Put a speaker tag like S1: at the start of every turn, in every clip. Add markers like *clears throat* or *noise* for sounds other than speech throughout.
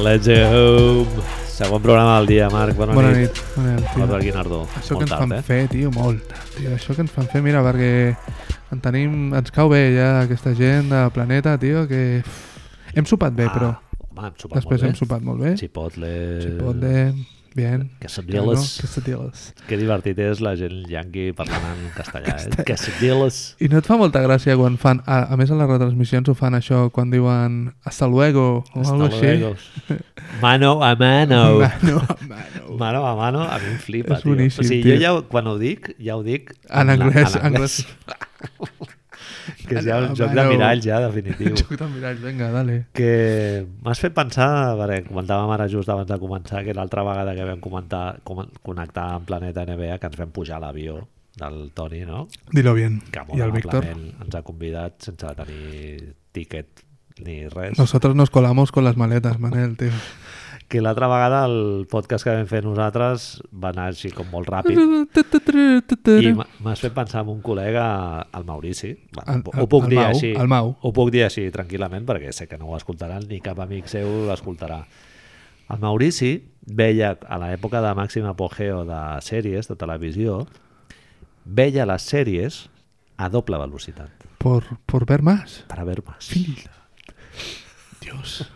S1: Let's go home. Segon programa del dia, Marc. Bona,
S2: Bona nit. Bona nit,
S1: Hola, per
S2: tio.
S1: Guinardó.
S2: Això
S1: Molt
S2: que ens
S1: tard,
S2: fan
S1: eh?
S2: fer, tio, molt tard, tio. Això que ens fan fer, mira, perquè en tenim, ens cau bé ja aquesta gent de Planeta, tio, que uf, hem sopat bé, però
S1: Ah, home, hem sopat
S2: després hem
S1: molt bé.
S2: sopat molt bé.
S1: Chipotle...
S2: Chipotle, bien.
S1: Que sabieles.
S2: Que sabieles.
S1: Que divertit és la gent yanqui parlant en castellà. eh? Que sabieles.
S2: I no et fa molta gràcia quan fan, a, a més a les retransmissions ho fan això, quan diuen hasta luego o
S1: Hasta
S2: algo així. Ah,
S1: luego. Mano a mano.
S2: *laughs* Mano,
S1: *laughs*
S2: mano.
S1: Mano a mano, a mi em flipa,
S2: És
S1: tio.
S2: boníssim,
S1: o sigui,
S2: tio.
S1: jo ja, ho- quan ho dic, ja ho dic...
S2: En
S1: la-
S2: anglès,
S1: en anglès. *laughs* que és ja un
S2: Mano a
S1: joc de
S2: mano.
S1: miralls, ja, definitiu.
S2: Joc de miralls, vinga, dale.
S1: que m'has fet pensar, perquè comentàvem ara just abans de començar, que l'altra vegada que vam comentar, com, connectar amb Planeta NBA, que ens vam pujar a l'avió del Toni, no?
S2: Dilo bien.
S1: Que molt
S2: I el Víctor.
S1: amablement ens ha convidat sense tenir tiquet ni res. No.
S2: Nosotros nos colamos con las maletas, Manel, tío.
S1: Que l'altra vegada el podcast que vam fer nosaltres va anar així com molt ràpid. I
S2: I
S1: m'ha- m'has fet pensar en un col·lega, el Maurici. Va,
S2: El-
S1: ho puc
S2: el
S1: dir
S2: Mau,
S1: així.
S2: el Mau.
S1: Ho puc dir així tranquil·lament perquè sé que no ho escoltaran ni cap amic seu l'escoltarà. El Maurici veia a l'època de màxim apogeo de sèries de televisió veia les sèries a doble velocitat
S2: Por, por ver más.
S1: per haver més.
S2: Dios.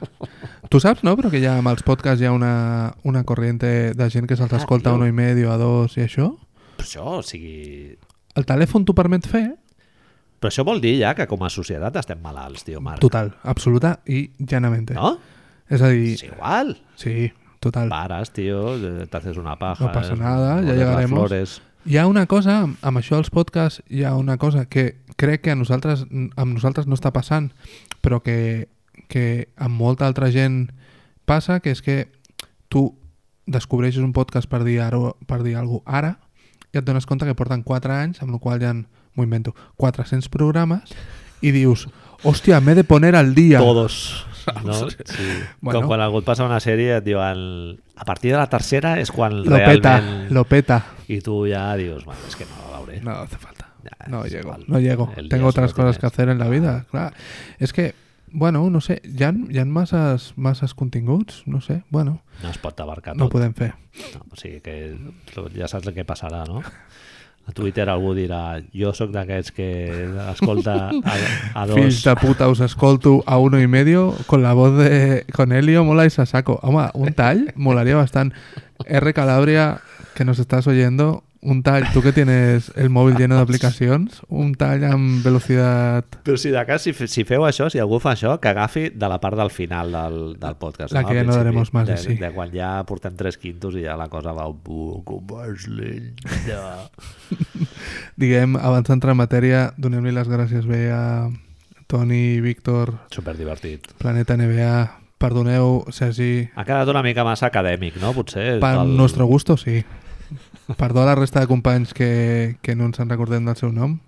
S2: Tu saps, no? Però que ja amb els podcasts hi ha una, una corriente de gent que se'ls
S1: Ah,
S2: escolta a
S1: tio.
S2: uno i medio, a dos i això.
S1: Però això, o sigui...
S2: El telèfon t'ho permet fer?
S1: Però això vol dir ja que com a societat estem malalts, tio Marc.
S2: Total, absoluta i llanamente.
S1: No?
S2: És a dir,
S1: És igual.
S2: sí, total.
S1: Paras, tío, te haces una paja.
S2: No pasa nada, ya
S1: olés las
S2: llegaremos.
S1: Flores.
S2: Hi ha una cosa, amb- amb això els podcasts, hi ha una cosa que crec que a nosaltres, amb nosaltres no està passant, però que, que amb molta altra gent passa, que és que tu descobreixes un podcast per dir, ara, per dir alguna cosa ara i et dones compte que porten 4 anys, amb la qual cosa hi ha, m'ho invento, 400 programes i dius, hòstia, m'he de poner al dia. *laughs*
S1: todos. No? Sí.
S2: Bueno.
S1: Bueno. Com quan algú et passa una sèrie et diuen a partir de la tercera és quan
S2: Lo peta,
S1: realment...
S2: lo peta.
S1: I tu ja dius, bueno, és que no la veuré.
S2: No hace falta.
S1: Ya,
S2: No
S1: es
S2: llego,
S1: igual.
S2: no llego.
S1: El día
S2: Tengo otras
S1: solo tienes.
S2: cosas que hacer en la vida, claro. Es que, bueno, no sé, ya han, hi ha masses, masses continguts, no sé, bueno,
S1: No es pot abarcar
S2: no
S1: tot.
S2: podem fer.
S1: No, o sigui que lo- ja saps el que passarà, no? A Twitter algú dirà, jo sóc d'aquests que escolta a,
S2: *laughs*
S1: a dos...
S2: Fills de puta, us escolto a uno y medio con la voz de... con Helio, mola y Sasaco. Home, un tall molaría bastante. R. Calabria, que nos estás oyendo, un tall, tú que tienes el móvil lleno de aplicaciones, un tall en velocidad...
S1: Però si de cas, si, fe- si feu això, si algú fa això, que agafi de la part del final del, del podcast.
S2: La
S1: Al
S2: que ja no
S1: principi,
S2: daremos más de sí.
S1: De quan ja portem tres quintos i ja la cosa va un poc més lenta.
S2: Diguem, abans d'entrar en matèria, donem-li les gràcies bé a Toni, Víctor,
S1: Superdivertit.
S2: Planeta NBA, perdoneu, Sergi,
S1: Ha quedat una mica massa acadèmic, no? Potser...
S2: per el nostre gusto, sí. Perdó a la resta de companys que, que no ens en recordem del seu nom.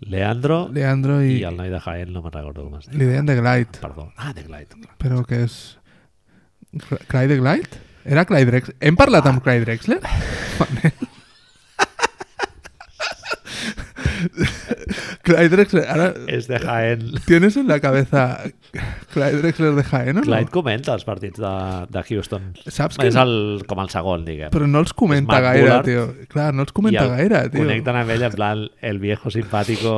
S1: Leandro i,
S2: Leandro i,
S1: i el noi de Jaén, no me'n recordo com es diu.
S2: li deien de Glide,
S1: Perdó. Ah, de Glide.
S2: però que és... Cl- Clyde de Glide? Era Clyde Drexler? Hem parlat amb Clyde Drexler? *laughs* Clyde Drexler, ara...
S1: És de Jaén.
S2: ¿Tienes en la cabeza Clyde Drexler de Jaén o no?
S1: Glide comenta els partits de, de Houston.
S2: Saps que-
S1: És el, com el segon, diguem.
S2: Però no els comenta
S1: Mark
S2: gaire,
S1: Bullard.
S2: tio. Clar, no els comenta
S1: I el-
S2: gaire, tio.
S1: Connecten amb ell en plan el viejo simpàtico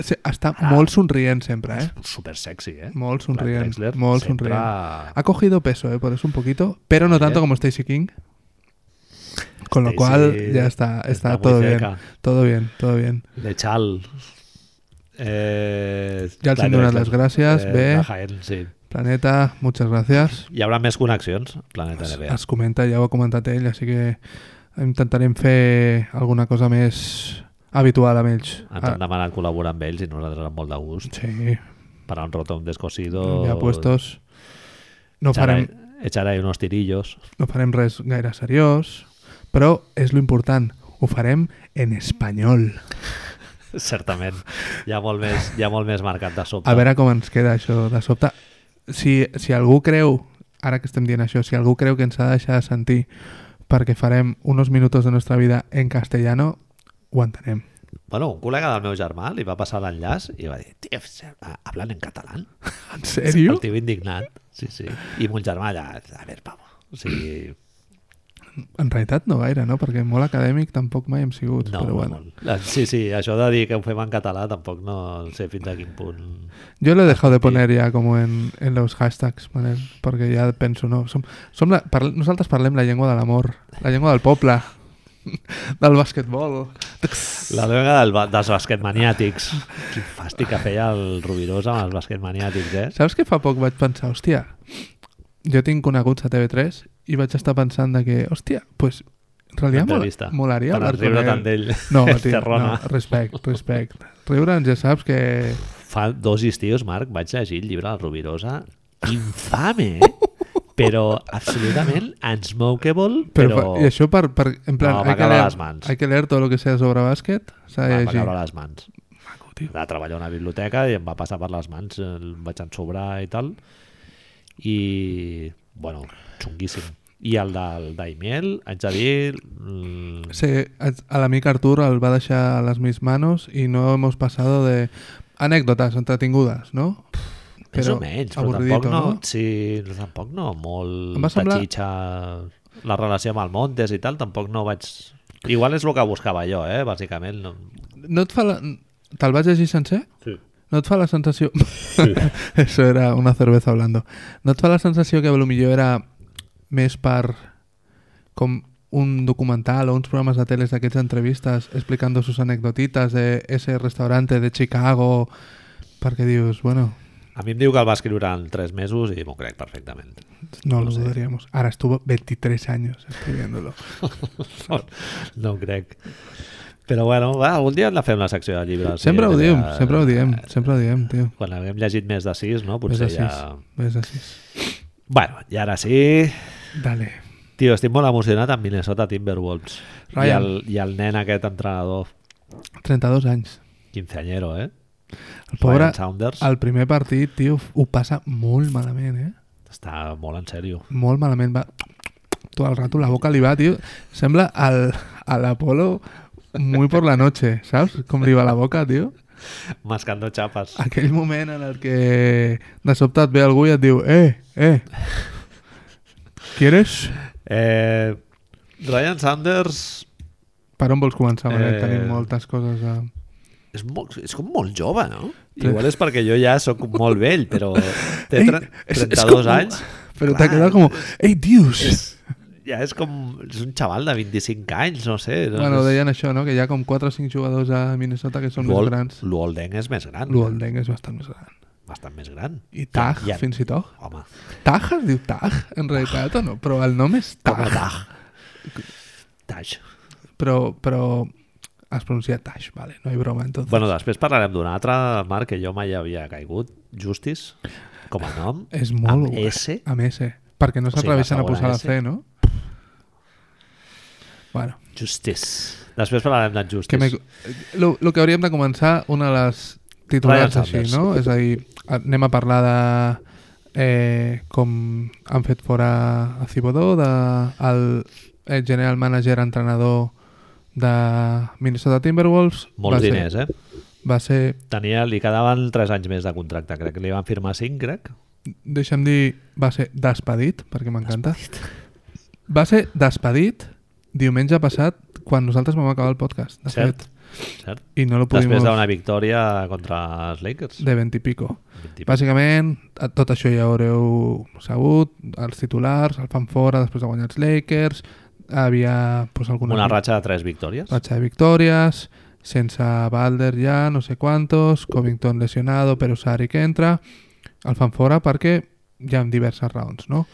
S2: Sí, Està
S1: Ah.
S2: molt somrient sempre, eh?
S1: super sexy, eh?
S2: Molt
S1: Clyde
S2: somrient,
S1: Drexler
S2: molt
S1: sempre-
S2: somrient. Ha cogido peso, eh, por eso un poquito, pero no
S1: Vale.
S2: tanto como Stacy King. Con lo
S1: Stacey
S2: cual, ya está,
S1: está
S2: está,
S1: muy
S2: todo bien.
S1: cerca.
S2: Todo bien, todo bien.
S1: De Chal. Eh,
S2: Ja els
S1: Clyde
S2: hem donat
S1: Drexler.
S2: les gràcies,
S1: Eh,
S2: bé.
S1: De Jaén, sí.
S2: Planeta, muchas gracias.
S1: Hi haurà més connexions, Planeta
S2: Es,
S1: NBA.
S2: es comenta, ja ho ha comentat ell, així que intentarem fer alguna cosa més habitual amb ells.
S1: Ens han demanat col·laborar amb ells i nosaltres amb molt de gust.
S2: sí,
S1: Per a un rotom descosido...
S2: ja puestos. No
S1: echar,
S2: farem,
S1: ahí, echar ahí unos tirillos. *laughs*
S2: no farem res gaire seriós, però és lo important, ho farem en espanyol.
S1: Certament. Ja molt més, ja molt més marcat de sobte.
S2: A veure com ens queda això de sobte. Si, si algú creu, ara que estem dient això, si algú creu que ens ha de deixar de sentir perquè farem unos minutos de nostra vida en castellano, ho entenem.
S1: Bueno, un col·lega del meu germà li va passar l'enllaç i va dir, tio, se- ah, hablan en català?
S2: En sèrio?
S1: El tio indignat. Sí, sí. I mon germà allà, a veure, pavo. O sigui,
S2: En realitat no gaire, no? Perquè molt acadèmic tampoc mai hem sigut,
S1: no,
S2: però bueno.
S1: no. Sí, sí, això de dir que ho fem en català tampoc no sé fins a quin punt...
S2: Yo lo he dejado de poner ya como en, en los hashtags, Manel, porque ya pienso, no, som, som la, parle, nosaltres parlem la llengua de l'amor, la llengua del poble, *laughs* del basquetbol.
S1: La droga del, ba- dels basquetmaniàtics. Quin fàstic que feia el Rubirós amb els basquetmaniàtics, eh?
S2: Saps que fa poc vaig pensar, hòstia, jo tinc coneguts a TV3 i vaig estar pensant de que, hòstia, pues, en realitat
S1: Entrevista.
S2: mol,
S1: Per
S2: molaria hablar con
S1: riure
S2: él.
S1: tant d'ell. *laughs*
S2: No, tio, no,
S1: Terrona.
S2: respect, respect. Riure'ns ja saps que...
S1: Fa dos estius, Marc, vaig llegir el llibre del
S2: *laughs*
S1: Rubirosa. Infame, eh? però absolutament unsmokable,
S2: Però,
S1: però...
S2: I això per... per en plan,
S1: No,
S2: hay, que
S1: m'acaba
S2: leer,
S1: les mans.
S2: hay que leer todo lo que sea sobre bàsquet, s'ha
S1: Em
S2: de
S1: va
S2: llegir.
S1: caure a les mans.
S2: Maco, tio.
S1: Va treballar a una biblioteca i em va passar per les mans, el vaig ensobrar i tal. I, bueno, xunguíssim. I el del Daimiel, haig de dir... mm,
S2: Sí, a l'amic Artur el va deixar a les mis manos i no hemos pasado de anècdotes entretingudes, no?
S1: Més o menys, però tampoc
S2: avorridito,
S1: no, no? Sí, no, tampoc no molt
S2: Em va semblar-
S1: de xitxa la relació amb el Montes i tal, tampoc no vaig... Igual és el que buscava jo, eh, bàsicament. No...
S2: no? No et fa la... Te'l vas llegir sencer?
S1: Sí.
S2: No et fa la sensació... *laughs* Eso era una cerveza hablando. No et fa la sensació que potser era més per com un documental o uns programes de teles d'aquests entrevistes explicando sus anecdotitas de ese restaurante de Chicago perquè dius, bueno,
S1: A mi em diu que el va escriure en 3 mesos i m'ho crec perfectament.
S2: No,
S1: No
S2: lo
S1: sé.
S2: dudaríamos. Ahora estuvo 23 años escribiéndolo.
S1: No, no ho crec. Però bueno, va, algun dia hem de fer una secció de llibres.
S2: siempre
S1: Sí,
S2: ho
S1: jo
S2: diem,
S1: crec que-
S2: sempre ho diem, sempre ho diem, tio.
S1: Quan haguem llegit més de 6, no?
S2: Ves
S1: Potser
S2: així,
S1: ja...
S2: ves així.
S1: Bueno, i ara sí,
S2: Dale.
S1: Tio, estic molt emocionat amb Minnesota Timberwolves. I
S2: Ryan.
S1: el, I el nen aquest entrenador,
S2: 32 anys.
S1: quinceanyero, eh?
S2: El pobre,
S1: Ryan Saunders el...
S2: al primer partit, tio, ho passa molt malament, eh?
S1: està molt en sèrio. *laughs*
S2: Molt malament. Va, tot el rato la boca li va, tio. Sembla al, a l'Apolo muy por la noche, saps? Com li va la boca, tio.
S1: Mascando xapes.
S2: Aquell moment en el que de sobte et ve algú i et diu eh, eh, ¿quieres?
S1: Eh, Ryan Sanders
S2: Per on vols començar, Manel?
S1: Eh,
S2: Tenim moltes coses a...
S1: és, molt, és com molt jove, no?
S2: Tre-
S1: Igual és perquè jo ja sóc molt vell,
S2: *laughs*
S1: però té
S2: Ei,
S1: tre-
S2: és- és
S1: 32
S2: com-
S1: anys.
S2: Però
S1: clar,
S2: t'ha quedat com... Ei, dius!
S1: És, *laughs* ja és com... És un xaval de 25 anys, no sé. doncs No,
S2: Bueno,
S1: és-
S2: deien això, no? Que hi ha com 4 o 5 jugadors a Minnesota que són
S1: Luol-
S2: més grans.
S1: Luol Deng és més gran. eh?
S2: Luol Deng és bastant més gran.
S1: Bastant més gran.
S2: I Taj,
S1: Ja-
S2: fins i tot.
S1: Home,
S2: Taj es diu Taj, en realitat, o no? Però el nom és
S1: com a
S2: Taj.
S1: Taj. Taj.
S2: Però, però es pronuncia Taj, vale, no hi broma, entonces.
S1: Bueno, després parlarem d'un altre, Marc, que jo mai havia caigut, Justice, com a nom.
S2: és molt...
S1: amb
S2: guai.
S1: S.
S2: Amb S. eh? Perquè no
S1: sigui,
S2: s'atreveixen
S1: la
S2: a posar
S1: segona
S2: la
S1: S.
S2: C, no? Bueno.
S1: Justice. Després parlarem d'en
S2: que
S1: Justice.
S2: me... lo, lo que hauríem de començar, una de les titulars
S1: Ryan
S2: així,
S1: Sanders.
S2: no? És a dir, anem a parlar de eh, com han fet fora a Cibodó, de, el, el general manager entrenador de Minnesota Timberwolves.
S1: Molts diners, eh?
S2: eh? Va ser,
S1: Tenia, li quedaven 3 anys més de contracte, crec que li van firmar 5, crec.
S2: deixa'm dir, va ser despedit, perquè m'encanta. Va ser despedit diumenge passat quan nosaltres vam acabar el podcast, de
S1: Cert.
S2: fet.
S1: Cert?
S2: I no lo
S1: Després
S2: pudimos...
S1: d'una victòria contra els Lakers.
S2: De 20 i pico.
S1: Vint i-
S2: Bàsicament, a- tot això ja ho haureu sabut, els titulars, el fan fora després de guanyar els Lakers, havia pues, alguna
S1: Una ratxa de 3 victòries.
S2: ratxa de victòries, sense Balder ja, no sé quantos, Covington lesionado, però Sari que entra, el fan fora perquè hi ha diverses raons, no?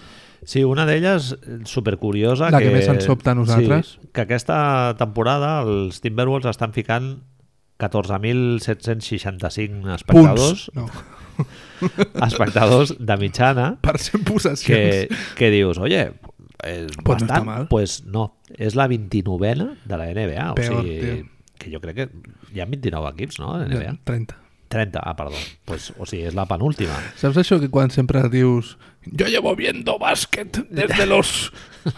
S1: Sí, una d'elles eh, supercuriosa.
S2: La que més ens sobta a nosaltres.
S1: Sí, que aquesta temporada els Timberwolves estan ficant 14.765 espectadors,
S2: Punts! No, *laughs*
S1: espectadors de mitjana
S2: per 100 possessions.
S1: que, que dius, oye, és
S2: Pues no
S1: bastant,
S2: està mal.
S1: pues no, és la 29a de la NBA,
S2: Peor,
S1: o sigui,
S2: tio.
S1: que jo crec que hi ha 29 equips, no, a la NBA?
S2: Ja, 30.
S1: 30, ah, perdó. Pues, o sigui, és la penúltima.
S2: Saps això que quan sempre dius yo llevo viendo básquet
S1: *laughs*
S2: desde los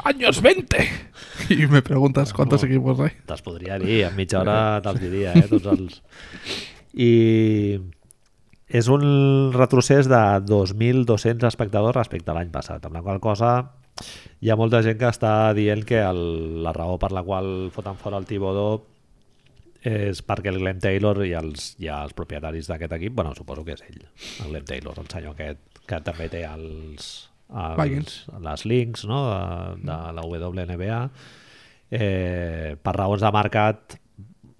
S2: años 20 y me preguntas cuántos equipos hay?
S1: Te'ls podria dir, en mitja hora te'ls diria, eh, tots els... I és un retrocés de 2.200 espectadors respecte a l'any passat, amb la qual cosa hi ha molta gent que està dient que el, la raó per la qual foten fora el Tibodó és perquè el Glenn Taylor i els, i els propietaris d'aquest equip, bueno, suposo que és ell, el Glenn Taylor, el senyor aquest que també té els, els
S2: Vikings.
S1: les links no? de, de la WNBA eh, per raons de mercat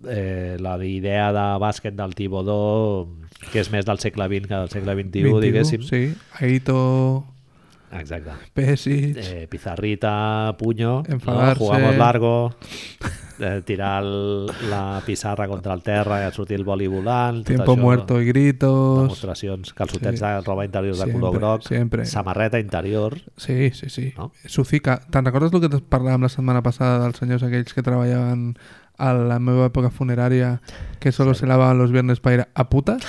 S1: eh, la idea de bàsquet del Tibodó que és més del segle XX que del segle XXI,
S2: 21,
S1: diguéssim
S2: Sí, Aito,
S1: exacte
S2: Pesic...
S1: eh, Pizarrita, Puño, no?
S2: Enfadarse.
S1: jugamos largo, eh, tirar el- la pissarra contra el terra i sortir el boli volant, tot
S2: Tiempo
S1: això,
S2: muerto y gritos.
S1: demostracions, calçotets
S2: Sí.
S1: de roba interior de
S2: Sempre,
S1: color groc,
S2: sempre.
S1: samarreta interior,
S2: Sí, sí, sí.
S1: No?
S2: Sucica. Te'n recordes el que et parlàvem la setmana passada dels senyors aquells que treballaven a la meva època funerària que solo se lavaban los viernes para ir
S1: *laughs*
S2: a putas?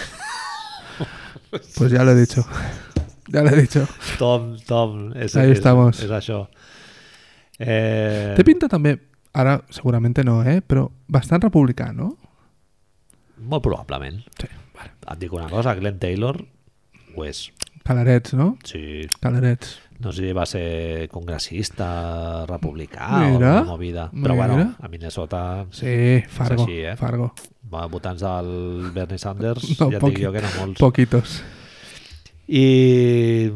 S2: pues ya lo he dicho. Ya lo he dicho.
S1: Tom, Tom, és,
S2: Ahí
S1: és,
S2: estamos.
S1: és això. Eh,
S2: Té pinta també, ara seguramente no, eh? però bastant republicà, no?
S1: molt probablement.
S2: Sí, vale.
S1: Et dic una cosa, Glenn Taylor ho és.
S2: Calarets, no?
S1: Sí,
S2: Calarets.
S1: No sé si va ser congressista, republicà mira, o
S2: Mira,
S1: alguna movida. Però
S2: mira.
S1: bueno, a Minnesota,
S2: Sí, Fargo.
S1: així, eh?
S2: Fargo.
S1: va, votants del Bernie Sanders,
S2: No,
S1: no, ja et
S2: poqui-
S1: dic jo que no molts.
S2: Poquitos.
S1: I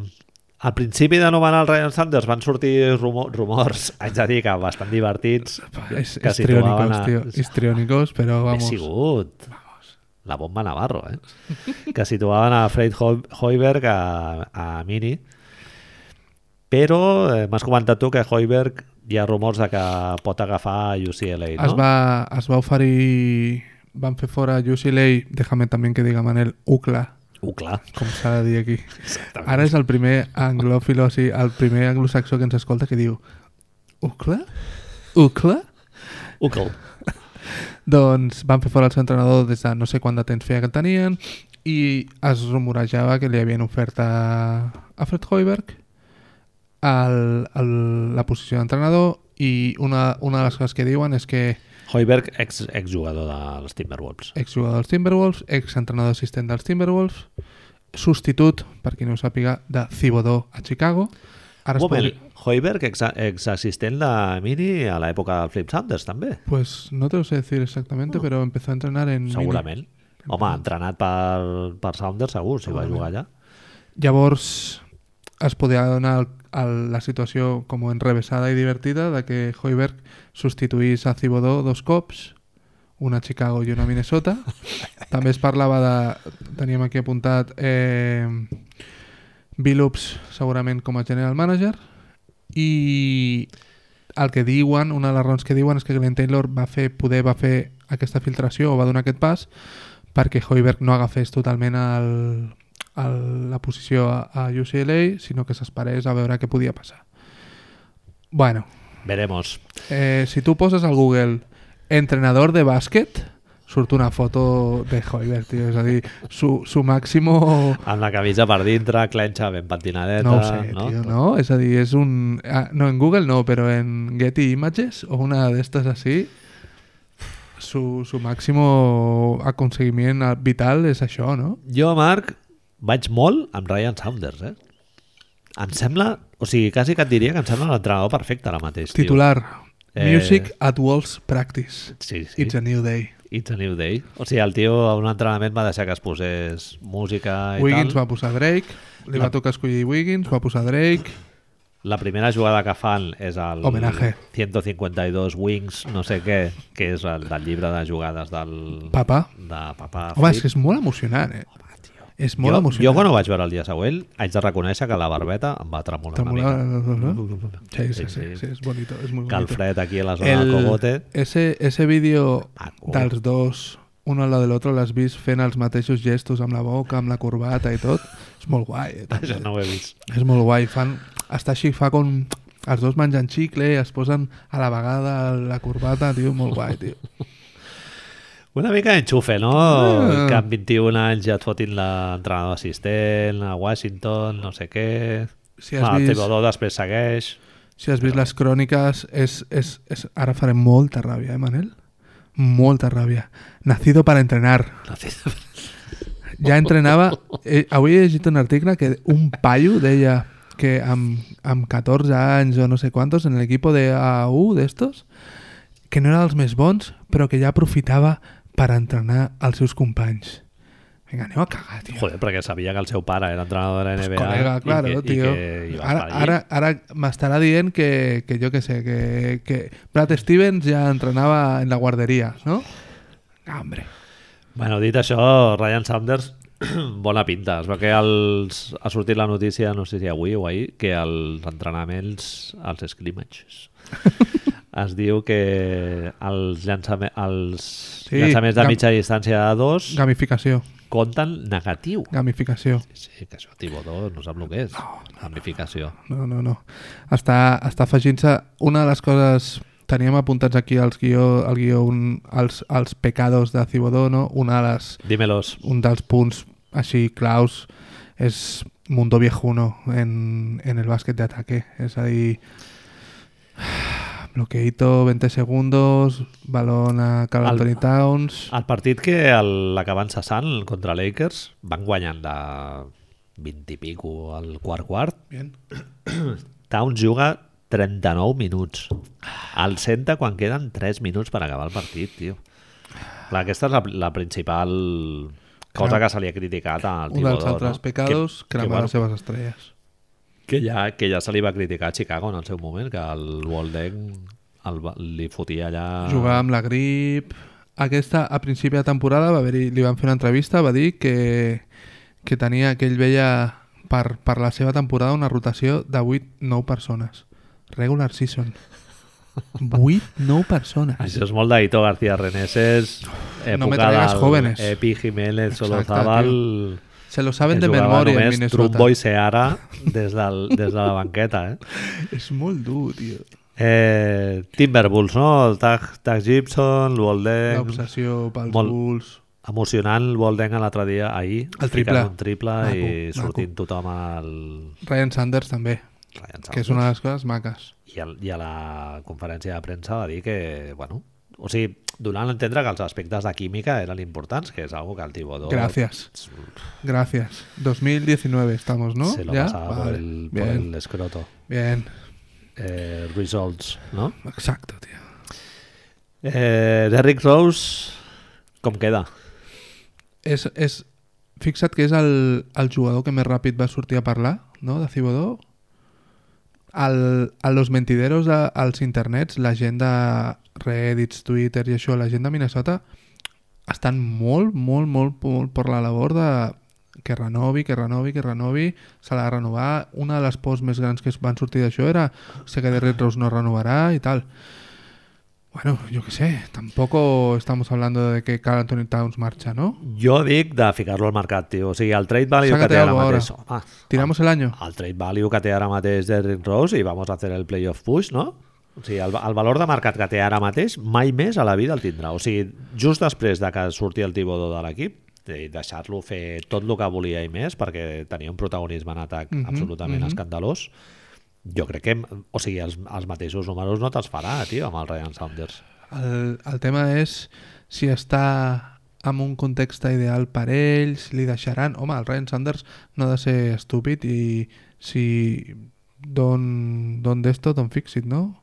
S1: al principi de nomenar el Ryan Sanders van sortir rumo rumors, haig de dir que bastant divertits,
S2: Es,
S1: que
S2: histriónicos,
S1: situaven a...
S2: tío. Histriónicos, pero
S1: He
S2: vamos.
S1: sigut. La bomba Navarro, eh? Que situaven a Fred Ho- Hoiberg a, a Mini. Però eh, m'has comentat tu que Hoiberg hi ha rumors de que pot agafar UCLA, no?
S2: Es va, es va oferir... Van fer fora UCLA, déjame també que diga Manel, UCLA,
S1: Uh, clar.
S2: com s'ha de dir aquí. Ara és el primer anglòfilo, o sigui, el primer anglosaxó que ens escolta que diu UCLA? UCLA?
S1: Ucl.
S2: Doncs van fer fora el seu entrenador des de no sé quant de temps feia que el tenien i es rumorejava que li havien ofert a, a Fred Hoiberg el, el, la posició d'entrenador i una, una de les coses que diuen és que
S1: Hoiberg, ex, exjugador dels Timberwolves.
S2: exjugador dels Timberwolves, exentrenador assistent dels Timberwolves, substitut, per qui no ho sàpiga, de Cibodó a Chicago. Ara
S1: Un
S2: es
S1: moment,
S2: podri-
S1: Hoiberg, ex, exassistent de Mini a l'època del Flip Sanders, també.
S2: Pues no te lo sé decir exactamente, pero empezó a entrenar en... mini.
S1: Segurament. Home, entrenat per, per Saunders, segur, si va jugar allà.
S2: Llavors es podia donar el, el, la situació com enrevesada i divertida de que Hoiberg substituís a Cibodó dos cops, una a Chicago i una a Minnesota. També es parlava de... Teníem aquí apuntat eh, Billups segurament com a general manager i el que diuen, una de les raons que diuen és que Glenn Taylor va fer, poder va fer aquesta filtració o va donar aquest pas perquè Hoiberg no agafés totalment el, el, la posició a, a UCLA, sinó que s'esperés a veure què podia passar. Bueno,
S1: Veremos.
S2: eh, si tu poses al Google entrenador de bàsquet, surt una foto de Hoiberg, tio. És a dir, su, su màximo...
S1: Amb la camisa per dintre, clenxa ben pentinadeta.
S2: No ho sé,
S1: no?
S2: no? tio, no? És a dir, és un... Ah, no, en Google no, però en Getty Images o una d'estes així, su, su màximo aconseguiment vital és això, no?
S1: Jo, Marc, vaig molt amb Ryan Saunders, eh? Em sembla, o sigui, quasi que et diria que em sembla l'entrenador perfecte ara mateix. tio.
S2: Titular.
S1: Eh,
S2: Music at Walls Practice.
S1: Sí, sí.
S2: It's a new day.
S1: It's a new day. O sigui, el tio a un entrenament va deixar que es posés música i
S2: Wiggins
S1: tal.
S2: va posar Drake, li va tocar escollir Wiggins, va posar Drake,
S1: La primera jugada que fan és el
S2: Homenaje.
S1: 152 Wings, no sé què, que és el del llibre de jugades del...
S2: Papa.
S1: De Papa.
S2: Home, és
S1: Flip.
S2: que és molt emocionant, eh? És molt
S1: jo,
S2: emocionant.
S1: jo quan ho vaig veure el dia següent, haig de reconèixer que la barbeta em va tremolar,
S2: Tremolar,
S1: una mica.
S2: no? Sí, sí, sí,
S1: Sí, sí.
S2: sí, és bonito, és molt
S1: Que el
S2: bonito.
S1: fred aquí a la zona del Cogote... Ah, oh.
S2: El, ese, ese vídeo
S1: Maco.
S2: dels dos, un al lado del otro, l'has vist fent els mateixos gestos amb la boca, amb la corbata i tot, és molt guai. Eh? també.
S1: Això no ho he vist.
S2: És molt guai. Fan, està així, fa com... Els dos mengen xicle, es posen a la vegada la corbata, tio, molt guai, tio.
S1: Una mica enxufe, no?
S2: Ah.
S1: Que amb 21 anys ja et fotin l'entrenador assistent a Washington, no sé què... Ah,
S2: Si has
S1: El
S2: vist-
S1: TV2 després segueix...
S2: Si has vist les cròniques, és, és, és... ara faré molta ràbia, eh, Manel? Molta ràbia. Nacido para entrenar. Ja entrenava... Eh, avui he llegit un article que un paio deia que amb, amb 14 anys o no sé quantos en l'equip de AU d'estos, que no era dels més bons, però que ja aprofitava per entrenar els seus companys. Vinga, aneu a cagar, tio.
S1: Joder, perquè sabia que el seu pare era entrenador de la NBA...
S2: Colega, claro,
S1: i que,
S2: tío.
S1: I que hi va
S2: Ara,
S1: estar allí.
S2: ara, ahora me estará bien que, que yo qué sé, que, que Brad Stevens ya entrenaba en la guardería, ¿no? Ah, Hombre.
S1: Bueno, dit això, Ryan Sanders, *clears throat* bona pinta. Es veu que els, ha sortit la notícia, no sé si avui o ahir, que els entrenaments, els *laughs* scrimmages, es diu que els, llançame, els
S2: Sí,
S1: llançaments de
S2: gam-
S1: mitja distància de dos
S2: Gamificació.
S1: compten negatiu.
S2: Gamificació.
S1: Sí, que això, Tibodó, no sap el que és. No, Ramificació.
S2: No, no, no. Està, està afegint-se... Una de les coses... Teníem apuntats aquí als guió, al guió un, els, els pecados de Cibodó, no? Una de les
S1: Dímelos.
S2: un dels punts així claus és Mundo Viejuno en, en el bàsquet d'ataque. És a dir, *sighs* bloqueito 20 segundos, balón a Carl
S1: Al-
S2: Anthony Towns...
S1: El partit que el- l'acaben cessant contra Lakers van guanyant de 20 i pico al quart quart
S2: Bien.
S1: Towns juga 39 minuts. El senta quan queden 3 minuts per acabar el partit, tio. Clar, aquesta és la, la principal cosa
S2: Clar.
S1: que se li ha criticat al
S2: Un dels
S1: Tibodó,
S2: altres
S1: no?
S2: pecados,
S1: que, que,
S2: cremar
S1: bueno,
S2: les seves estrelles.
S1: que, ja, que ja se li va criticar a Chicago en el seu moment, que el Waldeck el, va- li fotia allà...
S2: Jugar amb la grip... Aquesta, a principi de temporada, va haver li van fer una entrevista, va dir que, que tenia, que ell veia per, per la seva temporada una rotació de 8-9 persones. Regular season. 8-9 persones.
S1: *laughs* Això és molt d'Aito García Reneses, època
S2: no me traigas
S1: del
S2: jóvenes.
S1: Epi Jiménez,
S2: Exacte,
S1: Solozabal...
S2: Se lo saben
S1: que
S2: de
S1: jugava
S2: memòria en
S1: només
S2: Minnesota.
S1: Trumbo i Seara des, del, des de la banqueta, eh?
S2: És molt dur, tio.
S1: Eh, Timberwolves, no? El Tag, Tag Gibson, l'Wolden...
S2: L'obsessió pels
S1: Eh, molt-
S2: Bulls.
S1: Emocionant l'Wolden l'altre dia, ahir. ficant
S2: El triple.
S1: Un triple
S2: Maco,
S1: i
S2: maco.
S1: sortint tothom al...
S2: Ryan Sanders també,
S1: Ryan
S2: que és
S1: Saunders.
S2: una de les coses maques.
S1: I, al, I a la conferència de premsa va dir que, bueno... O sigui, donant a entendre que els aspectes de química eren importants, que és algo que el Tibodó...
S2: Gracias. Gracias. 2019 estamos, ¿no?
S1: Se lo
S2: ¿Ya?
S1: pasaba por,
S2: Vale.
S1: el, por
S2: Bien,
S1: el escroto.
S2: bien.
S1: Eh, results, no?
S2: Exacto, tío.
S1: Eh, Derrick Rose, com queda?
S2: És, és, fixa't que és el, el jugador que més ràpid va sortir a parlar, no?, de Cibodó. Al, a los mentideros, a, als internets, la gent de Reddits, Twitter i això, la gent de Minnesota estan molt, molt, molt, molt per la labor de que renovi, que renovi, que renovi, se l'ha de renovar. Una de les pors més grans que es van sortir d'això era sé que Derrick Rose no renovarà i tal. Bueno, yo qué sé, tampoco estamos hablando de que Carl Anthony Towns marcha, ¿no?
S1: Jo dic de ficar-lo al mercat, tio. O sigui, el trade value que
S2: Sácate
S1: té ara
S2: algo ahora.
S1: mateix... Home,
S2: Tiramos el año.
S1: el trade value que té ara mateix Derrick Rose i vamos a hacer el playoff push, no? O sigui, el, el valor de mercat que té ara mateix mai més a la vida el tindrà. O sigui, just després de que surti el Tibodó de l'equip, de- deixar-lo fer tot el que volia i més, perquè tenia un protagonisme en atac
S2: Mhm,
S1: absolutament
S2: mhm.
S1: escandalós, jo crec que, o sigui, els, els mateixos números no te'ls farà, tio, amb el Ryan Saunders.
S2: El, el tema és si està en un context ideal per ells, li deixaran... Home, el Ryan Sanders no ha de ser estúpid i si... Don, don d'esto, don fix it, no?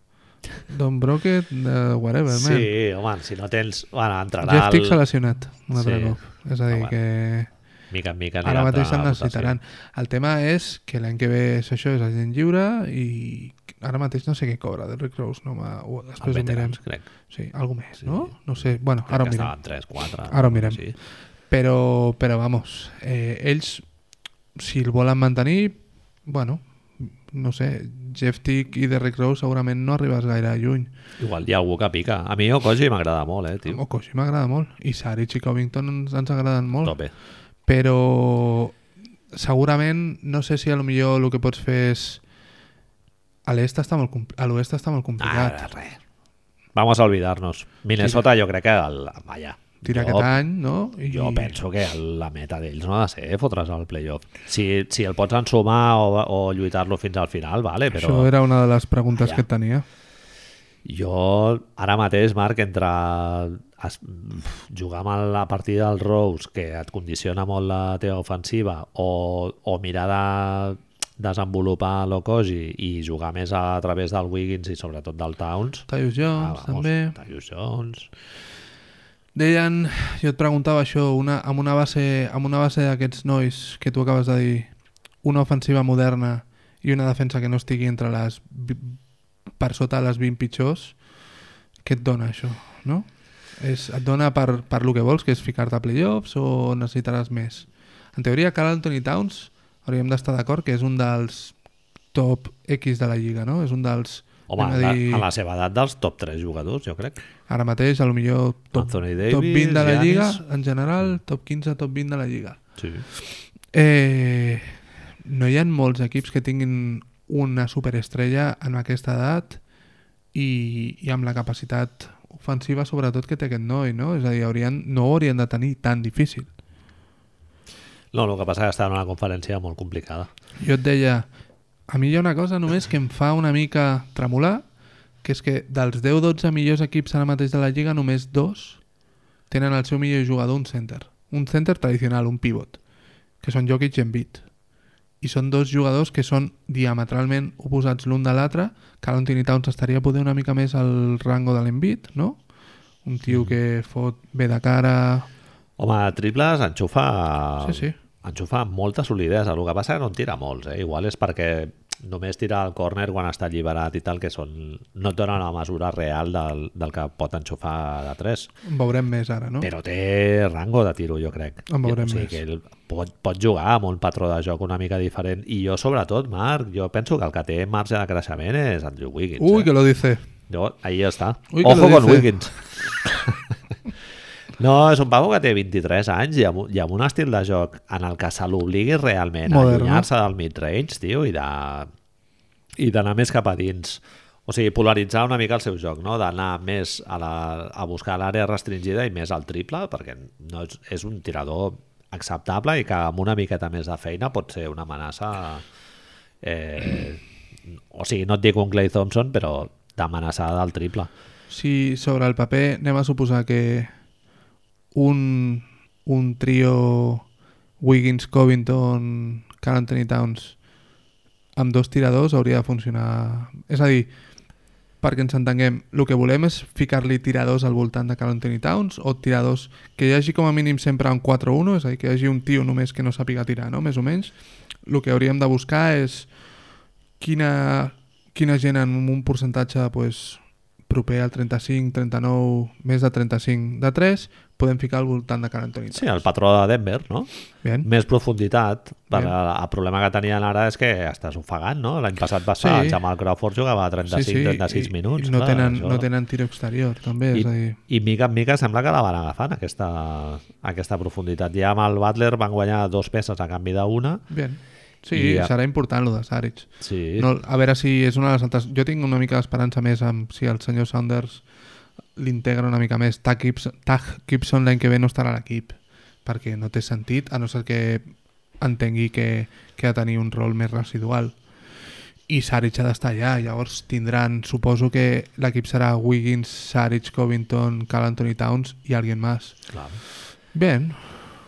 S2: Don broke it, uh, whatever, man.
S1: Sí, home, si no tens... Bueno, entrarà
S2: Jeff Tick s'ha
S1: el...
S2: lesionat un altre
S1: Sí.
S2: cop. És a dir,
S1: Ah, bueno.
S2: que...
S1: mica en mica. anirà
S2: Ara
S1: entrant
S2: mateix se'n
S1: a la rotació.
S2: necessitaran. El tema és que l'any que ve és això, és agent lliure i ara mateix no sé què cobra Derrick Rose, no, home, ho, després
S1: Amb
S2: ho mirem.
S1: veterans, crec.
S2: Sí, algo més,
S1: Sí.
S2: no? No sé, bueno,
S1: Crec
S2: ara ho
S1: que
S2: mirem.
S1: estaven 3, 4.
S2: Ara ho mirem.
S1: Sí.
S2: Però, però vamos, eh, ells, si el volen mantenir, bueno, no sé, Jeff Tick i Derrick Rose segurament no arribes gaire lluny.
S1: Igual hi ha algú que pica. A mi Okoji m'agrada molt, eh, tio.
S2: Okoshi m'agrada molt, i Saric i Covington ens, ens agraden molt,
S1: Tope.
S2: però segurament, no sé si a lo millor el que pots fer és... A l'est està molt, compl- a l'oest està molt
S1: Ah,
S2: complicat.
S1: res. Vamos a olvidar-nos. Minnesota jo crec que el, vaja,
S2: tira
S1: Jo-
S2: aquest any, no? I,
S1: Jo penso que el- la meta d'ells no ha de ser fotre's al playoff. Si, si el pots ensumar o, o lluitar-lo fins al final, vale, però... Ah,
S2: Això era una de les preguntes
S1: Ja.
S2: que et tenia.
S1: Jo, ara mateix, Marc, entre es, jugar amb la partida del Rose, que et condiciona molt la teva ofensiva, o, o mirar de desenvolupar l'Okoji i jugar més a través del Wiggins i sobretot del Towns... Ah,
S2: Tyus Jones,
S1: vamos,
S2: també.
S1: Tyus Jones...
S2: Deien, jo et preguntava això, una, amb una base amb una base d'aquests nois que tu acabes de dir, una ofensiva moderna i una defensa que no estigui entre les vi- per sota les 20 pitjors, què et dona això, no? És, et dona per, per lo que vols, que és ficar-te a playoffs o necessitaràs més? En teoria, Carl Anthony Towns, hauríem d'estar d'acord que és un dels top X de la Lliga, no? És un dels...
S1: Home, a
S2: anem
S1: la, a la seva edat dels top 3 jugadors, jo crec.
S2: Ara mateix, a lo millor top,
S1: Anthony Davis,
S2: top 20 de la
S1: Giannis.
S2: Lliga, en general, top 15, top 20 de la Lliga.
S1: Sí.
S2: Eh, no hi ha molts equips que tinguin una superestrella en aquesta edat i, i amb la capacitat ofensiva sobretot que té aquest noi, no? És a dir, haurien, no ho haurien de tenir tan difícil.
S1: No, el que passa és que està en una conferència molt complicada.
S2: Jo et deia, a mi hi ha una cosa només que em fa una mica tremolar, que és que dels 10-12 millors equips ara mateix de la Lliga, només dos tenen el seu millor jugador un center. Un center tradicional, un pivot, que són Jokic i Embiid. I són dos jugadors que són diametralment oposats l'un de l'altre. Carl Anthony Towns estaria poder una mica més al rango de l'Embiid, no? Un tio que fot bé de cara...
S1: Home, triples enxufa...
S2: Sí, sí.
S1: enxufa amb molta solidesa. El que passa que no en tira molts, eh? Igual és perquè només tira al córner quan està alliberat i tal, que són... no et donen la mesura real del, del que pot enxufar de 3.
S2: En veurem més ara, no?
S1: Però té rango de tiro, jo crec.
S2: En veurem
S1: o sigui,
S2: més.
S1: que ell pot, pot jugar amb un patró de joc una mica diferent. I jo, sobretot, Marc, jo penso que el que té marge de creixement és Andrew Wiggins.
S2: Ui,
S1: eh?
S2: que lo dice.
S1: No, ahí está.
S2: Uy, que
S1: Ojo
S2: lo
S1: con
S2: dice.
S1: Wiggins. No, és un pavo que té 23 anys i amb, i amb un estil de joc en el que se l'obligui realment
S2: Modern,
S1: a allunyar-se del mid-range, tio, i de- i d'anar més cap a dins. O sigui, polaritzar una mica el seu joc, no? d'anar més a, la, a buscar l'àrea restringida i més al triple, perquè no és, és un tirador acceptable i que amb una miqueta més de feina pot ser una amenaça eh, o sigui, no et dic un Clay Thompson, però d'amenaçada del triple.
S2: Si sobre el paper anem a suposar que un, un trio Wiggins, Covington, Carl Anthony Towns amb dos tiradors hauria de funcionar... És a dir, perquè ens entenguem, el que volem és ficar-li tiradors al voltant de Carl Anthony Towns o tiradors que hi hagi com a mínim sempre un 4-1, és a dir, que hi hagi un tio només que no sàpiga tirar, no? Més o menys. El que hauríem de buscar és quina, quina gent amb un percentatge pues, proper al 35, 39, més de 35 de 3, podem ficar al voltant de Carl Anthony Towns.
S1: Sí, el patró de Denver, no?
S2: Bien.
S1: Més profunditat. Per
S2: Bé.
S1: el, el problema que tenien ara és que estàs ofegant, no? L'any passat va estar,
S2: Sí.
S1: sí. Jamal Crawford jugava a 35-36 sí,
S2: i-
S1: sí. minuts.
S2: I no,
S1: clar,
S2: tenen,
S1: això.
S2: no tenen tiro exterior, també.
S1: I,
S2: és a dir,
S1: I mica en mica sembla que la van agafant, aquesta, aquesta profunditat. Ja amb el Butler van guanyar dos peces a canvi d'una.
S2: bien. Sí,
S1: I a-
S2: serà important lo de Saric.
S1: Sí, no,
S2: No, a veure si és una de les altres... Jo tinc una mica d'esperança més amb si el senyor Saunders l'integra una mica més. Tag Gibson, Tag Gibson l'any que ve no estarà a l'equip, perquè no té sentit, a no ser que entengui que, que ha de tenir un rol més residual. I Saric ha d'estar allà, llavors tindran... Suposo que l'equip serà Wiggins, Saric, Covington, Cal Anthony Towns i alguien més.
S1: clar.
S2: Bien,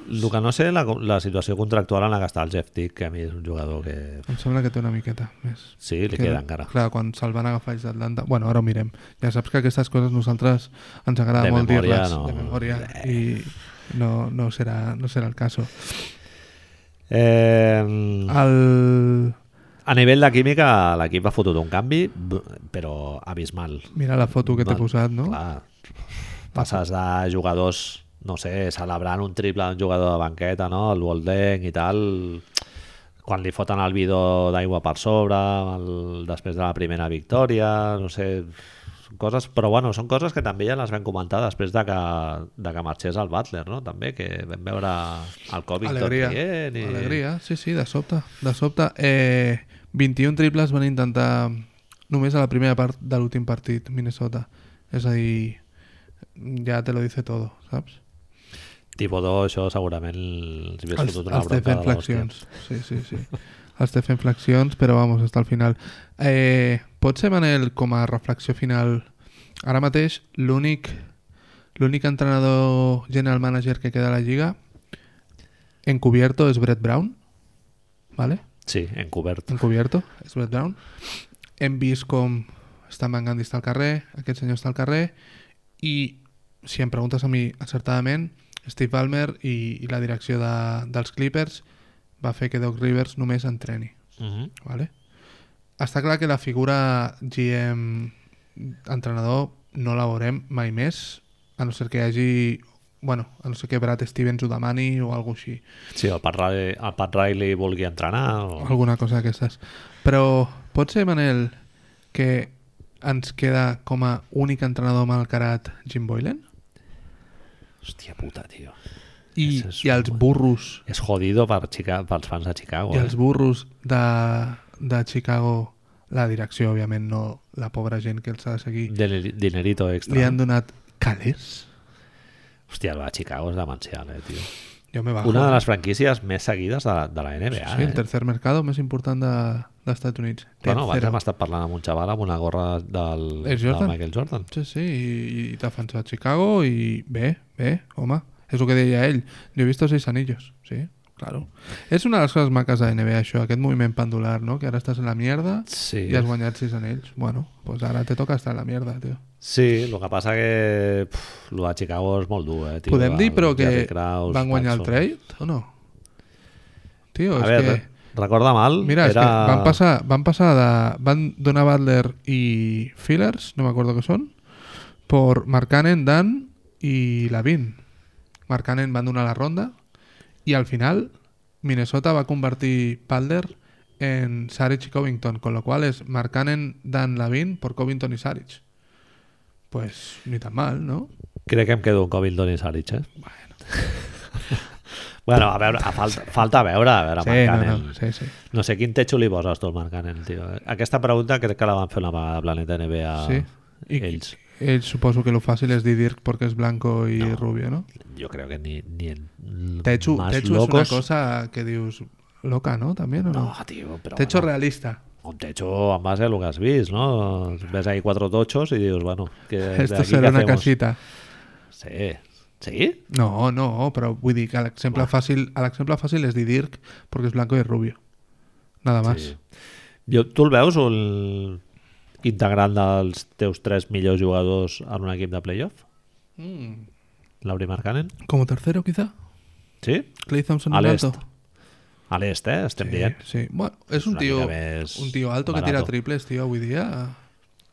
S1: El que no sé la, la situació contractual en la que està el Jeff Tick, que a mi és un jugador que...
S2: em sembla que té una miqueta més.
S1: Sí, li queda encara.
S2: Clar, quan se'l van agafar ells d'Atlanta... Bueno, ara ho mirem. Ja saps que aquestes coses nosaltres ens agrada
S1: De
S2: molt
S1: memòria,
S2: dir-les
S1: no.
S2: de memòria i no, no, serà, no serà el cas.
S1: Eh,
S2: Ah. El...
S1: A nivell de química, l'equip ha fotut un canvi, b- però abismal.
S2: Mira la foto que t'he
S1: Va,
S2: posat, no?
S1: Clar, passes de jugadors, no sé, celebrant un triple d'un jugador de banqueta, no? el Woldenc i tal, quan li foten el bidó d'aigua per sobre, el, després de la primera victòria, no sé, coses, però bueno, són coses que també ja les vam comentar després de que, de que marxés el Butler, no? també, que vam veure el Covington
S2: Alegria.
S1: rient i...
S2: Alegria, sí, sí, de sobte. De sobte. Eh, 21 triples van intentar només a la primera part de l'últim partit, Minnesota. És a dir, ja te lo dice todo, saps?
S1: Tibodó, això segurament els havia
S2: Els,
S1: fotut una
S2: els té
S1: bronca
S2: fent
S1: de l'hòstia.
S2: flexions. Sí, sí, sí. els té fent flexions, però vamos, hasta el final. Eh, pot ser, Manel, com a reflexió final, ara mateix l'únic l'únic entrenador general manager que queda a la Lliga encubierto és Brett Brown, ¿vale?
S1: Sí, encobert.
S2: encubierto, és Brett Brown. Hem vist com Stan Gandhi està al carrer, aquest senyor està al carrer, i si em preguntes a mi acertadament, Steve Ballmer i, i la direcció de, dels Clippers va fer que Doc Rivers només entreni.
S1: Mhm.
S2: ¿vale? Està clar que la figura GM entrenador no la veurem mai més, a no ser que hi hagi... Bueno, a no ser que Brad Stevens ho demani o alguna així.
S1: Sí, el Pat, Riley, el Pat Riley vulgui entrenar o...
S2: alguna cosa d'aquestes. Però pot ser, Manel, que ens queda com a únic entrenador malcarat Jim Boylan?
S1: Hòstia puta, tio.
S2: I,
S1: Això és
S2: i els
S1: molt-
S2: burros,
S1: És jodido per Chica, pels fans de Chicago.
S2: i els
S1: eh?
S2: burros de, de Chicago, la direcció, òbviament, no la pobra gent que els ha de seguir,
S1: Diner- Dinerito extra.
S2: li han donat calés?
S1: Hòstia, el de Chicago és demencial, eh, tio.
S2: Jo me bajo.
S1: Una de les franquícies més seguides de la, de la NBA.
S2: Sí, el
S1: eh?
S2: tercer mercado més important de, dels Estats Units.
S1: Bueno, abans
S2: Tercero.
S1: hem estat parlant amb un xaval amb una gorra del,
S2: El Jordan.
S1: del Michael Jordan.
S2: Sí, sí, i, i defensa Chicago i bé, bé, home, és el que deia ell. Jo he vist seis anillos, sí, claro. És una de les coses maques de NBA, això, aquest moviment pendular, no? Que ara estàs en la mierda
S1: Sí,
S2: i has guanyat sis anells. Bueno, doncs ara te toca estar en la mierda, tio.
S1: sí el que passa que puf, el de Chicago és molt dur, eh, tio.
S2: Podem
S1: El
S2: dir, però,
S1: Jerry
S2: que
S1: Krause,
S2: van guanyar el
S1: Paxson.
S2: trade o no? Tio,
S1: A
S2: és
S1: veure,
S2: que...
S1: re- recorda mal,
S2: Mira, és
S1: era...
S2: que van passar, van passar de... Van donar Butler i Fillers, no me acuerdo qué son, por Markkanen, Dan i Lavin. Markkanen van donar la ronda i al final Minnesota va convertir Butler en Saric i Covington, con lo cual es Markkanen, Dan, Lavin por Covington i Saric. Pues ni tan mal, ¿no?
S1: Crec que em quedo un Covington i Saric, eh? Bueno. bueno, *laughs* a veure, a falta, falta veure, a veure,
S2: Sí, no,
S1: Markkanen.
S2: no, sí, sí.
S1: No sé, quin techo li poses tu al Markkanen, tio? Aquesta pregunta crec que la van fer una vegada a Planeta NBA
S2: Sí. I-
S1: ells.
S2: Ell suposo Eh, que lo fàcil és dir Dirk perquè és blanco i rubio, no?
S1: Jo crec que ni, ni el
S2: Techu,
S1: más
S2: Techu
S1: locos...
S2: es una cosa que dius loca, ¿no? También, ¿o no?
S1: No, tio, però...
S2: Techo
S1: bueno,
S2: realista.
S1: un techo en base a lo que has vist, ¿no? Ves ahí cuatro tochos y dices, bueno, que desde
S2: Esto
S1: Eh, aquí,
S2: será
S1: ¿qué
S2: una
S1: hacemos?
S2: casita.
S1: Sí. ¿Sí?
S2: No, no, però vull dir que l'exemple fàcil, a l'exemple fàcil és dir Dirk perquè és blanco i rubio. Nada más.
S1: sí. Jo, tu el veus, el integrant dels teus tres millors jugadors en un equip de playoff?
S2: Mm.
S1: Lauri Markkanen?
S2: Como tercero, quizá.
S1: Sí?
S2: Clay Thompson
S1: A
S2: en
S1: l'est.
S2: alto.
S1: A l'est, eh? Estem
S2: Sí,
S1: dient.
S2: sí. Bueno, és un
S1: una
S2: tio,
S1: mica més
S2: un tio alto que tira
S1: barato.
S2: triples, tio, avui dia.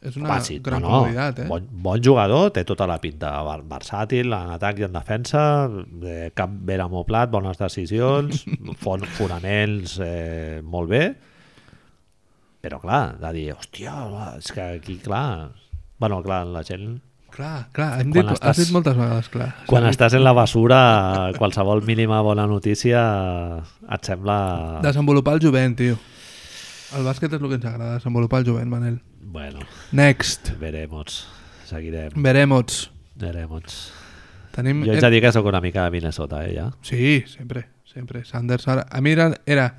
S2: És eh, una
S1: Fàcil,
S2: gran
S1: no, no.
S2: comoditat, eh?
S1: Bon, bon jugador, té tota la pinta. Ver- Versàtil, en atac i en defensa, eh, cap ben amoplat, bones
S2: *laughs*
S1: decisions, fon, fonaments eh, molt bé. Però clar, de dir, hòstia, home, és que aquí, clar... Bueno, clar, la gent...
S2: Clar, clar, hem
S1: Quan
S2: dit,
S1: estàs-
S2: has dit moltes vegades, clar.
S1: Quan estàs en la basura, qualsevol mínima bona notícia et sembla...
S2: Desenvolupar el jovent, tio. El bàsquet és el que ens agrada, desenvolupar el jovent, Manel.
S1: Bueno,
S2: Next.
S1: veremos.
S2: Mm.
S1: Seguirem,
S2: Veremos.
S1: veremos.
S2: Tenim... eh,
S1: Jo haig de dir que sóc una mica de Minnesota, eh, ja.
S2: Sí, sempre, sempre. Sanders ara... A mi era, era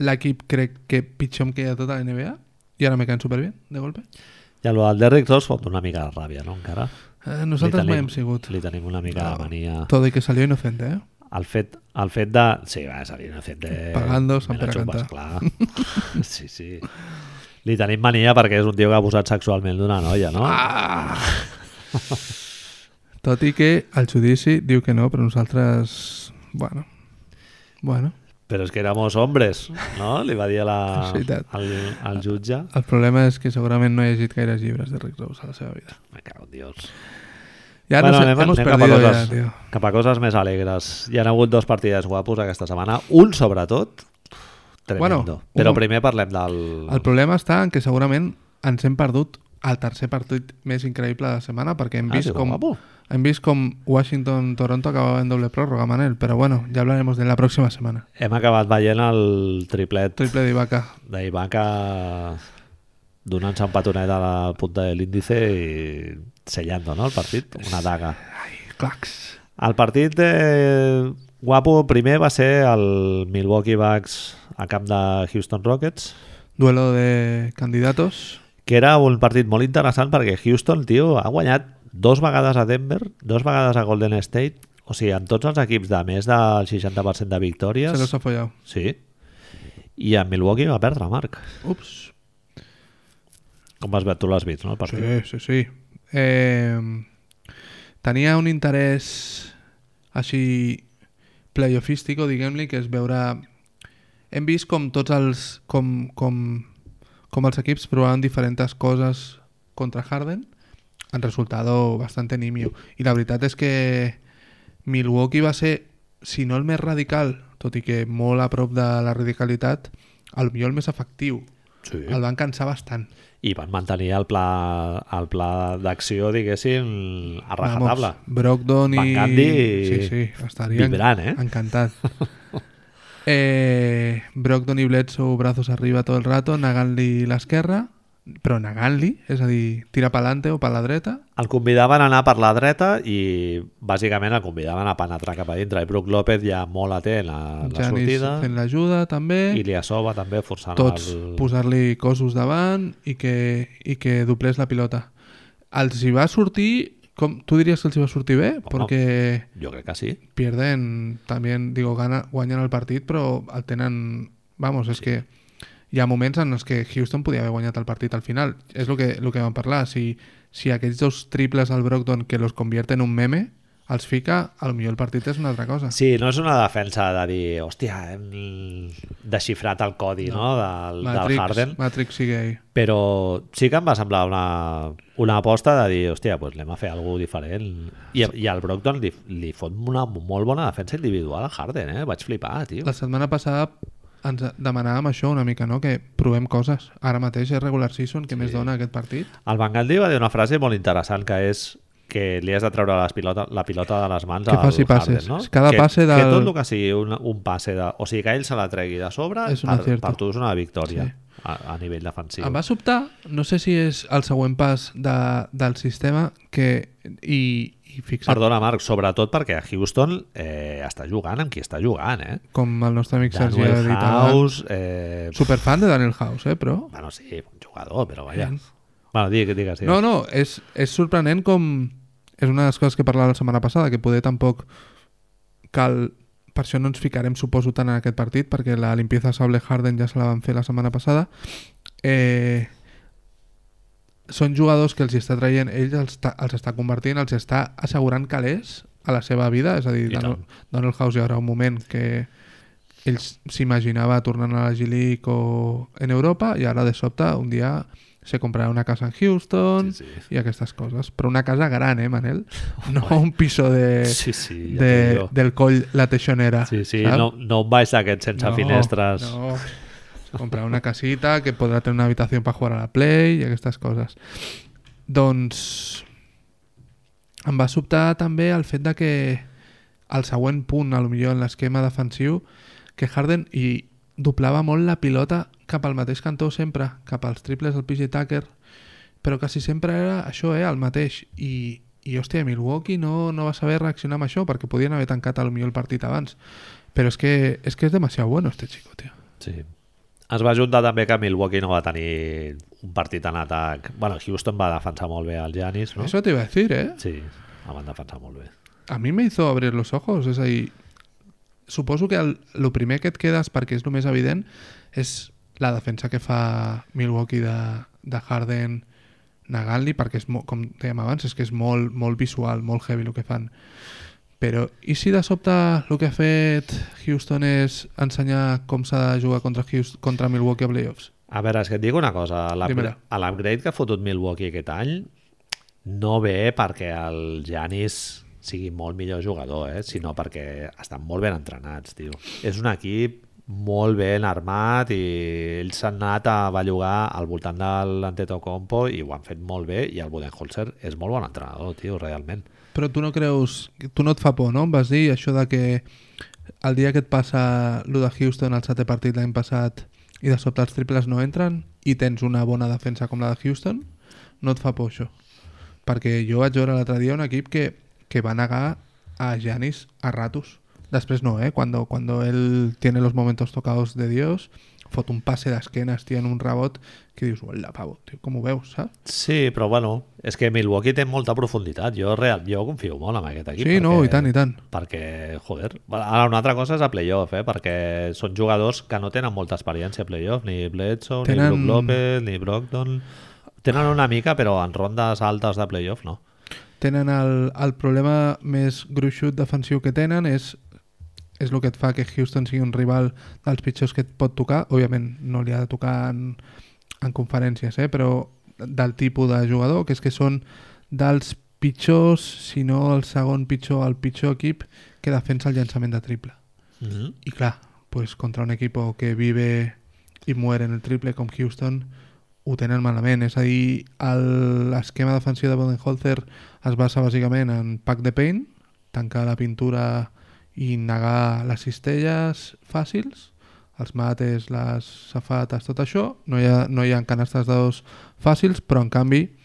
S2: l'equip, crec que pitjor em queia de tota la NBA i ara me caen superbé, de golpe.
S1: I el del Derrick Rose fot una mica de ràbia, no, encara?
S2: Eh, nosaltres
S1: Li
S2: mai
S1: tenim-
S2: hem sigut.
S1: Li tenim una mica de mania.
S2: Todo i que salió inocente, eh?
S1: El fet, el fet de... Sí, va, salir inocent. eh, me
S2: Pagando, San
S1: la xupes,
S2: Peracanta.
S1: clar. *laughs* Sí, sí. Li tenim mania perquè és un tio que ha abusat sexualment d'una noia, no?
S2: Ah! Tot i que el judici diu que no, però nosaltres... Bueno, bueno.
S1: Però és que éramos hombres, no? Li va dir a la,
S2: *laughs* És veritat.
S1: al, al jutge.
S2: El problema és que segurament no he llegit gaires llibres de Rick Rose a la seva vida.
S1: Me cago en Dios.
S2: Ya nos
S1: anem-
S2: hemos
S1: anem cap a
S2: perdido ya,
S1: coses-
S2: tío.
S1: Cap a coses més alegres. Hi ha hagut dos partides guapos aquesta setmana. Un, sobretot, tremendo.
S2: Bueno, un
S1: Però
S2: mom-
S1: primer parlem del...
S2: El problema està en que segurament ens hem perdut el tercer partit més increïble de la setmana perquè hem
S1: Ah,
S2: vist,
S1: sí,
S2: com,
S1: guapo.
S2: hem vist com Washington-Toronto acabava en doble pròrroga, Manel. Però bueno, ja hablaremos de la pròxima setmana.
S1: Hem acabat veient el triplet
S2: Triple d'Ibaka.
S1: d'Ibaka donant-se un petonet a la punta de l'índice i sellando no, el partit, una daga.
S2: Ai, clacs.
S1: El partit de guapo primer va ser el Milwaukee Bucks a camp de Houston Rockets,
S2: Duelo de candidatos.
S1: que era un partit molt interessant perquè Houston, tio, ha guanyat dos vegades a Denver, dos vegades a Golden State, o sigui, amb tots els equips de més del 60% de
S2: Se
S1: victòries.
S2: los ha follado.
S1: Sí. I en Milwaukee va perdre, Marc.
S2: Ups.
S1: Com vas veure, tu l'has vist, no? El partit.
S2: Sí, sí, sí. Eh, tenia un interès així playoffístico, diguem-li, que és veure... Hem vist com tots els... Com, com, com els equips provaven diferents coses contra Harden en resultado bastante nimio. I la veritat és que Milwaukee va ser, si no el més radical, tot i que molt a prop de la radicalitat, el millor el més efectiu.
S1: Sí.
S2: El van cansar bastant.
S1: I van mantenir el pla, el pla d'acció, diguéssim, a rajatabla.
S2: Vamos, Brogdon i...
S1: Van Gundy
S2: Sí, sí, estaria
S1: vibrant, eh? *laughs*
S2: encantat. eh, Brogdon i Bledsoe, brazos arriba tot el rato, negant-li l'esquerra, però negant-li, és a dir, tira pa'lante o pa la dreta.
S1: El convidaven a anar per la dreta i bàsicament el convidaven a penetrar cap a dintre. I Brook López ja molt atent a la
S2: Janis
S1: sortida
S2: fent l'ajuda, també.
S1: i li assoba també forçant
S2: Tots
S1: el...
S2: posar-li cossos davant i que, i que doblés la pilota. Els hi va sortir... Com, tu diries que els hi va sortir bé? Perquè...
S1: Jo crec que sí.
S2: pierden también, digo, gana, guanyan el partit, però el tenen... Vamos, és que hi ha moments en els que Houston podia haver guanyat el partit al final. És el que, el que vam parlar. Si, si aquells dos triples al Brogdon que los convierte en un meme, els fica, al millor el partit és una altra cosa.
S1: Sí, no és una defensa de dir hòstia, hem desxifrat el codi no. No? Del, del Harden,
S2: Matrix sigue ahí.
S1: però sí que em va semblar una, una aposta de dir, hòstia, doncs anem a fer alguna diferent. I, I al Brockton li, li fot una molt bona defensa individual a Harden, eh? Vaig flipar, tio.
S2: La setmana passada ens demanàvem això una mica, no? Que provem coses. Ara mateix és regular season, que més dona aquest partit?
S1: El Van Gundy va dir una frase molt interessant que és que li has de treure les pilota, la pilota de les mans
S2: Que
S1: al
S2: faci
S1: Harden,
S2: passes.
S1: no?
S2: Cada
S1: que,
S2: passe
S1: Que
S2: del-
S1: tot el que sigui un, un passe, de, o sigui que ell se la tregui de sobre,
S2: És un
S1: per,
S2: acierto.
S1: per tu és una victòria a, a nivell defensiu.
S2: Em va sobtar, no sé si és el següent pas de, del sistema que... I, i fixa't,
S1: Perdona, Marc, sobretot perquè a Houston eh, està jugant amb qui està jugant, eh?
S2: com el nostre amic Sergi ha
S1: Daniel
S2: dit abans,
S1: House... Eh,
S2: superfan de Daniel House, eh, però...
S1: bueno, sí, un jugador, però vaja. Bueno, digues, digues. digues.
S2: No, no, és, és sorprenent com... És una de les coses que parlava la setmana passada, que poder tampoc cal... Per això no ens ficarem, suposo, tant en aquest partit, perquè la limpieza Sable Harden ja se la van fer la setmana passada. Eh, són jugadors que els hi està traient, ells els, ta- els està convertint, els està assegurant calés a la seva vida, és a dir,
S1: I
S2: Donald, Donald House hi haurà un moment que ell s- s'imaginava tornant a la G-League o en Europa i ara de sobte un dia se comprarà una casa en Houston
S1: Sí, sí.
S2: i aquestes coses. Però una casa gran, eh, Manel?
S1: *laughs*
S2: No un piso de,
S1: Sí, sí, ja t'ho
S2: eh, de,
S1: digo.
S2: del coll La Teixonera.
S1: Sí, sí,
S2: saps?
S1: no, no un baix d'aquests sense finestres.
S2: No. Comprar una casita que podrá tener una habitación para jugar a la Play y estas cosas. Doncs em va sobtar també el fet de que al següent punt, a lo millor en l'esquema defensiu, que Harden i doblava molt la pilota cap al mateix cantó sempre, cap als triples del PG Tucker, però quasi sempre era això, eh, el mateix. I, i hòstia, Milwaukee no, no va saber reaccionar amb això perquè podien haver tancat a lo millor el partit abans. Però és que és, que és demasiado bueno este chico, tio.
S1: Sí. Es va juntar també que Milwaukee no va tenir un partit en atac. Bueno, Houston va defensar molt bé el Giannis, no?
S2: Eso te iba a decir, eh?
S1: Sí, el van defensar molt bé.
S2: A mi me hizo abrir los ojos, és a dir, suposo que el, lo primer que et quedes, perquè és el més evident, és la defensa que fa Milwaukee de, de Harden negant-li, perquè és mo, com dèiem abans, és que és molt, molt visual, molt heavy el que fan. Però, i si de sobte el que ha fet Houston és ensenyar com s'ha de jugar contra, Houston, contra Milwaukee a playoffs?
S1: A veure, és que et dic una cosa. l'up-
S2: Dímela.
S1: a L'upgrade que ha fotut Milwaukee aquest any no ve perquè el Giannis sigui molt millor jugador, eh? sinó perquè estan molt ben entrenats, tio. És un equip molt ben armat i ells s'han anat a bellugar al voltant de l'Antetokounmpo i ho han fet molt bé i el Budenholzer és molt bon entrenador, tio, realment.
S2: Però tu no creus... Tu no et fa por, no? Em vas dir això de que el dia que et passa lo de Houston al setè partit l'any passat i de sobte els triples no entren i tens una bona defensa com la de Houston, no et fa por això. Perquè jo vaig veure l'altre dia un equip que, que va negar a Janis a ratos. Después no, ¿eh? Cuando, cuando él tiene los momentos tocados de Dios, fot un pase de esquenas, tío, en un rebot, que dius, hola, pavo, tío, com ho veus, saps?
S1: Sí, però bueno, és que Milwaukee té molta profunditat. Jo, real, jo confio molt en aquest
S2: Sí,
S1: equip.
S2: no, i tant, i tant.
S1: Perquè, joder, ara una altra cosa és a playoff, eh? perquè són jugadors que no tenen molta experiència a playoff, ni Bledsoe,
S2: Tenen-
S1: ni Brook López, ni Brogdon... Tenen una mica, però en rondes altes de playoff no.
S2: Tenen el, el problema més gruixut defensiu que tenen és és el que et fa que Houston sigui un rival dels pitjors que et pot tocar. Òbviament no li ha de tocar en, en conferències, eh? però del tipus de jugador, que és que són dels pitjors, si no el segon pitjor, el pitjor equip que defensa el llançament de triple.
S1: Mm -hmm.
S2: Y claro, pues contra un equipo que vive i muere en el triple com Houston ho tenen malament. És a dir, el- l'esquema defensiu de Bodenholzer es basa bàsicament en pack de paint, tancar la pintura i negar les cistelles fàcils, els mates, les safates, tot això. No hi ha, no hi ha canastes de dos fàcils, però en canvi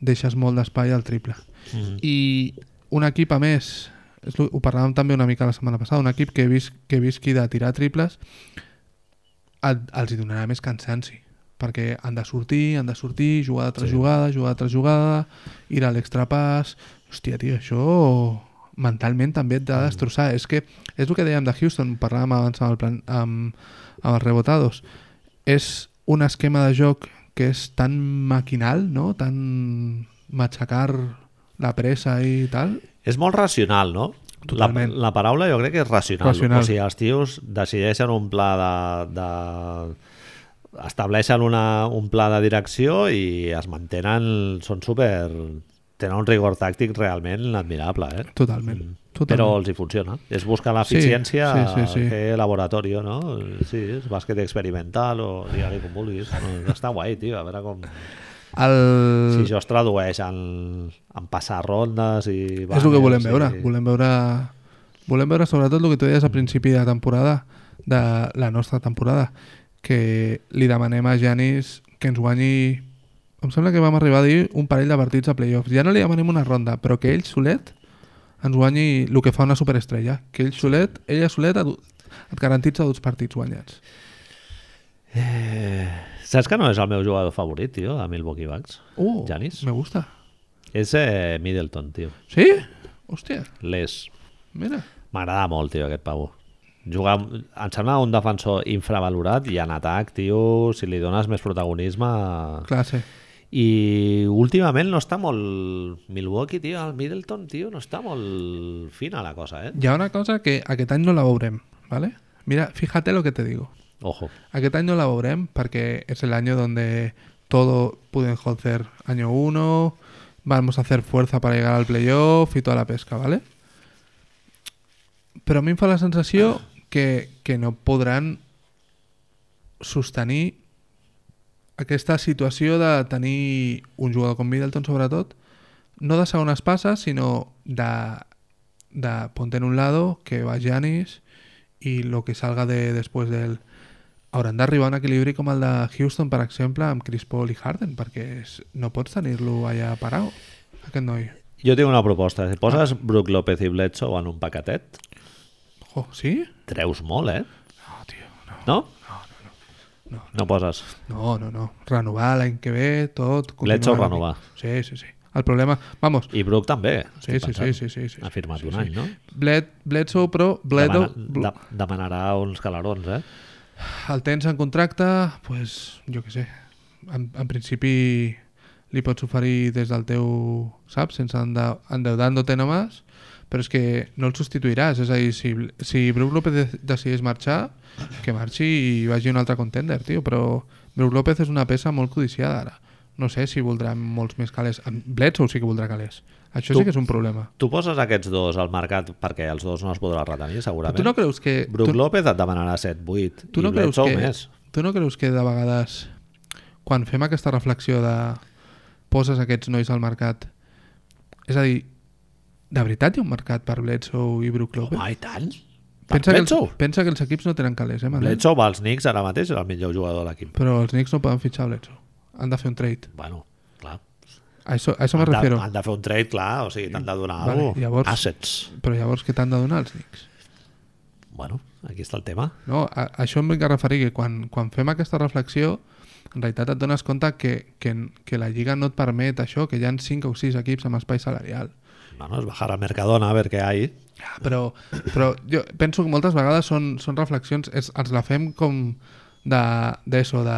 S2: deixes molt d'espai al triple.
S1: Mm
S2: mhm.
S1: -hmm.
S2: I un equip, a més, és lo- ho parlàvem també una mica la setmana passada, un equip que, vis, que visqui de tirar triples et, els hi donarà més cansanci perquè han de sortir, han de sortir, jugada tras
S1: Sí.
S2: jugada, jugada tras jugada, ir a l'extrapàs... Hòstia, tio, això mentalment també et ha de destrossar. És que és el que dèiem de Houston, parlàvem abans amb, el plan, amb, amb els rebotados. És un esquema de joc que és tan maquinal, no? tan matxacar la pressa i tal,
S1: És molt racional, no? La,
S2: Totalment.
S1: la paraula jo crec que és racional.
S2: Racional.
S1: O sigui, els tios decideixen un pla de... de estableixen una, un pla de direcció i es mantenen, són super... tenen un rigor tàctic realment admirable, eh?
S2: totalment.
S1: Però
S2: totalment.
S1: els hi funciona. És buscar
S2: Sí,
S1: l'eficiència,
S2: sí, sí, sí.
S1: fer laboratori, no? Sí, és bàsquet experimental o digue-li com vulguis. Està guai, tio, a veure com...
S2: Eh. El...
S1: Si això es tradueix en, en passar rondes i...
S2: és el que volem
S1: banners i-
S2: veure. Volem veure, volem veure sobretot el que tu deies a principi de temporada, de la nostra temporada, que li demanem a Janis que ens guanyi... Em sembla que vam arribar a dir un parell de partits a playoffs. Ja no li demanem una ronda, però que ell solet ens guanyi el que fa una superestrella. Que ell solet, ella solet et, et garantitza dos partits guanyats.
S1: Eh, saps que no és el meu jugador favorit, tio, de Milwaukee Bucks?
S2: Uh,
S1: Giannis?
S2: Me gusta.
S1: És eh, Middleton, tio.
S2: Sí? Hòstia,
S1: Les.
S2: mira.
S1: M'agrada molt, tio, aquest pavo. Jugar, em sembla un defensor infravalorat i en atac, tio, si li dones més protagonisme...
S2: Classe.
S1: I últimament no està molt... Milwaukee, tio, el Middleton, tio, no està molt fina la cosa, eh?
S2: Hi ha una cosa que aquest any no la veurem, ¿vale? Mira, fíjate lo que te digo.
S1: Ojo.
S2: Aquest any no la veurem perquè es el año donde todo Pudenholzer año 1, vamos a hacer fuerza para llegar al playoff y toda la pesca, ¿vale? Però a mi em fa la sensació que, que no podran sostenir aquesta situació de tenir un jugador com Middleton, sobretot, no de segones passes, sinó de, de ponte en un lado, que va Giannis i lo que salga de, després d'ell. Hauran d'arribar a un equilibri com el de Houston, per exemple, amb Chris Paul i Harden, perquè és, no pots tenir-lo allà parat, aquest noi.
S1: Jo tinc una proposta. Si poses Brook López i Bledsoe en un paquetet,
S2: Jo, sí?
S1: treus molt, eh?
S2: No, tio, no.
S1: No? No, no, no. No poses.
S2: No, no, no. Renovar l'any que ve, tot. continuar
S1: L'haig de
S2: una
S1: renovar.
S2: mica. Sí, sí, sí. El problema... Vamos,
S1: I Brook també.
S2: sí,
S1: estic
S2: sí, sí,
S1: pensant.
S2: sí, sí, sí.
S1: Ha firmat
S2: sí,
S1: un
S2: sí.
S1: any, no?
S2: Bled, Bledsoe, però Bledo,
S1: Demana, de, demanarà uns calarons, eh?
S2: el tens en contracte, pues, jo què sé, en, en principi li pots oferir des del teu, saps, sense enda- endeudant-te només, però és que no el substituiràs, és a dir, si, si Brook López de- decidís marxar, que marxi i vagi a un altre contender, tio, però Brook López és una peça molt codiciada ara. No sé si voldrà molts més calés. En Bledsoe sí que voldrà calés. Això
S1: Tu-
S2: sí que és un problema.
S1: Tu poses aquests dos al mercat perquè els dos no es podrà retenir,
S2: Però
S1: segurament.
S2: tu no creus que... tu-
S1: Brook López et demanarà 7, 8.
S2: Tu no,
S1: i
S2: creus
S1: Bledsoe
S2: que,
S1: Més.
S2: tu no creus que de vegades quan fem aquesta reflexió de poses aquests nois al mercat és a dir, de veritat hi ha un mercat per Bledsoe i Brook López?
S1: Home, i tant.
S2: pensa, que els,
S1: Bledsoe?
S2: pensa que els equips no tenen calés, eh, Manel?
S1: Bledsoe va als Knicks ara mateix, és el millor jugador de l'equip.
S2: Però els Knicks no poden fitxar Bledsoe. Han de fer un trade.
S1: Bueno, clar.
S2: A això, a això me
S1: Han de-
S2: refiero.
S1: Han de fer un trade, clar, o sigui, t'han de donar
S2: Vale,
S1: alguna cosa.
S2: llavors-
S1: Assets.
S2: Però llavors què t'han de donar els Knicks?
S1: Bueno, aquí està el tema.
S2: No, a, a això em vinc a referir, que quan, quan fem aquesta reflexió, en realitat et dones compte que, que, que la Lliga no et permet això, que hi han 5 o 6 equips amb espai salarial.
S1: Bueno, es bajar al Mercadona a ver qué hay. *laughs*
S2: Però, però jo penso que moltes vegades són, són reflexions, és, ens la fem com d'estar de, d'eso, de,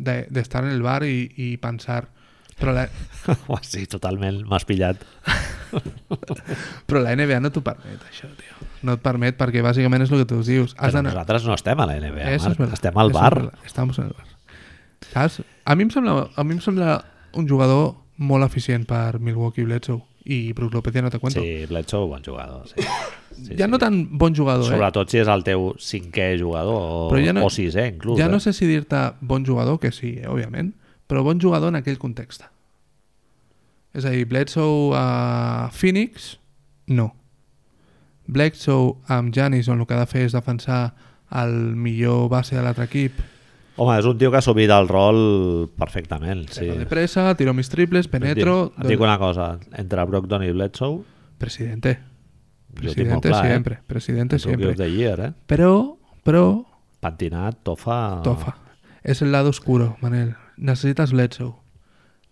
S2: de, d'estar en el bar i, i pensar... Però la,
S1: O sigui, totalment m'has pillat.
S2: però la NBA no t'ho permet, això, tio. No et permet perquè bàsicament és el que tu dius. Has
S1: Però
S2: d'anar-
S1: nosaltres no estem a la NBA,
S2: Eso es
S1: Marc.
S2: verdad.
S1: Estem al
S2: Eso es
S1: bar.
S2: verdad. Estamos en el bar. Saps? A mi em sembla, a mi em sembla un jugador molt eficient per Milwaukee Bledsoe i Brook López ja no te cuento.
S1: Sí, Bledsoe, bon jugador.
S2: *coughs*
S1: Sí. Sí,
S2: ja no tan bon jugador, eh?
S1: Sobretot si és el teu cinquè jugador o,
S2: Però ja
S1: o
S2: no-
S1: sisè, inclús.
S2: ja
S1: eh?
S2: no sé si dir-te bon jugador, que sí, eh, òbviament, però bon jugador en aquell context. És a dir, Bledsoe a Phoenix, no. Bledsoe amb Janis, on el que ha de fer és defensar el millor base de l'altre equip,
S1: Home, és un tio que ha assumit el rol perfectament. Sí.
S2: de pressa, tiro mis triples, penetro...
S1: Et dic una cosa, entre Brogdon i Bledsoe,
S2: Presidente.
S1: Jo
S2: Presidente
S1: tinc molt clar,
S2: siempre.
S1: eh?
S2: Presidente
S1: Rookie
S2: siempre.
S1: of the Year, eh?
S2: Pero, pero,
S1: Pentinat, tofa...
S2: tofa. Es el lado oscuro, Manel. Necesitas Bledsoe.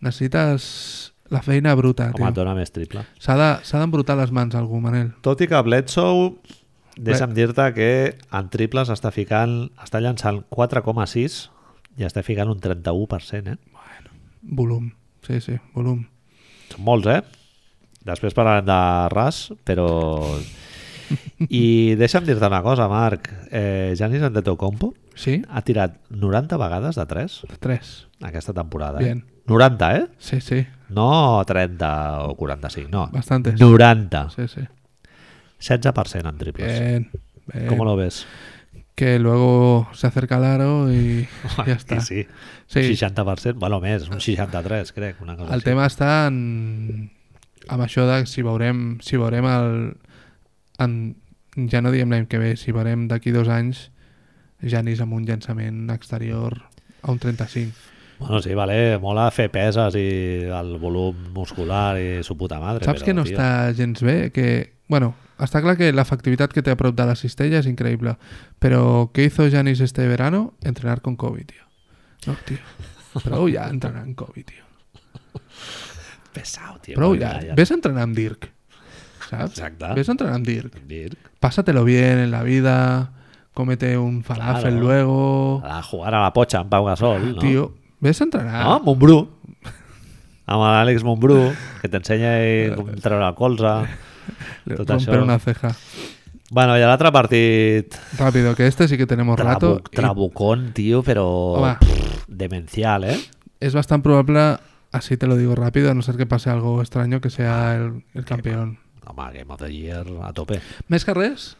S2: Necesites la feina bruta,
S1: Home, et
S2: tio.
S1: dona més triple.
S2: S'ha de- s'ha d'embrutar les mans algú, Manel.
S1: Tot i que Bledsoe, deixa'm dir-te que en triples està ficant, està llançant 4,6 i està ficant un 31%, eh?
S2: Volum. Sí, sí, volum.
S1: Són molts, eh? Després parlarem de Ras, però...
S2: *laughs*
S1: I deixa'm dir-te una cosa, Marc. Eh, Janis Antetokounmpo
S2: Sí?
S1: ha tirat 90 vegades de 3
S2: Tres.
S1: aquesta temporada.
S2: Bien.
S1: Eh? 90, eh?
S2: Sí, sí.
S1: No 30 o 45, no.
S2: Bastantes.
S1: 90.
S2: Sí, sí.
S1: 16% en triples.
S2: Bien. bien.
S1: ¿Cómo lo ves?
S2: Que luego se acerca el aro y ya está.
S1: I Sí.
S2: Sí.
S1: sí. 60%, bueno, més, un 63, crec, una cosa
S2: El tema està en... amb això de si veurem, si veurem el... En... Ja no diem l'any que ve, si veurem d'aquí dos anys Janis amb un llançament exterior a un 35.
S1: Bueno, sí, vale, mola fer peses i el volum muscular i su puta madre.
S2: Saps
S1: però,
S2: que no
S1: tio,
S2: està gens bé? Que... Bueno, està clar que l'efectivitat que té a prop de la cistella és increïble, però què hizo Janis este verano? Entrenar con Kobe, tío. No, tío. Prou ja entrenar amb Kobe, tío.
S1: Pesau, tio.
S2: Prou
S1: bueno,
S2: ja. Ves a entrenar amb Dirk. Saps?
S1: Exacte.
S2: Ves a entrenar amb Dirk.
S1: Dirk.
S2: pásatelo bien en la vida, cómete un falafel
S1: Claro.
S2: luego.
S1: A jugar a la potxa amb Pau Gasol, no?
S2: Tío, ves a entrenar.
S1: No, amb Montbrú. Amb l'Àlex Montbrú, que t'ensenya
S2: *laughs*
S1: eh, com treure la colze.
S2: Le-
S1: tot
S2: romper
S1: això.
S2: una ceja.
S1: Bueno, i l'altre partit
S2: Rápido, que este sí que tenemos rato.
S1: Trabuc,
S2: y
S1: trabucón, tío, pero
S2: Home.
S1: pff, demencial, ¿eh?
S2: Es bastante probable, así te lo digo rápido, a no ser que pase algo extraño, que sea el, el campeón.
S1: Home, Game of the Year a tope.
S2: Més que res,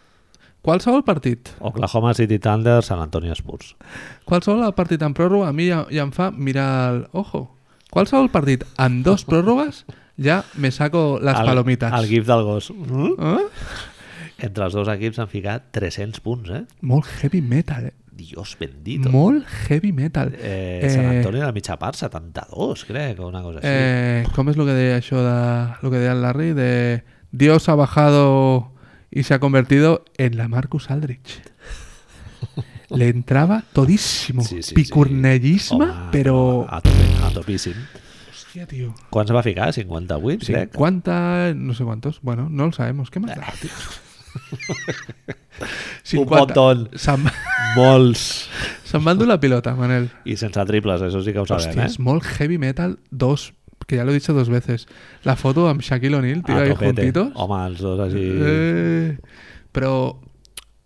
S2: qualsevol partit,
S1: Oklahoma City Thunder, San Antonio Spurs.
S2: qualsevol partit en pròrroga, a mi ja, ja em fa mirar el... Ojo, qualsevol partit amb dos pròrrogues, ja me saco les
S1: el,
S2: palomitas.
S1: El gif del gos. Mm?
S2: Eh?
S1: Entre els dos equips han ficat 300 punts, eh?
S2: Molt heavy metal, eh?
S1: Dios bendito.
S2: Molt heavy metal.
S1: eh, San Antonio de mitja part, 72, crec, o una cosa així.
S2: Eh, com és el que deia això de... El que deia el Larry de... Dios ha bajado y se ha convertido en la Marcus Aldrich. Le entraba todísimo.
S1: Sí, Ah. sí, sí.
S2: Picurnellisme,
S1: Home,
S2: però...
S1: A tope, a topíssim.
S2: Hòstia, tio.
S1: Quants va ficar? 58, sí, crec?
S2: 50... No sé cuántos. Bueno, no lo sabemos. ¿Qué más da,
S1: *laughs*
S2: tío?
S1: Un montón.
S2: Se'n
S1: Molts.
S2: se van dur la pilota,
S1: *laughs*
S2: Manel.
S1: I sense triples, això sí que ho sabem, eh?
S2: Hòstia, és molt heavy metal. Dos, que ya lo he dicho dos veces. La foto amb Shaquille O'Neal,
S1: eh?
S2: tío, ahí juntitos.
S1: Home, els dos així...
S2: Eh, però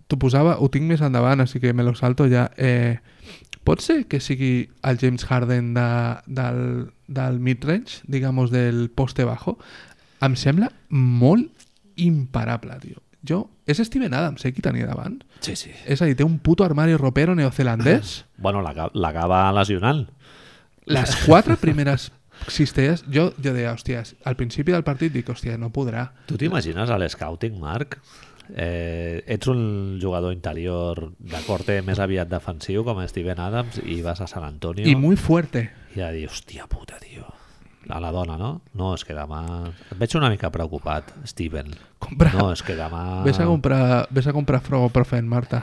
S2: t'ho posava, ho tinc més endavant, així que me lo salto ja. Eh, pot ser que sigui el James Harden de, del, del mid-range, digamos, del poste bajo? Em sembla molt imparable, tio. Jo, és Steven Adams, eh, qui tenia davant?
S1: Sí, sí.
S2: És a dir, té un puto armari ropero neozelandès.
S1: Bueno, l'aca- l'acaba lesionant.
S2: Les quatre primeres cistelles, jo, jo deia, hòstia, al principi del partit dic, hòstia, no podrà.
S1: Tu t'imagines a l'escouting, Marc? Eh, ets un jugador interior de corte més aviat defensiu com Steven Adams i vas a San Antonio
S2: I muy fuerte.
S1: i a dir, hòstia puta, tio. a la dona, no? No, és que demà... Et veig una mica preocupat, Steven.
S2: Compra...
S1: No, és que demà...
S2: Ves a comprar, ves a comprar frogoprofen, Marta,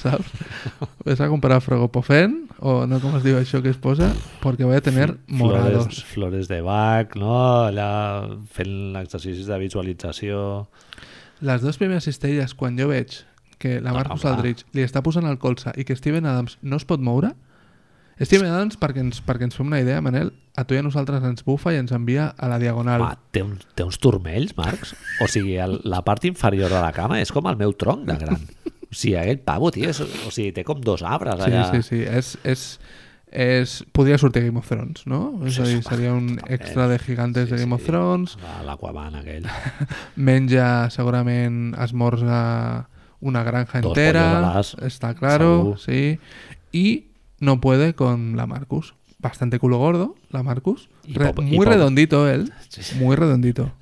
S2: saps? Ves a comprar frogoprofen, o no com es diu això que es posa, perquè voy a tener
S1: Flores,
S2: morados.
S1: flores de Bach, no? Allà fent exercicis de visualització...
S2: Les dues primeres cistelles, quan jo veig que la
S1: No,
S2: Marcus
S1: home.
S2: Aldrich li està posant el colze i que Steven Adams no es pot moure, Steven Adams, perquè ens, perquè ens fem una idea, Manel, a tu i a nosaltres ens bufa i ens envia a la diagonal.
S1: Home, té, un, té uns turmells, Marx? O sigui, el, la part inferior de la cama és com el meu tronc de gran. O sigui, aquell pavo, tio, és, o sigui, té com dos arbres
S2: Sí,
S1: allà.
S2: sí, sí. És, és, és, podria sortir a Game of Thrones, no? És a dir, seria un extra de gigantes de Game of Thrones.
S1: Ah, L'Aquaman
S2: *laughs*
S1: aquell.
S2: Menja, segurament, esmorza una granja
S1: Dos
S2: entera.
S1: pollos al as,
S2: está claro,
S1: segur.
S2: sí. Y no puede con la Marcus. Bastante culo gordo, la Marcus.
S1: Y
S2: Re-
S1: poco- y
S2: muy
S1: poco.
S2: redondito él.
S1: Sí, sí. *laughs*
S2: Muy redondito.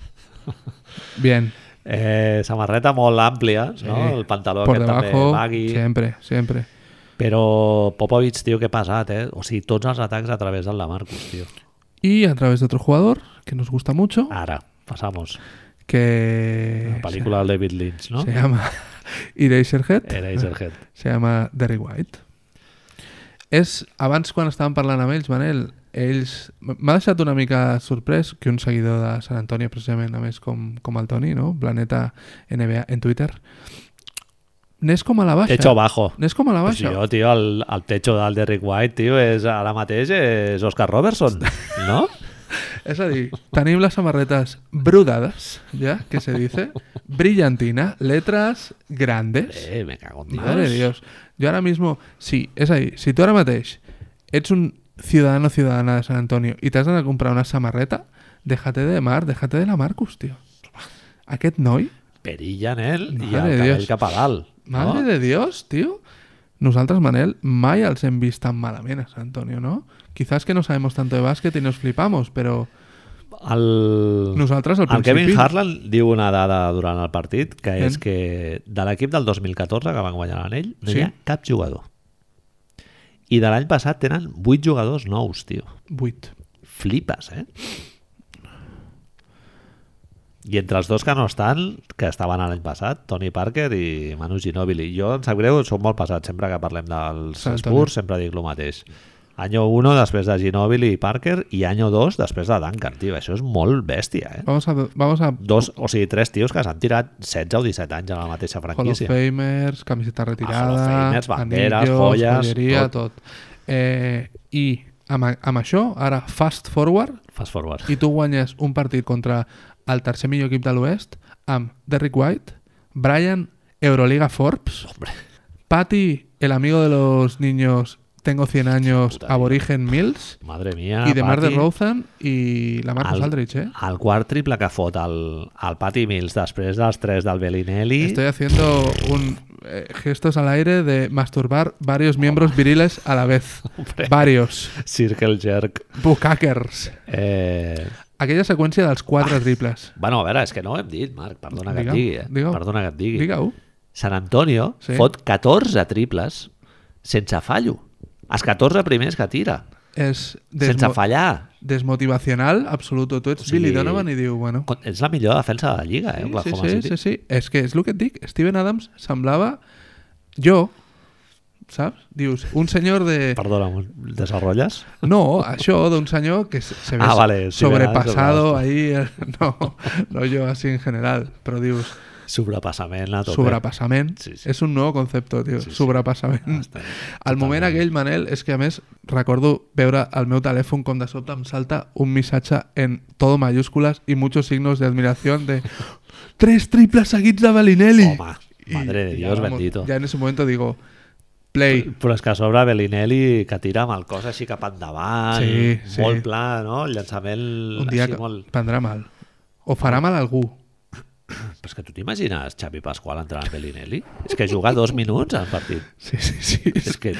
S2: Bien.
S1: Eh, samarreta molt àmplia, no?
S2: Sí.
S1: El pantaló
S2: Por
S1: aquest
S2: debajo,
S1: també bagui.
S2: siempre, siempre.
S1: Però Popovich, tio, que pesat, eh? O sigui, tots els atacs a través del Lamarcus, tio.
S2: Y a través de otro jugador que nos gusta mucho,
S1: Ara, passamos.
S2: que
S1: La pel·lícula del David Lynch, no?
S2: Se llama *laughs* Eraserhead.
S1: Era Iserhead.
S2: Se llama Derry White. És, abans quan estàvem parlant amb ells, Manel, ells... M'ha deixat una mica sorprès que un seguidor de San Antonio, precisament, a més com, com el Toni, no? Planeta NBA en Twitter, n'és com a la baixa.
S1: Techo bajo.
S2: N'és com a la
S1: Pues
S2: baixa.
S1: jo, tio, el, el techo del Derrick White, tio, és, ara mateix és Oscar
S2: *laughs*
S1: Robertson, no?
S2: És a dir, tenim les samarretes brudades, ja, que se dice, brillantina, letras grandes.
S1: Eh, me cago en
S2: Madre de Dios. Yo ahora mismo, sí, es ahí. Si tú ahora mateix ets un ciudadano o ciudadana de San Antonio y te has dado a comprar una samarreta, déjate de mar, déjate de la Marcus, tío. Aquest noi,
S1: Perilla en ell i el
S2: Madre de
S1: cabell
S2: Dios.
S1: cap a dalt.
S2: madre
S1: no?
S2: de Dios, tío. Nosaltres, Manel, mai els hem vist tan malament a San Antonio, ¿no? Quizás que no sabemos tanto de básquet y nos flipamos, pero
S1: El...
S2: nosaltres al
S1: El
S2: principi...
S1: Kevin Harlan diu una dada durant el partit, que és
S2: Mm.
S1: que de l'equip del 2014, que van guanyar l'anell, no
S2: Sí.
S1: hi ha cap jugador. I de l'any passat tenen 8 jugadors nous, tio.
S2: Buit.
S1: Flipes, eh? I entre els dos que no estan, que estaven l'any passat, Tony Parker i Manu Ginobili. Jo, em sap greu, som molt passats. Sempre que parlem dels
S2: Sant Antonio.
S1: Spurs, sempre dic el mateix. Año 1 després de Ginobili i Parker i año 2 després de Duncan, tio. Això és molt bèstia, eh?
S2: Vamos a, vamos a
S1: dos, o sigui, tres tios que s'han tirat 16 o 17 anys a la mateixa
S2: Hall of
S1: franquícia.
S2: Famers, camiseta retirada,
S1: Ah, Hall of Famers, banderes, joies,
S2: joieria, tot. Eh, I amb, amb això, ara fast forward,
S1: Fast forward.
S2: i tu guanyes un partit contra el tercer millor equip de l'Oest amb Derrick White, Brian Euroliga Forbes,
S1: Hombre,
S2: Patty, el amigo de los niños Tengo 100 años,
S1: Puta vida.
S2: Aborigen Mills,
S1: madre mía.
S2: i DeMar
S1: Patty.
S2: DeRozan i la Marcus
S1: Al-
S2: Aldridge, eh?
S1: El quart triple que fot el, el Patty Mills després dels tres del Bellinelli.
S2: Estoy haciendo un eh, gestos al aire de masturbar varios miembros viriles a la vez.
S1: *laughs* Hombre.
S2: Varios.
S1: Circle jerk.
S2: Bukakers.
S1: Eh,
S2: Aquella seqüència dels quatre
S1: Ah.
S2: triples.
S1: bueno, a veure, és que no ho hem dit, Marc. Perdona que
S2: Digue-ho,
S1: et digui. Eh?
S2: digue-ho.
S1: Perdona que et digui.
S2: Digue-ho.
S1: San Antonio
S2: Sí.
S1: fot 14 triples sense fallo. Els 14 primers que tira.
S2: És
S1: Sense
S2: desmo
S1: fallar.
S2: desmotivacional absoluto. Tu ets
S1: sigui,
S2: Billy Donovan i diu, bueno...
S1: Con- És la millor defensa de la Lliga, eh?
S2: Sí, sí,
S1: Oklahoma
S2: sí,
S1: City.
S2: sí, sí. És que és el que et dic. Steven Adams semblava... Jo, saps? Dius, un senyor de...
S1: Perdona, desenrotlles?
S2: No, això d'un senyor que se- se ve
S1: Ah, vale, sí,
S2: sobrepasado
S1: verdad,
S2: ahí. eh, *laughs* No, no yo así en general, pero dius,
S1: Sobrepassament a tope.
S2: sobrepasament
S1: Sí, sí.
S2: és un nou concepte, tio,
S1: Sí, Ah, sí.
S2: sobrepasament.
S1: Bastant.
S2: Al moment aquell, Manel, és que a més recordo veure el meu telèfon com de sobte em salta un missatge en todo mayúsculas i muchos signos de
S1: *laughs*
S2: admiración de tres triples seguits de Bellinelli.
S1: Home, madre de Dios,
S2: ya, vamos,
S1: bendito.
S2: Ya en ese momento digo, play,
S1: Però és que a sobre Bellinelli que tira amb el cos així cap endavant,
S2: Sí, sí.
S1: molt pla, no? El llançament
S2: un dia
S1: així
S2: que
S1: molt...
S2: prendrà mal. O farà mal a algú.
S1: Però és que tu t'imagines Xavi Pasqual entrant amb Bellinelli? És que juga dos minuts al partit.
S2: Sí, sí,
S1: *laughs*
S2: sí.
S1: És que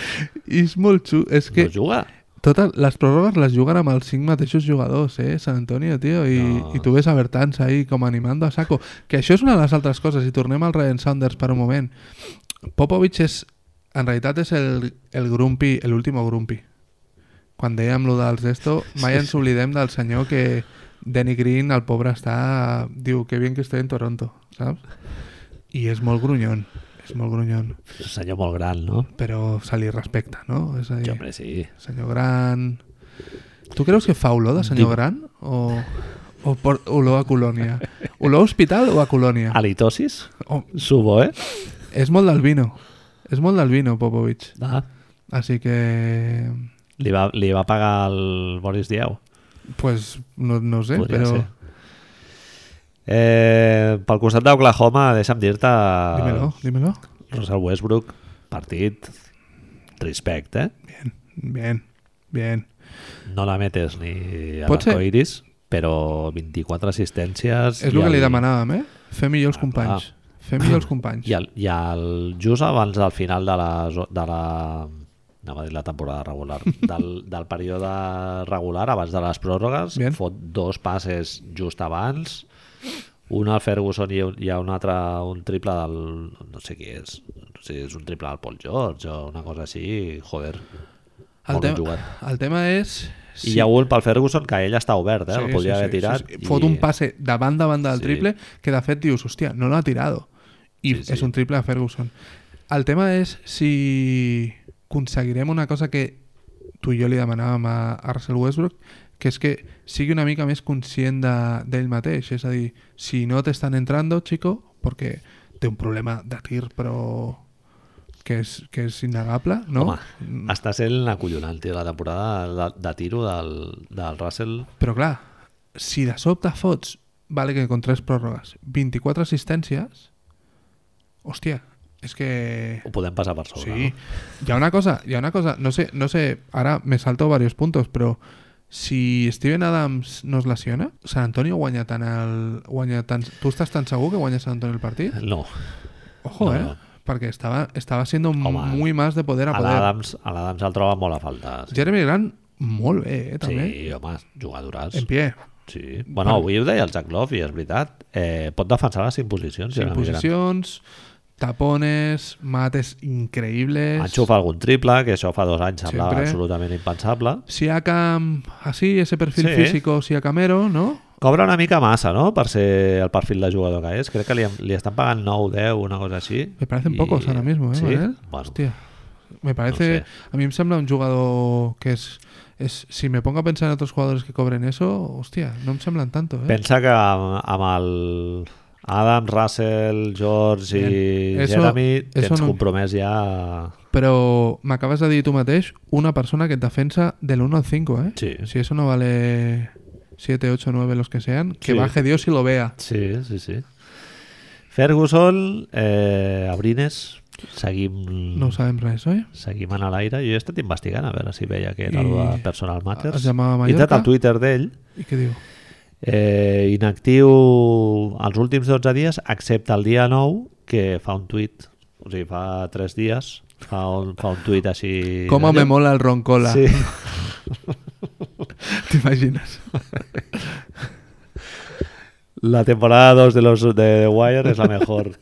S2: És molt xulo. És que
S1: no juga.
S2: Totes les pròrrogues les juguen amb els cinc mateixos jugadors, eh, San Antonio, tio, i,
S1: No.
S2: i tu ves a Bertans ahí com animando a saco. Que això és una de les altres coses, i tornem al Ryan Saunders per un moment. Popovich és, en realitat és el, el grumpy, l'último grumpy quan dèiem lo dels esto, mai ens oblidem del senyor que Danny Green, el pobre, està... Diu, que bien que estoy en Toronto, saps? I és molt grunyon, és molt grunyon.
S1: És un senyor molt gran, no?
S2: Però se li respecta, no? És a
S1: Sí,
S2: dir,
S1: hombre, sí.
S2: senyor gran... Tu creus que fa olor de senyor
S1: Diu-
S2: gran? O, o por, olor a colònia? Olor a hospital o a colònia?
S1: Halitosis?
S2: Oh,
S1: Subo, eh?
S2: és molt del vino. És molt del vino, Popovich.
S1: Ah,
S2: Així que...
S1: li, va, li va pagar el Boris Dieu.
S2: Pues no, no ho sé,
S1: Podria
S2: però...
S1: ser. Eh, pel costat d'Oklahoma, deixa'm dir-te... Ah.
S2: Dímelo, dímelo.
S1: Russell Westbrook, partit, respecte, eh?
S2: Bien, bien.
S1: No la metes ni a
S2: Pot ser.
S1: l'arcoiris, però 24 assistències...
S2: És el
S1: i
S2: que li
S1: el-
S2: demanàvem, eh? Fer millor els
S1: Ah,
S2: companys. Fer millor els companys.
S1: *clears throat* I, el, i el, just abans del final de la, zo- de la anava a dir la temporada
S2: *laughs*
S1: regular del, del període regular abans de les pròrrogues
S2: Bien.
S1: fot dos passes just abans un al Ferguson i, un- i un altre un triple del no sé qui és no sé, és un triple del Paul George o una cosa així joder
S2: El,
S1: molt ben
S2: tema,
S1: jugat
S2: el tema és...
S1: i hi ha hagut pel Ferguson que ell està obert eh? el podria haver tirat
S2: sí, sí. Fot un passe de banda a banda del
S1: Sí.
S2: triple que de fet dius, hòstia, no l'ha tirado. I
S1: Sí, sí.
S2: és un triple a Ferguson. El tema és si aconseguirem una cosa que tu i jo li demanàvem a, a Russell Westbrook, que és que sigui una mica més conscient de- d'ell de, mateix. És a dir, si no t'estan entrando, chico, perquè té un problema de tir, però que és, que és innegable, no?
S1: Home, està sent acollonant, tio, la temporada de, de tiro del, del Russell.
S2: Però clar, si de sobte fots, vale que con tres pròrrogues, 24 assistències, hòstia, és que...
S1: Ho podem passar per sobre,
S2: Sí,
S1: no?
S2: hi ha una cosa, hi ha una cosa, no sé, no sé, ara me salto varios puntos, però si Steven Adams no es lesiona, San Antonio guanya tant el... Guanya tant... Tu estàs tan segur que guanya San Antonio el partit?
S1: No. No,
S2: Ojo, eh?
S1: no.
S2: Perquè estava, estava siendo
S1: Home,
S2: muy más de poder a
S1: A
S2: poder.
S1: l'Adams a l'Adams el troba molt a falta. Sí,
S2: Jeremy Grant, molt bé, eh, també.
S1: sí pues home, jugadoràs.
S2: En pie.
S1: Sí. Bueno, avui ho deia el Jack Love, i és veritat. Eh, pot defensar les imposicions.
S2: Sin posicions, tapones, mates increïbles...
S1: Enxufa algun triple, que això fa dos anys semblava
S2: Sempre.
S1: absolutament impensable.
S2: Siakam, así, ese perfil
S1: Sí.
S2: físico siacamero, ¿no?
S1: Cobra una mica massa, no?, per ser el perfil de jugador que és. Crec que li, li estan pagant 9, 10, una cosa així.
S2: Me parecen
S1: I-
S2: pocos ahora mismo, ¿eh,
S1: Sí?
S2: Manel?
S1: Bueno,
S2: Hostia. Me parece...
S1: sé.
S2: A mí me sembla un jugador que es, es... Si me pongo a pensar en otros jugadores que cobren eso, hostia, no me semblan tanto, ¿eh?
S1: Pensa que amb, amb el Adam, Russell, George i
S2: Bien. Eso-
S1: Jeremy
S2: eso
S1: tens
S2: no-
S1: compromès ja...
S2: Pero me acabas de dir tú mateix una persona que te defensa del 1 al 5, ¿eh?
S1: Sí.
S2: Si eso no vale 7, 8, 9, los que sean, que
S1: Sí.
S2: baje Dios y lo vea.
S1: Sí, sí, sí. Ferguson, eh, Abrines, seguim,
S2: No saben res, ¿eh?
S1: seguim en l'aire. Jo he estat investigant a veure si veia que era
S2: I-
S1: I... de Personal Matters.
S2: es llamava
S1: He entrat
S2: Mallorca?
S1: al Twitter d'ell.
S2: ¿Y qué digo?
S1: Eh, inactiu els últims 12 dies, excepte el dia 9, que fa un tuit, o sigui, fa 3 dies, fa un, fa un tuit així...
S2: ¿Cómo me mola el roncola?
S1: Sí.
S2: *laughs* ¿Te
S1: *laughs*
S2: imaginas?
S1: La temporada 2 de los de The Wire és la
S2: *laughs*
S1: mejor.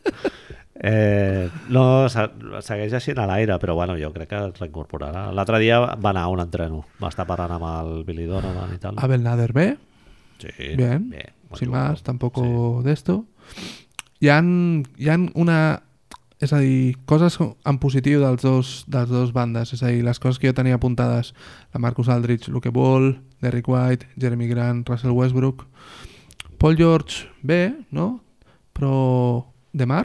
S1: Eh, no, se- segueix així en l'aire, però bueno, jo crec que es reincorporarà. L'altre dia va anar a un entreno, va estar parlant amb el Billy Donovan i tal.
S2: Abel Nader B,
S1: Sí,
S2: Ah, bien,
S1: bon
S2: sin
S1: jugador.
S2: más, tampoco de esto. Hi ha, hi ha una... És a dir, coses en positiu dels dos, dels dos bandes. És a dir, les coses que jo tenia apuntades, la Marcus Aldridge, Luke Ball, Derrick White, Jeremy Grant, Russell Westbrook, Paul George, bé, no? Però... De mar?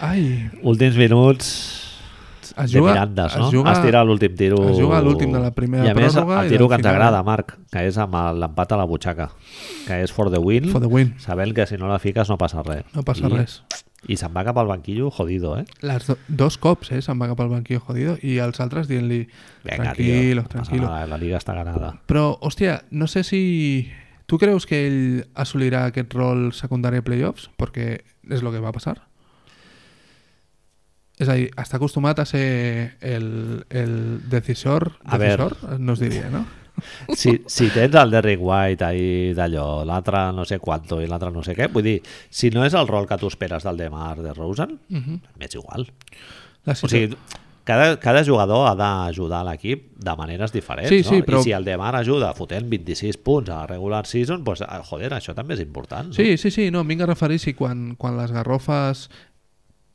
S2: Ai,
S1: Últims minuts
S2: es
S1: de
S2: juga...
S1: Mirandes, no?
S2: Es juga,
S1: Es tira l'últim tiro.
S2: es juga l'últim de la primera
S1: I a més,
S2: pròrroga i
S1: el tiro
S2: del
S1: que ens
S2: final.
S1: agrada, Marc, que és amb el- l'empat a la butxaca, que és for the win,
S2: for the win.
S1: sabent que si no la fiques no passa res.
S2: No passa
S1: I,
S2: res.
S1: I se'n va cap al banquillo jodido, eh?
S2: Les do, dos cops, eh? Se'n va cap al banquillo jodido i els altres dient-li
S1: Venga, tío, no
S2: tranquilo,
S1: pasa
S2: tranquilo.
S1: nada, Ah, la liga está ganada.
S2: Però, hòstia, no sé si... Tu creus que ell assolirà aquest rol secundari a playoffs? Perquè és el que va passar. És a dir, està acostumat a ser el, el decisor,
S1: A
S2: decisor no es diria, no?
S1: Si, si tens el Derrick White ahí d'allò, l'altre no sé quanto i l'altre no sé què, vull dir, si no és el rol que tu esperes del de Mar de Rosen,
S2: Uh -huh.
S1: m'és igual.
S2: La
S1: O
S2: situa-
S1: sigui, cada, cada jugador ha d'ajudar l'equip de maneres diferents,
S2: Sí,
S1: no?
S2: sí, però-
S1: I si el Demar ajuda fotent 26 punts a la regular season, doncs, ah, joder, això també és important.
S2: Sí, sí, sí, no, em vinc a referir si quan, quan les garrofes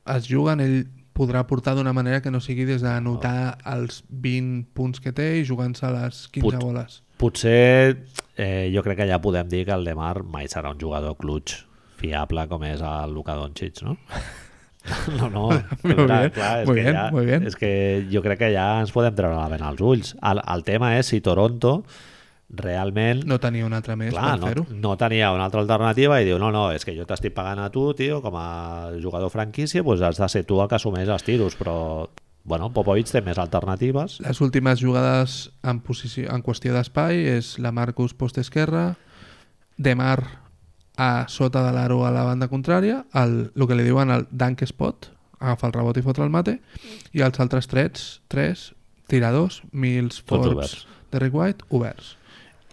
S2: es juguen ell podrà portar d'una manera que no sigui des d'anotar els 20 punts que té i jugant-se les 15
S1: Ah. Put-
S2: boles.
S1: No? Potser eh, jo crec que ja podem dir que el Demar mai serà un jugador clutch fiable com és el Luka Doncic, no? *laughs* No,
S2: *laughs*
S1: no,
S2: Muy
S1: clar,
S2: bien,
S1: clar, és
S2: muy
S1: que
S2: bien,
S1: ja,
S2: muy bien.
S1: És que jo crec que ja ens podem treure la vena als ulls. El, el tema és si Toronto realment
S2: No tenia una altra més
S1: Clar,
S2: per
S1: no,
S2: fer-ho.
S1: no tenia una altra alternativa i diu, no, no, és que jo t'estic pagant a tu, tio, com a jugador franquícia, doncs has de ser tu el que assumeix els tiros, però, bueno, Popovic té més alternatives.
S2: Les últimes jugades en, posició, en qüestió d'espai és la Marcus post esquerra, Demar a sota de l'aro a la banda contrària, el, el que li diuen el dunk spot, agafar el rebot i fotre el mate, i els altres trets, tres, tiradors, Mills,
S1: Tots
S2: Forbes,
S1: oberts.
S2: Derrick White, oberts.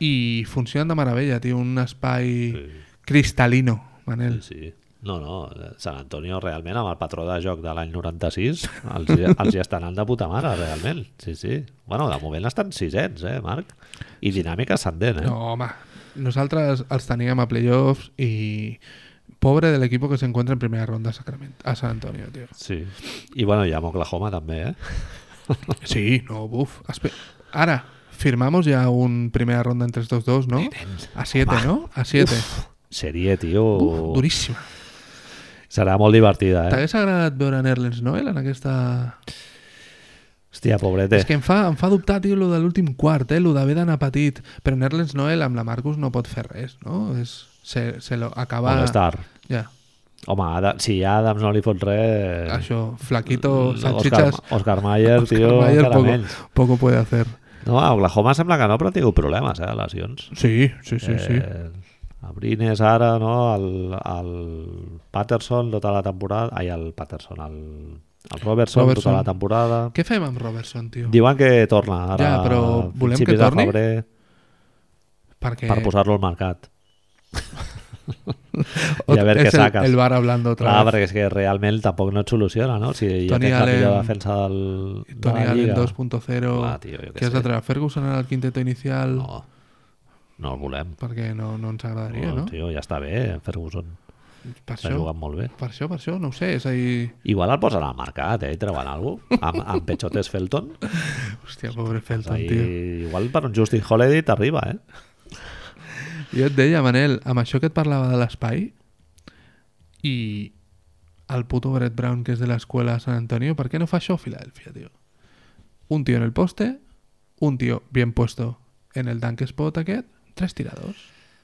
S2: I funcionen de meravella, tio, un espai
S1: Sí.
S2: cristalino, Manel.
S1: Sí, sí. No, no, eh, Sant Antonio realment amb el patró de joc de l'any 96 els, hi- els hi estan anant de puta mare, realment. Sí, sí. Bueno, de moment estan sisens, eh, Marc? I dinàmica ascendent, eh?
S2: No, home, nosaltres els teníem a playoffs i pobre de l'equip que s'encontra en primera ronda a, Sacramento, a San Antonio, tio.
S1: Sí. I bueno, ja amb Oklahoma també, eh?
S2: Sí, no, buf. Espe- Ara, firmamos ya un primera ronda en 3-2-2, ¿no? A 7, ¿no? A 7.
S1: Seria, tio...
S2: Uf, duríssima.
S1: Eh? Serà molt divertida, eh?
S2: T'hagués agradat veure en Erlens Noel en aquesta...
S1: Hòstia, pobret, eh?
S2: És que em fa, em fa dubtar, tio, lo de l'últim quart, eh? Lo d'haver d'anar petit. Però en Erlens Noel amb la Marcus no pot fer res, no? És, se, se lo acaba...
S1: Molestar.
S2: Ja,
S1: Home, Ada, si ja Adams no li fot res... mm,
S2: això, flaquito,
S1: Oscar,
S2: salchichas...
S1: Oscar Mayer,
S2: Oscar
S1: tio,
S2: Mayer
S1: encara
S2: poco,
S1: menys.
S2: poco puede hacer.
S1: No, a Oklahoma sembla que no, però ha tingut problemes, eh, de lesions.
S2: Sí, sí, sí, sí.
S1: sí. Abrines ara, no? El, el Patterson tota la temporada... Ai, el Patterson, el, el Robertson,
S2: Robertson.
S1: tota la temporada.
S2: Què fem amb Robertson, tio?
S1: Diuen que torna ara
S2: Ja, però
S1: a
S2: volem que
S1: principis de
S2: torni?
S1: febrer
S2: Perquè...
S1: per
S2: *laughs*
S1: posar-lo al mercat.
S2: Ot-
S1: I a veure
S2: és
S1: què
S2: el-
S1: saques.
S2: El bar hablando otra
S1: Clar,
S2: vez.
S1: perquè és que realment tampoc no et soluciona, no? Si ja
S2: Tony
S1: tens la millor
S2: Allen-
S1: defensa del, de
S2: Tony
S1: la
S2: Allen
S1: Lliga.
S2: 2.0.
S1: Clar, tio, jo què
S2: que has
S1: sé.
S2: de treure Ferguson al quinteto inicial.
S1: No, no el volem.
S2: Perquè no, no ens agradaria,
S1: No,
S2: no?
S1: Tio, ja està bé, Ferguson
S2: Per
S1: està
S2: això,
S1: jugant molt bé.
S2: per això, per això, no ho sé. És a dir,
S1: Igual el posen al mercat, eh? I treuen alguna cosa. Amb, amb Pechotes Felton.
S2: hòstia, pobre Felton,
S1: Ahí,
S2: tio.
S1: Doncs igual per un Justin Holiday t'arriba, eh?
S2: Jo et deia, Manel, amb això que et parlava de l'espai i el puto Brett Brown, que és de l'escola San Antonio, per què no fa això a Filadèlfia, tio? Un tio en el poste, un tio bien puesto en el dunk spot aquest, tres tiradors.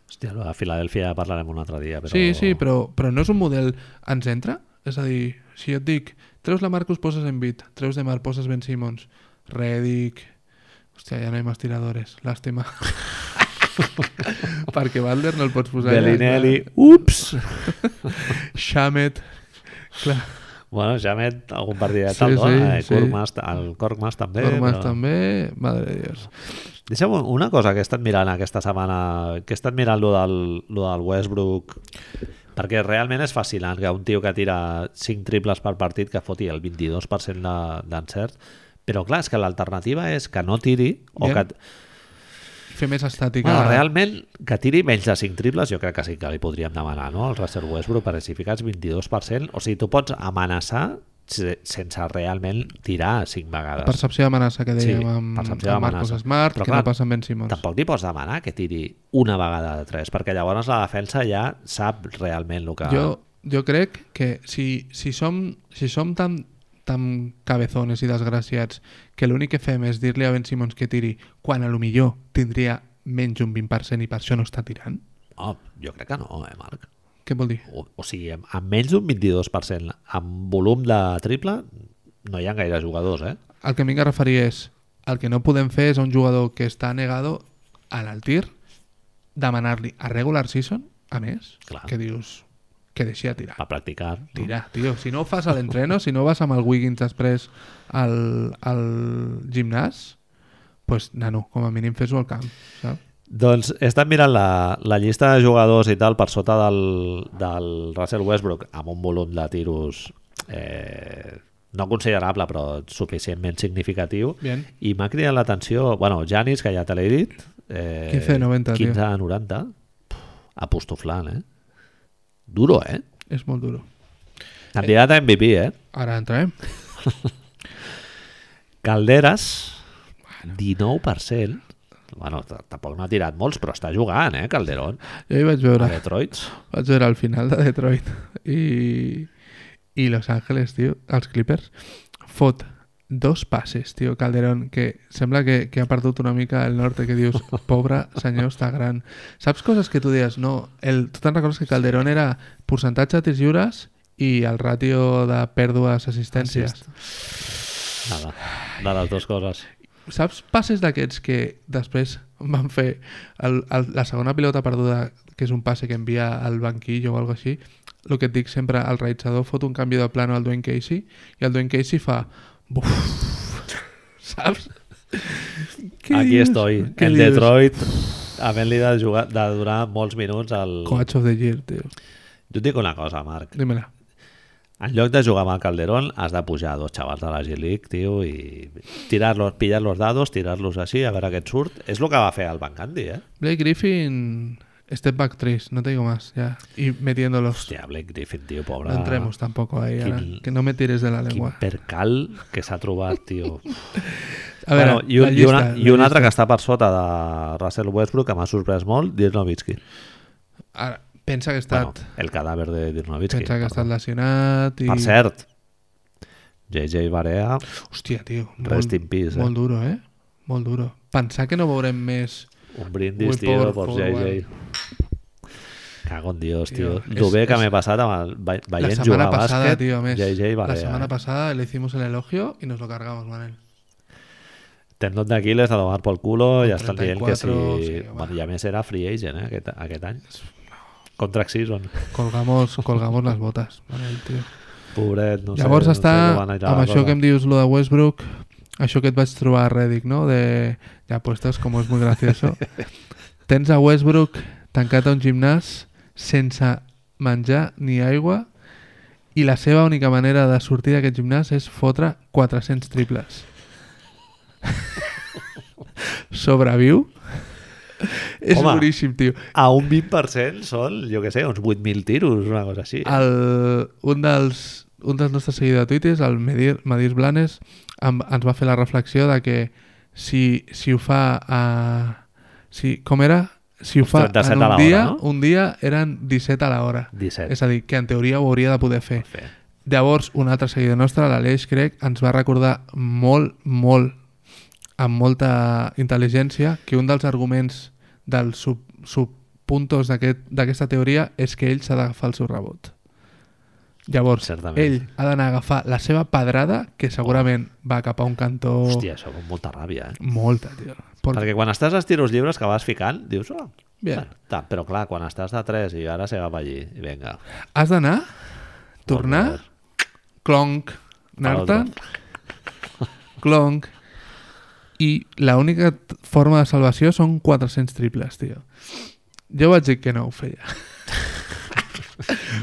S1: Hòstia, a Filadèlfia ja parlarem un altre dia, però...
S2: Sí, sí, però, però no és un model... Ens entra? És a dir, si jo et dic, treus la Marcus, poses en bit, treus de Mar, poses Ben Simmons, Redick... Hòstia, ja no hi ha més tiradores,
S1: *laughs*
S2: làstima. Perquè Balder no el pots posar allà,
S1: Bellinelli,
S2: eh?
S1: ups! *laughs*
S2: clar. Shamet... Clar,
S1: Bueno, ja met algun partidet sí,
S2: Sí,
S1: te'l dona,
S2: sí,
S1: eh?
S2: sí.
S1: Corkmas, el Corkmas també.
S2: Gormas
S1: però-
S2: també... Madre de Dios.
S1: Deixa'm un- una cosa que he estat mirant aquesta setmana, que he estat mirant lo del, lo del Westbrook, perquè realment és fascinant que un tio que tira 5 triples per partit que foti el 22% de- d'encert, però clar, és que l'alternativa és que no tiri o
S2: Ja.
S1: que...
S2: Fer més estàtica.
S1: Bueno, realment, que tiri menys de 5 triples jo crec que sí que li podríem demanar, no? Al Russell Westbrook, perquè si fiques 22%, o sigui, tu pots amenaçar se- sense realment tirar 5 vegades.
S2: Percepció d'amenaça que dèiem
S1: Sí,
S2: amb, amb
S1: percepció
S2: Marcos
S1: d'amenaça.
S2: Smart,
S1: Però
S2: que
S1: clar,
S2: no passa amb Ben Simmons.
S1: Tampoc li pots demanar que tiri una vegada de tres, perquè llavors la defensa ja sap realment el que...
S2: Jo, jo crec que si, si som, si som tan, tan cabezones i desgraciats que l'únic que fem és dir-li a Ben Simmons que tiri quan a lo millor tindria menys un 20% i per això no està tirant,
S1: Oh, jo crec que no, eh, Marc?
S2: què vol dir?
S1: O, o sigui, amb, amb menys d'un 22%, amb volum de triple, no hi ha gaire jugadors, eh?
S2: El que vinc a referir és el que no podem fer és a un jugador que està negado a l'altir demanar-li a regular season, a més,
S1: Clar.
S2: que dius que deixi de tirar.
S1: Per practicar.
S2: Tira, tio. Si no ho fas a l'entreno, si no vas amb el Wiggins després al, al gimnàs, pues, nano, com a mínim fes-ho al camp, saps?
S1: Doncs he estat mirant la, la llista de jugadors i tal per sota del, del Russell Westbrook amb un volum de tiros eh, no considerable, però suficientment significatiu.
S2: Bien.
S1: I m'ha cridat l'atenció, bueno, Janis, que ja te l'he dit, eh,
S2: 15 de 90, tio.
S1: 15 de 90, Puf, apostoflant, eh? Duro, eh?
S2: És molt duro.
S1: Candidat a MVP, eh?
S2: Ara entrarem.
S1: Calderas, 19%. Bueno, t- tampoc no ha tirat molts, però està jugant, eh, Calderón?
S2: Jo hi vaig
S1: A
S2: veure,
S1: Detroit.
S2: vaig veure el final de Detroit i, i Los Angeles, tio, els Clippers, fot dos passes, tio, Calderón, que sembla que, que ha perdut una mica el norte, que dius, pobre senyor, està gran. Saps coses que tu deies? No, el, tu te'n recordes que Calderón era percentatge de tirs lliures i el ràtio de pèrdues assistències.
S1: Assist. Nada, de les dues coses.
S2: Saps passes d'aquests que després van fer el, el, la segona pilota perduda, que és un passe que envia al banquillo o algo així, el que et dic sempre, el realitzador fot un canvi de plano al Dwayne Casey i el Dwayne Casey fa... Buf, *laughs* saps? Què
S1: Aquí
S2: dius?
S1: estoy,
S2: Què
S1: en
S2: dius?
S1: Detroit, havent-li de, jugar, de durar molts minuts al...
S2: Coach of the year, tio.
S1: Jo et dic una cosa, Marc.
S2: Dímela.
S1: En lloc de jugar amb el Calderón, has de pujar dos xavals de la G-League, tio, i tirar-los, pillar los dados, tirar-los així, a veure què et surt. És el que va fer el Van Gandhi, eh?
S2: Blake Griffin, step back 3, no te digo más, ya. Y metiéndolos.
S1: Hòstia, Blake Griffin, tio, pobre.
S2: no entremos tampoco ahí,
S1: Quin-
S2: ahora, que no me tires de la
S1: Quin
S2: lengua.
S1: percal que s'ha trobat, tio.
S2: *laughs* A veure,
S1: bueno, i un,
S2: la
S1: i una,
S2: llista,
S1: i un
S2: la
S1: altre que està per sota de Russell Westbrook, que m'ha sorprès molt, Dirk Nowitzki.
S2: Ara, pensa que ha estat...
S1: Bueno, el cadàver de Dirk Nowitzki.
S2: pensa que ha
S1: perdó.
S2: estat lesionat i...
S1: Per cert, JJ Barea,
S2: Hòstia, tio.
S1: Rest in peace, eh?
S2: Molt duro, eh? Molt duro. Pensar que no veurem més...
S1: un brindis,
S2: Will
S1: tio,
S2: Power
S1: per
S2: forward.
S1: JJ. Cago en Dios,
S2: Tio,
S1: tio.
S2: és-
S1: Lo bé que
S2: és-
S1: m'he passat amb el, ve-
S2: la
S1: veient
S2: semana
S1: jugar a
S2: pasada,
S1: bàsquet,
S2: tío, a més.
S1: JJ Barea.
S2: la semana
S1: eh?
S2: pasada le hicimos el elogio y nos lo cargamos, Manel.
S1: Tendón d'Aquiles a tomar pel culo i
S2: Con
S1: estan dient que si...
S2: 34, sí,
S1: bueno.
S2: bueno.
S1: I a més era free agent, eh, aquest, aquest any. Contract season.
S2: Colgamos, colgamos les botes, Manel, tio.
S1: Pobret, no
S2: No Llavors
S1: sé. no
S2: està,
S1: sé com anirà
S2: amb
S1: la
S2: això
S1: cosa.
S2: que em dius, lo de Westbrook, això que et vaig trobar a Reddick, no? De, ja puestos, com és molt
S1: *laughs*
S2: gracioso. Tens a Westbrook tancat a un gimnàs sense menjar ni aigua i la seva única manera de sortir d'aquest gimnàs és fotre 400
S1: *laughs*
S2: triples. Sobreviu? És
S1: Home.
S2: boníssim, tio.
S1: A un 20% són, jo que sé, uns 8.000 tiros, una cosa així. Ah.
S2: el, un, dels, un dels nostres seguidors de Twitter, el Medir, Medir Blanes, em, ens va fer la reflexió de que si, si ho fa a... Si, com era? Si ho
S1: Uns
S2: fa
S1: 37
S2: en
S1: a
S2: un
S1: la
S2: dia,
S1: hora, no?
S2: un dia eren 17 a l'hora.
S1: 17.
S2: És a dir, que en teoria ho hauria de poder fer. Llavors, un altre seguidor nostre, l'Aleix, crec, ens va recordar molt, molt, amb molta intel·ligència, que un dels arguments dels sub, subpuntos d'aquest- d'aquesta aquest, teoria és que ell s'ha d'agafar el seu rebot. Llavors,
S1: Certament.
S2: ell ha d'anar a agafar la seva pedrada, que segurament va cap a un cantó...
S1: Hòstia, això com molta ràbia, eh?
S2: Molta, tio. Por...
S1: Perquè quan estàs als tiros lliures que vas ficant, dius... Oh,
S2: Bien.
S1: bueno, ta, però clar, quan estàs de 3 i ara se va per allí, i vinga.
S2: Has d'anar, tornar, clonk, anar-te'n, clonk, i l'única t- forma de salvació són 400 triples, tio. Jo vaig dir que no
S1: *laughs*
S2: ho feia.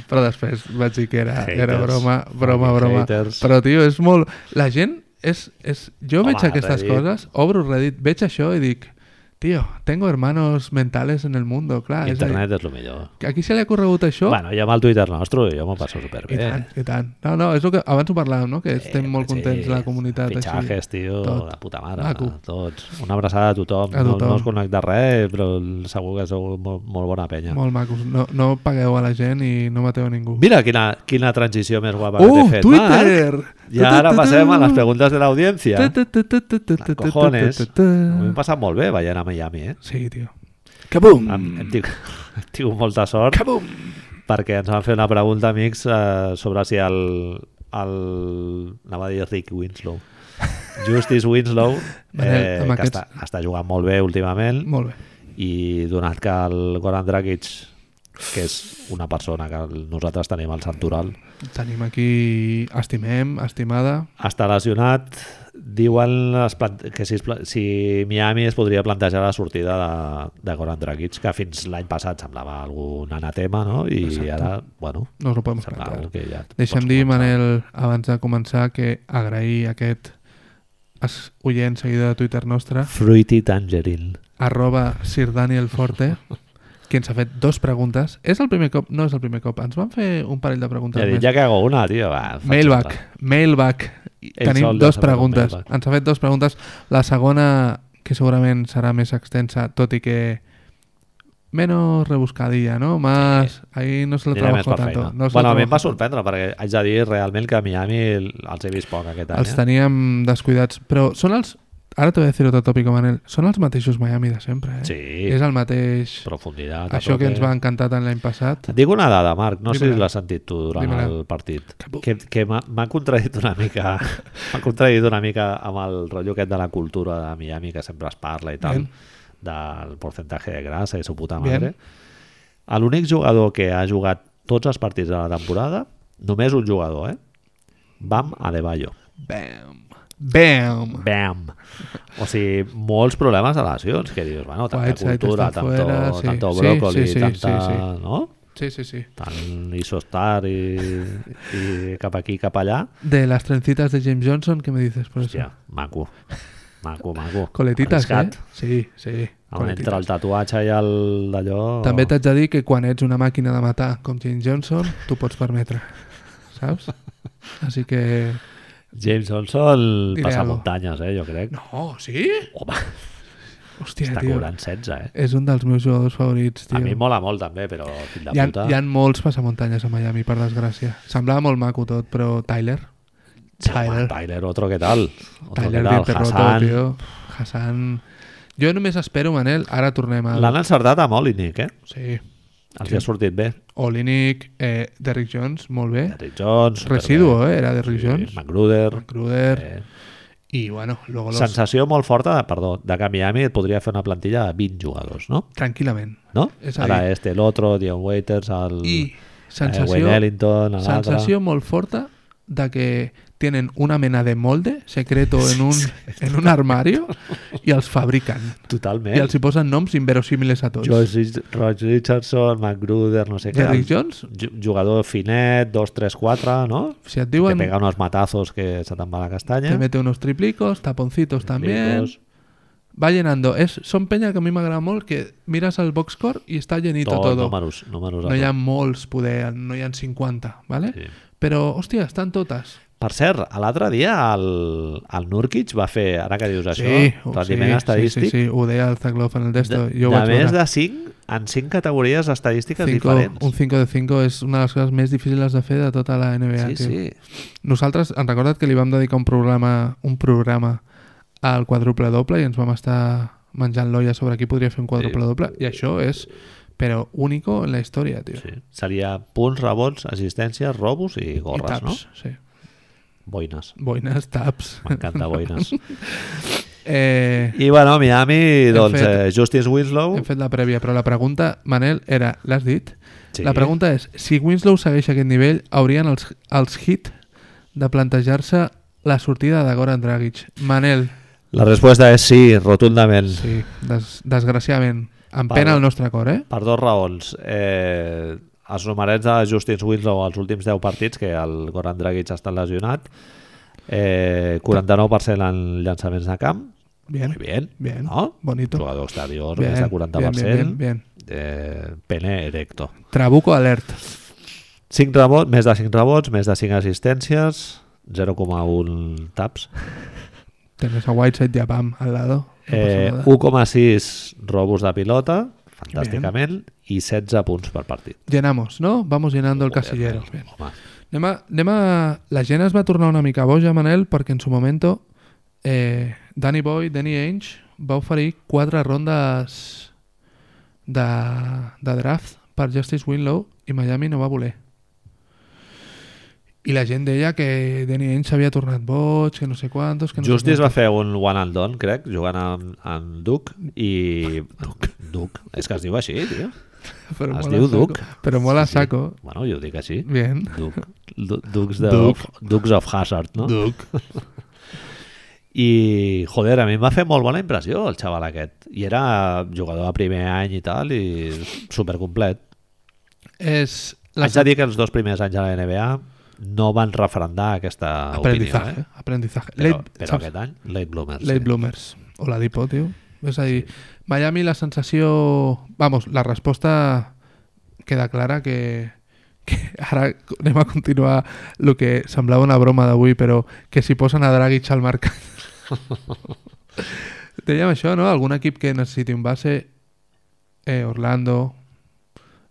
S2: però després vaig dir que era, era
S1: Haters.
S2: broma, broma,
S1: Fucking
S2: broma.
S1: haters.
S2: Però, tio, és molt... La gent és... és... Jo
S1: Home,
S2: veig aquestes
S1: Reddit.
S2: coses, obro Reddit, veig això i dic... Tío, tengo hermanos mentales en el mundo, clar. és a dir,
S1: Internet és el millor.
S2: A qui se li ha corregut això?
S1: Bueno, jo amb el Twitter nostre jo m'ho passo superbé. Eh,
S2: I tant, i tant. No, no, és el que abans ho parlàvem, no? Que estem molt
S1: Sí,
S2: contents la comunitat.
S1: Fitxajes, tio,
S2: Tot.
S1: de puta mare,
S2: Maco.
S1: tots. Una abraçada a tothom.
S2: A
S1: No,
S2: tothom.
S1: no us conec de res, però segur que sou molt, molt bona penya.
S2: Molt macos. No, no pagueu a la gent i no mateu a ningú.
S1: Mira quina, quina transició més guapa que
S2: oh,
S1: t'he fet, Marc.
S2: Twitter!
S1: I ara passem a les preguntes de l'audiència.
S2: preguntes.
S1: Cojones. M'ho hem passat molt bé veient a Miami, eh?
S2: Sí, tio. Kabum!
S1: Hem, hem, tingut, *laughs* hem tingut molta sort
S2: Kabum!
S1: perquè ens van fer una pregunta, amics, eh, sobre si el... el anava a dir Rick Winslow. Justice Winslow, eh,
S2: Manel, *laughs* amb
S1: que
S2: aquests-
S1: està, està jugant molt bé últimament
S2: Molt bé.
S1: i donat que el Goran Dragic que és una persona que el- nosaltres tenim al Santoral.
S2: Tenim aquí Estimem, Estimada,
S1: Està lesionat, diuen les plant- que si, es pla- si Miami es podria plantejar la sortida de, de Goran Dragic, que fins l'any passat semblava algun anatema, no? I
S2: Exacte.
S1: ara, bueno,
S2: no us ho podem
S1: sembla
S2: plantejar.
S1: algú que ja... et
S2: Deixa'm
S1: pots
S2: dir,
S1: començar.
S2: Manel, abans de començar, que agrair aquest es- oient seguida de Twitter nostre,
S1: Fruity Tangerine.
S2: arroba Sir Daniel Forte, que ens ha fet dos preguntes. És el primer cop? No és el primer cop. Ens van fer un parell de preguntes
S1: Ja, dic,
S2: més.
S1: ja que hago una, tio, va. faig tota.
S2: Mailback,
S1: altra.
S2: mailback.
S1: Ell sol
S2: Tenim
S1: ja
S2: dos
S1: s'ha fet un
S2: preguntes.
S1: mailback.
S2: Ens ha fet dos preguntes. La segona, que segurament serà més extensa, tot i que menos rebuscadilla, no? Más... Ahí no se lo
S1: Anirà més
S2: trabajó
S1: per
S2: tanto.
S1: feina.
S2: No se lo
S1: bueno, a mi em va
S2: trabajó
S1: sorprendre, perquè haig de dir realment que a Miami els he vist poc aquest any. eh?
S2: Els teníem descuidats, però són els... Ara t'ho voy a decir otro tópico, Manel. Són els mateixos Miami de sempre, eh?
S1: Sí,
S2: És el mateix...
S1: profunditat. a
S2: Això
S1: tope.
S2: que ens va encantar tant l'any passat.
S1: Et dic una dada, Marc, no sé
S2: Dímela.
S1: si l'has sentit tu durant
S2: Dímela.
S1: el partit,
S2: Que bu-
S1: que, que m'ha- m'ha contradit una mica m'ha contradit una mica amb el rotllo aquest de la cultura de Miami que sempre es parla i tal,
S2: Bien.
S1: del porcentatge de grasa i su puta
S2: Bien.
S1: madre. A L'únic jugador que ha jugat tots els partits de la temporada, només un jugador, eh? Bam Adebayo.
S2: Bam! Bam!
S1: Bam! O sigui, molts problemes de lesions, que dius, bueno, tanta
S2: Whiteside
S1: cultura,
S2: està
S1: tanto,
S2: fuera, sí.
S1: tanto
S2: Sí,
S1: bròcoli,
S2: sí, sí,
S1: tanta...
S2: sí, sí.
S1: No?
S2: Sí, sí, sí.
S1: tant isostar i, i cap aquí cap allà
S2: De las trencitas de James Johnson, ¿qué me dices por eso?
S1: ja, maco maco, maco
S2: Coletitas,
S1: Arriscat.
S2: eh? Sí, sí.
S1: on
S2: coletitas.
S1: entre el tatuatge i el d'allò
S2: També t'haig de dir que quan ets una màquina de matar com James Johnson, t'ho pots permetre, saps? Així que...
S1: James Johnson
S2: Diré
S1: passa
S2: algo.
S1: muntanyes eh, jo crec
S2: No, Oh, sí?
S1: home,
S2: Hòstia,
S1: està
S2: tio.
S1: cobrant 16 eh?
S2: És un dels meus jugadors favorits, tio.
S1: a mi em mola molt també però fill de
S2: hi ha,
S1: puta
S2: hi ha molts passamuntanyes a Miami, per desgràcia. Semblava molt maco tot, però Tyler...
S1: Tyler.
S2: Tyler.
S1: Tyler, otro que tal otro
S2: Tyler
S1: que
S2: bien
S1: tal,
S2: perroto,
S1: Hassan
S2: tio. Hassan... Jo només espero, Manel, ara tornem al...
S1: l'han encertat amb Olinic eh?
S2: Sí.
S1: els hi ha sortit bé
S2: Olinic, eh, Derrick Jones, molt bé.
S1: Derrick Jones
S2: Residuo, eh, era Derrick
S1: superbé.
S2: Jones.
S1: sí, McGruder
S2: Cruder.
S1: eh,
S2: I, bueno, luego los...
S1: Sensació molt forta, de, perdó, de que Miami et podria fer una plantilla de 20 jugadors, no?
S2: Tranquil·lament.
S1: no?
S2: És a dir-
S1: Ara este, l'altre, Dion Waiters, el
S2: I
S1: eh, Wayne
S2: sensació,
S1: Ellington, l'altre...
S2: sensació molt forta de que tienen una mena de molde secreto en
S1: *laughs*
S2: un, en un armario i els fabriquen.
S1: Totalment.
S2: I els hi posen noms inverosímiles a tots.
S1: Josh Rich- Roy Richardson, McGruder, no sé què.
S2: Derrick Jones,
S1: Ju- Jugador finet, 2, 3, 4, no?
S2: si et
S1: Bueno.
S2: diuen,
S1: Que pega unos matazos que se te'n va la castanya.
S2: te mete unos triplicos, taponcitos también,
S1: Ricos,
S2: va llenando. És, són penya que a mi m'agrada molt, que mires el boxcore i està llenito
S1: Tot,
S2: todo.
S1: números, números.
S2: No hi
S1: a
S2: ha molts poder, no hi ha 50, ¿vale?
S1: tot. Sí.
S2: Però, hòstia, estan totes.
S1: Per cert, l'altre dia el, el Nurkic va fer, ara que dius això, rendiment estadístic,
S2: oh, Sí, sí, sí, ho deia el Zaglov en el testo.
S1: de,
S2: jo ho
S1: de
S2: vaig
S1: més
S2: veure.
S1: de 5 en 5 categories estadístiques
S2: Cinco-
S1: diferents.
S2: un 5 de 5 és una de les coses més difícils de fer de tota la NBA.
S1: sí,
S2: tio.
S1: sí.
S2: Nosaltres, hem recordat que li vam dedicar un programa un programa al quadruple doble i ens vam estar menjant l'olla sobre qui podria fer un quadruple
S1: Sí.
S2: doble i això és, però, único en la història, tio.
S1: sí. Seria punts, rebots, assistències, robos i
S2: I
S1: gorres, no?
S2: taps, sí.
S1: Boines.
S2: Boines, taps. *laughs*
S1: M'encanta boines.
S2: Eh,
S1: I bueno, Miami,
S2: Hem
S1: doncs,
S2: fet-
S1: eh, Justice Winslow...
S2: hem fet la prèvia, però la pregunta, Manel, era, l'has dit?
S1: Sí.
S2: La pregunta és, si Winslow segueix aquest nivell, haurien els, els hit de plantejar-se la sortida de Goran Dragic. Manel,
S1: La resposta és sí, rotundament.
S2: sí, des, desgraciadament, em
S1: Val.
S2: pena el nostre cor, eh?
S1: Per dos raons. Eh, els numerets de Justice Winslow als últims 10 partits, que el Goran Dragic ha estat lesionat, eh, 49% en llançaments de camp,
S2: Bien,
S1: muy bien,
S2: bien,
S1: no?
S2: bonito.
S1: Jugador exterior,
S2: Bien,
S1: més de
S2: bien,
S1: 40%.
S2: bien, bien, bien.
S1: eh, pene erecto.
S2: Trabuco alert.
S1: 5 rebots, més de 5 rebots, més de 5 assistències, 0,1 taps,
S2: Tens a Whiteside i a Bam al lado. No
S1: eh,
S2: passa nada.
S1: 1,6 robos de pilota, fantàsticament, i 16 punts per partit.
S2: Llenamos, no? Vamos llenando el
S1: Joder,
S2: casillero.
S1: eh,
S2: Bien.
S1: Home,
S2: Anem a, anem a... La gent es va tornar una mica boja, Manel, perquè en su momento eh, Danny Boy, Danny Ainge, va oferir quatre rondes de, de draft per Justice Winlow i Miami no va voler. I la gent deia que Danny Ainge s'havia tornat boig, que no sé quantos... Que no
S1: Justice
S2: sé
S1: va fer un one and done, crec, jugant amb, amb Duke, i... Duke. És que es diu així, tio.
S2: *laughs* Però
S1: Es
S2: mola
S1: diu
S2: a saco.
S1: Duc.
S2: Però mola a saco.
S1: Bueno, jo ho dic així.
S2: Bien.
S1: Duke, *laughs* Du- Dukes, de,
S2: Duke.
S1: Of, Dukes of Hazard, no?
S2: Duc.
S1: *laughs* I, joder, a mi em va fer molt bona impressió el xaval aquest. I era jugador de primer any i tal, i supercomplet.
S2: És la
S1: Haig de dir que els dos primers anys a la NBA no van refrendar aquesta
S2: aprendizaje.
S1: opinió. Eh?
S2: Aprendizaje.
S1: Però,
S2: Late-
S1: però
S2: saps?
S1: aquest any, late bloomers.
S2: Late Bloomers. O la Dipo, tio. És a dir, Miami la sensació... Vamos, la resposta queda clara que, que *laughs* ara anem a continuar el que semblava una broma d'avui, però que si posen a Dragic al mercat... Dèiem això, no? Algun equip que necessiti un base, eh, Orlando,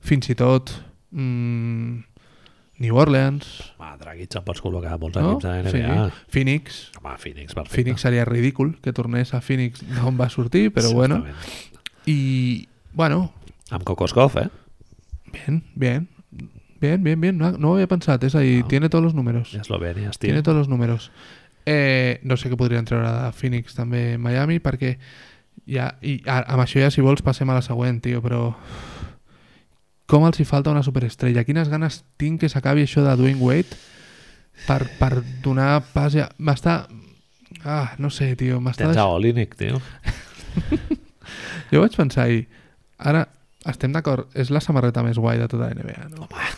S2: fins i tot mm, New Orleans,
S1: Home, Dragic em pots col·locar a molts
S2: no?
S1: equips a la NBA.
S2: Sí. Phoenix,
S1: Home, Phoenix, perfecte.
S2: Phoenix seria ridícul que tornés a Phoenix d'on va sortir, però bueno.
S1: Exactament.
S2: I, bueno,
S1: Amb Kokoskov, eh?
S2: bien, bien. Bien, bien, bien. No, no ho havia pensat, és a dir,
S1: No.
S2: tiene todos los números.
S1: I Eslovènia, estic.
S2: Tiene todos los números. Eh, no sé què podrien treure de Phoenix també Miami, perquè ja, i a, amb això ja si vols passem a la següent, tio, però com els hi falta una superestrella? Quines ganes tinc que s'acabi això de Dwayne Wade per, per donar pas ja... M'està... Ah, no sé, tio, m'està...
S1: Tens
S2: deix-
S1: a Olinic, tio.
S2: Jo vaig pensar ahir, ara estem d'acord, és la samarreta més guai de tota la NBA, no?
S1: Home,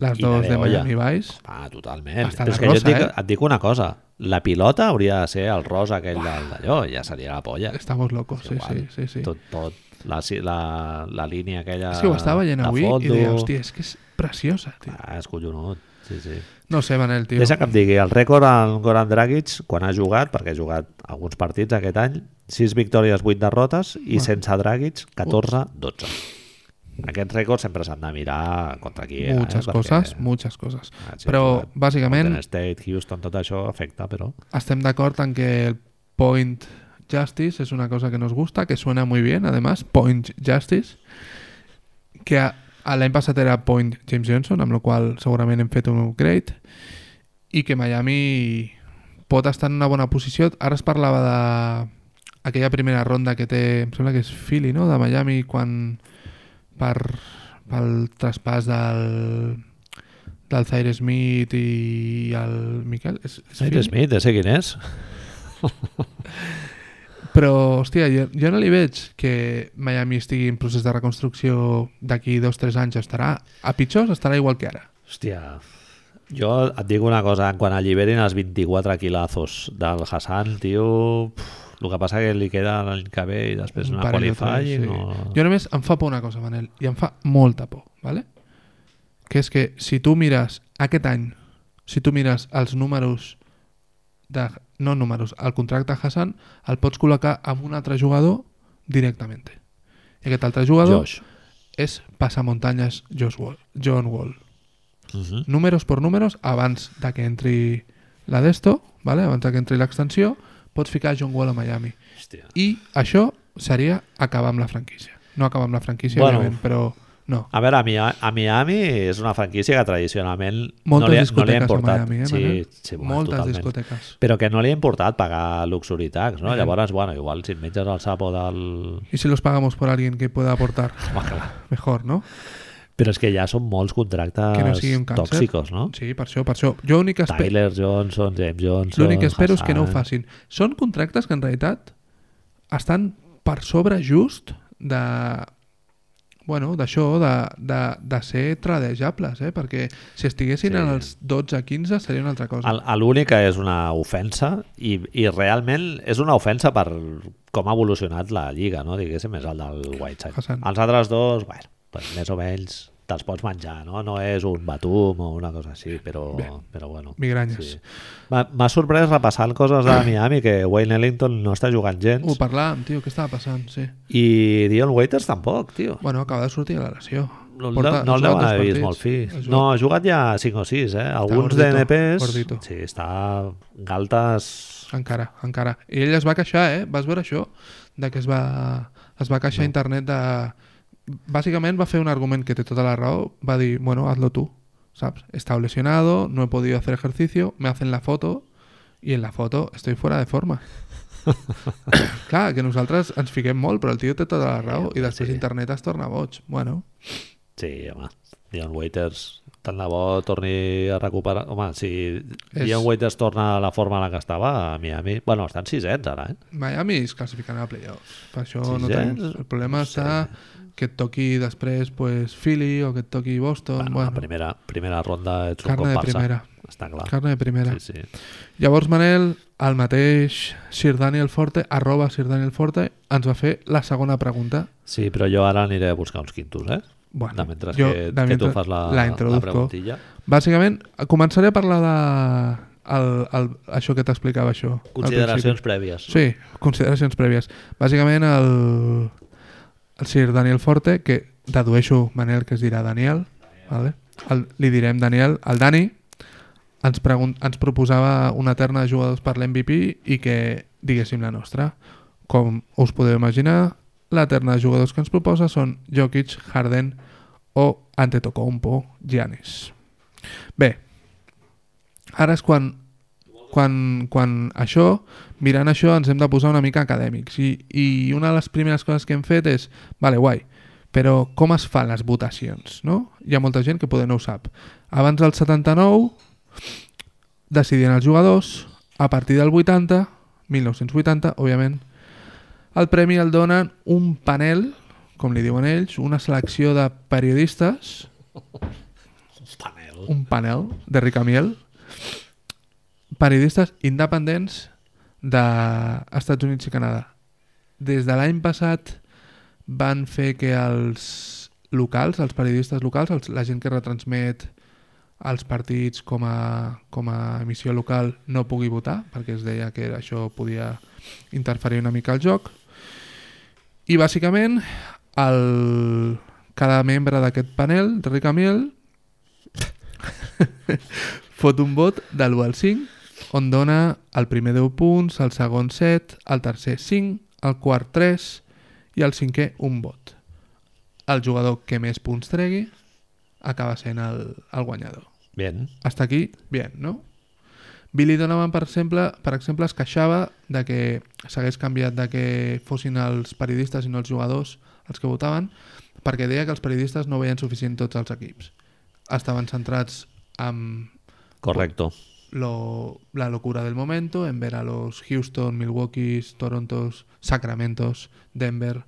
S2: Les
S1: quina
S2: dues de
S1: degolla.
S2: Miami Vice.
S1: Ah, totalment.
S2: Hasta
S1: Però
S2: la
S1: és que jo et
S2: rosa,
S1: dic,
S2: eh?
S1: et dic una cosa. La pilota hauria de ser el rosa aquell del- d'allò, ja seria la polla.
S2: Estamos locos, sí, sí,
S1: Igual.
S2: sí. sí.
S1: Tot, tot. La, si- la, la línia aquella...
S2: És que ho estava veient
S1: de
S2: avui
S1: fondo.
S2: i deia, hòstia, és que és preciosa, tio.
S1: Ah, és collonut. Sí, sí.
S2: No ho sé, Manel, tio.
S1: Deixa que em digui, el rècord en Goran Dragic, quan ha jugat, perquè ha jugat alguns partits aquest any, 6 victòries, 8 derrotes, i
S2: Bueno.
S1: sense Dragic, 14-12. Aquest rècord sempre s'han de mirar contra qui era.
S2: Muchas
S1: eh?
S2: coses,
S1: Perquè...
S2: muchas coses.
S1: Ah, sí,
S2: Però,
S1: clar.
S2: bàsicament,
S1: Golden State, Houston, tot això afecta, però...
S2: estem d'acord en que el Point Justice es una cosa que nos gusta, que suena muy bien, además, Point Justice, que a- a l'any passat era Point James Johnson, amb la qual cosa segurament hem fet un upgrade, i que Miami pot estar en una bona posició. Ara es parlava de aquella primera ronda que té, em sembla que és Philly, no?, de Miami, quan per, pel traspàs del del Zaire Smith i el Miquel... És, és
S1: Nate
S2: Philly?
S1: Smith, ja sé quin és.
S2: Però, hòstia, jo, jo no li veig que Miami estigui en procés de reconstrucció d'aquí dos o tres anys. Estarà a pitjors, estarà igual que ara.
S1: Hòstia, jo et dic una cosa, quan alliberin els 24 quilazos del Hassan, tio, pf, el que passa que li queda l'any que ve i després
S2: Un
S1: una
S2: parell o
S1: qualify
S2: tres,
S1: i
S2: sí.
S1: no...
S2: Jo només em fa por una cosa, Manel, i em fa molta por, ¿vale? que és que si tu mires aquest any, si tu mires els números de, no números, el contracte Hassan el pots col·locar amb un altre jugador directament. I aquest altre jugador
S1: Josh.
S2: és passamuntanyes Josh Wall, John Wall.
S1: Mhm.
S2: números por números, abans de que entri la d'esto, vale? abans de que entri l'extensió, pots ficar John Wall a Miami.
S1: Hòstia.
S2: I això seria acabar amb la franquícia. No acabar amb la franquícia,
S1: Bueno.
S2: bueno, òbviament, però no.
S1: A veure, a Miami, a Miami és una franquícia que tradicionalment
S2: Moltes
S1: no li, ha- no li
S2: discoteques
S1: han
S2: a
S1: portat.
S2: Miami, eh,
S1: sí,
S2: Manel?
S1: sí, bueno,
S2: Moltes
S1: totalment.
S2: discoteques.
S1: Però que no li han portat pagar luxury tax, no?
S2: Mhm.
S1: Llavors, bueno, igual si et menges el sapo del...
S2: Y si los pagamos por alguien que pueda aportar, *laughs*
S1: Home, clar.
S2: mejor, ¿no?
S1: Però és que ja són molts contractes
S2: Que no sigui un càncer.
S1: tòxicos, no?
S2: Sí, per això, per això. Jo únic que, espe
S1: Tyler Johnson, James Johnson...
S2: l'únic que espero és que no ho
S1: Hassan.
S2: facin. Són contractes que en realitat estan per sobre just de bueno, d'això, de, de, de ser tradejables, eh? perquè si estiguessin
S1: Sí.
S2: sí. en els 12-15 seria una altra cosa.
S1: El- L'únic que és una ofensa i, i realment és una ofensa per com ha evolucionat la lliga, no? diguéssim, és el del Whiteside.
S2: Hassan.
S1: Els altres dos, bueno, pues més o menys te'ls pots menjar, no? No és un batum o una cosa així, però, però bueno.
S2: Migranyes.
S1: sí. M'ha m'ha sorprès repassant coses de Miami que Wayne Ellington no està jugant gens
S2: Ho parlàvem, tio, què estava passant? Sí.
S1: i Dion Waiters tampoc, tio.
S2: Bueno, acaba de sortir de la lesió.
S1: No,
S2: Porta-
S1: no
S2: ha
S1: el
S2: jugat
S1: deuen haver
S2: dos
S1: vist
S2: partits.
S1: molt fi.
S2: Ha jugat-
S1: No, ha jugat ja 5 o 6, eh? Alguns
S2: gordito,
S1: DNPs...
S2: gordito.
S1: Sí, està galtes
S2: Encara, encara. I ell es va queixar, eh? Vas veure això? De que es va, es va queixar no. a internet de... Bàsicament va fer un argument que té tota la raó. Va dir, bueno, hazlo tú, ¿sabes? Está
S1: *coughs*
S2: lesionado, no he podido hacer ejercicio, me hacen la foto y en la foto estoy fuera de forma. Clar, que nosaltres ens fiquem molt, però el tio té tota la raó
S1: Sí,
S2: i després
S1: sí.
S2: internet es torna boig. Bueno,
S1: Sí, home. Dion Waiters, tant de bo torni a recuperar... Home, si
S2: És-
S1: Dion Waiters torna a la forma en la que estava a Miami... Bueno, estan sisets ara,
S2: Doncs
S1: eh?
S2: Miami es classificarà a playoffs. Per això
S1: Sí,
S2: no
S1: ja
S2: tenim...
S1: és-
S2: El problema està que et toqui després pues, Philly o que et toqui Boston.
S1: Bueno,
S2: Bueno,
S1: la primera, primera ronda ets un
S2: Carne de
S1: comparsa.
S2: primera.
S1: Està clar.
S2: carne de primera.
S1: Sí, sí.
S2: Llavors, Manel, el mateix Sir Daniel Forte, arroba Sir Daniel Forte, ens va fer la segona pregunta.
S1: sí, però jo ara aniré a buscar uns quintos, eh?
S2: Bueno,
S1: de mentre
S2: jo,
S1: que,
S2: de
S1: que tu
S2: mentre
S1: fas la,
S2: la
S1: la,
S2: introduzco.
S1: preguntilla.
S2: Bàsicament, començaré a parlar de el, el, això que t'explicava això. al
S1: Consideracions prèvies.
S2: principi. Sí, consideracions prèvies. Bàsicament, el, el Sir Daniel Forte, que dedueixo, Manel, que es dirà Daniel, vale? el, li direm Daniel, el Dani, ens, pregun- ens proposava una terna de jugadors per l'MVP i que diguéssim la nostra. Com us podeu imaginar, la terna de jugadors que ens proposa són Jokic, Harden o Antetokounmpo, Giannis. Bé, ara és quan, quan, quan això, mirant això, ens hem de posar una mica acadèmics i, i una de les primeres coses que hem fet és, vale, guai, però com es fan les votacions, no? Hi ha molta gent que poder no ho sap. Abans del 79 decidien els jugadors, a partir del 80, 1980, òbviament, el premi el donen un panel, com li diuen ells, una selecció de periodistes,
S1: Un panel.
S2: un panel de Ricamiel, periodistes independents d'Estats Units i Canadà. Des de l'any passat van fer que els locals, els periodistes locals, els, la gent que retransmet els partits com a, com a emissió local no pugui votar, perquè es deia que això podia interferir una mica al joc. I bàsicament, el, cada membre d'aquest panel, de Ricamiel, fot un vot de l'1 al 5, on dona el primer 10 punts, el segon 7, el tercer 5, el quart 3 i el cinquè un vot. El jugador que més punts tregui acaba sent el, el guanyador.
S1: Bien.
S2: Hasta aquí, bien, no? Billy Donovan, per exemple, per exemple es queixava de que s'hagués canviat de que fossin els periodistes i no els jugadors els que votaven, perquè deia que els periodistes no veien suficient tots els equips. Estaven centrats en
S1: Correcto.
S2: lo- la locura del momento en ver a los Houston, Milwaukee, Torontos, Sacramentos, Denver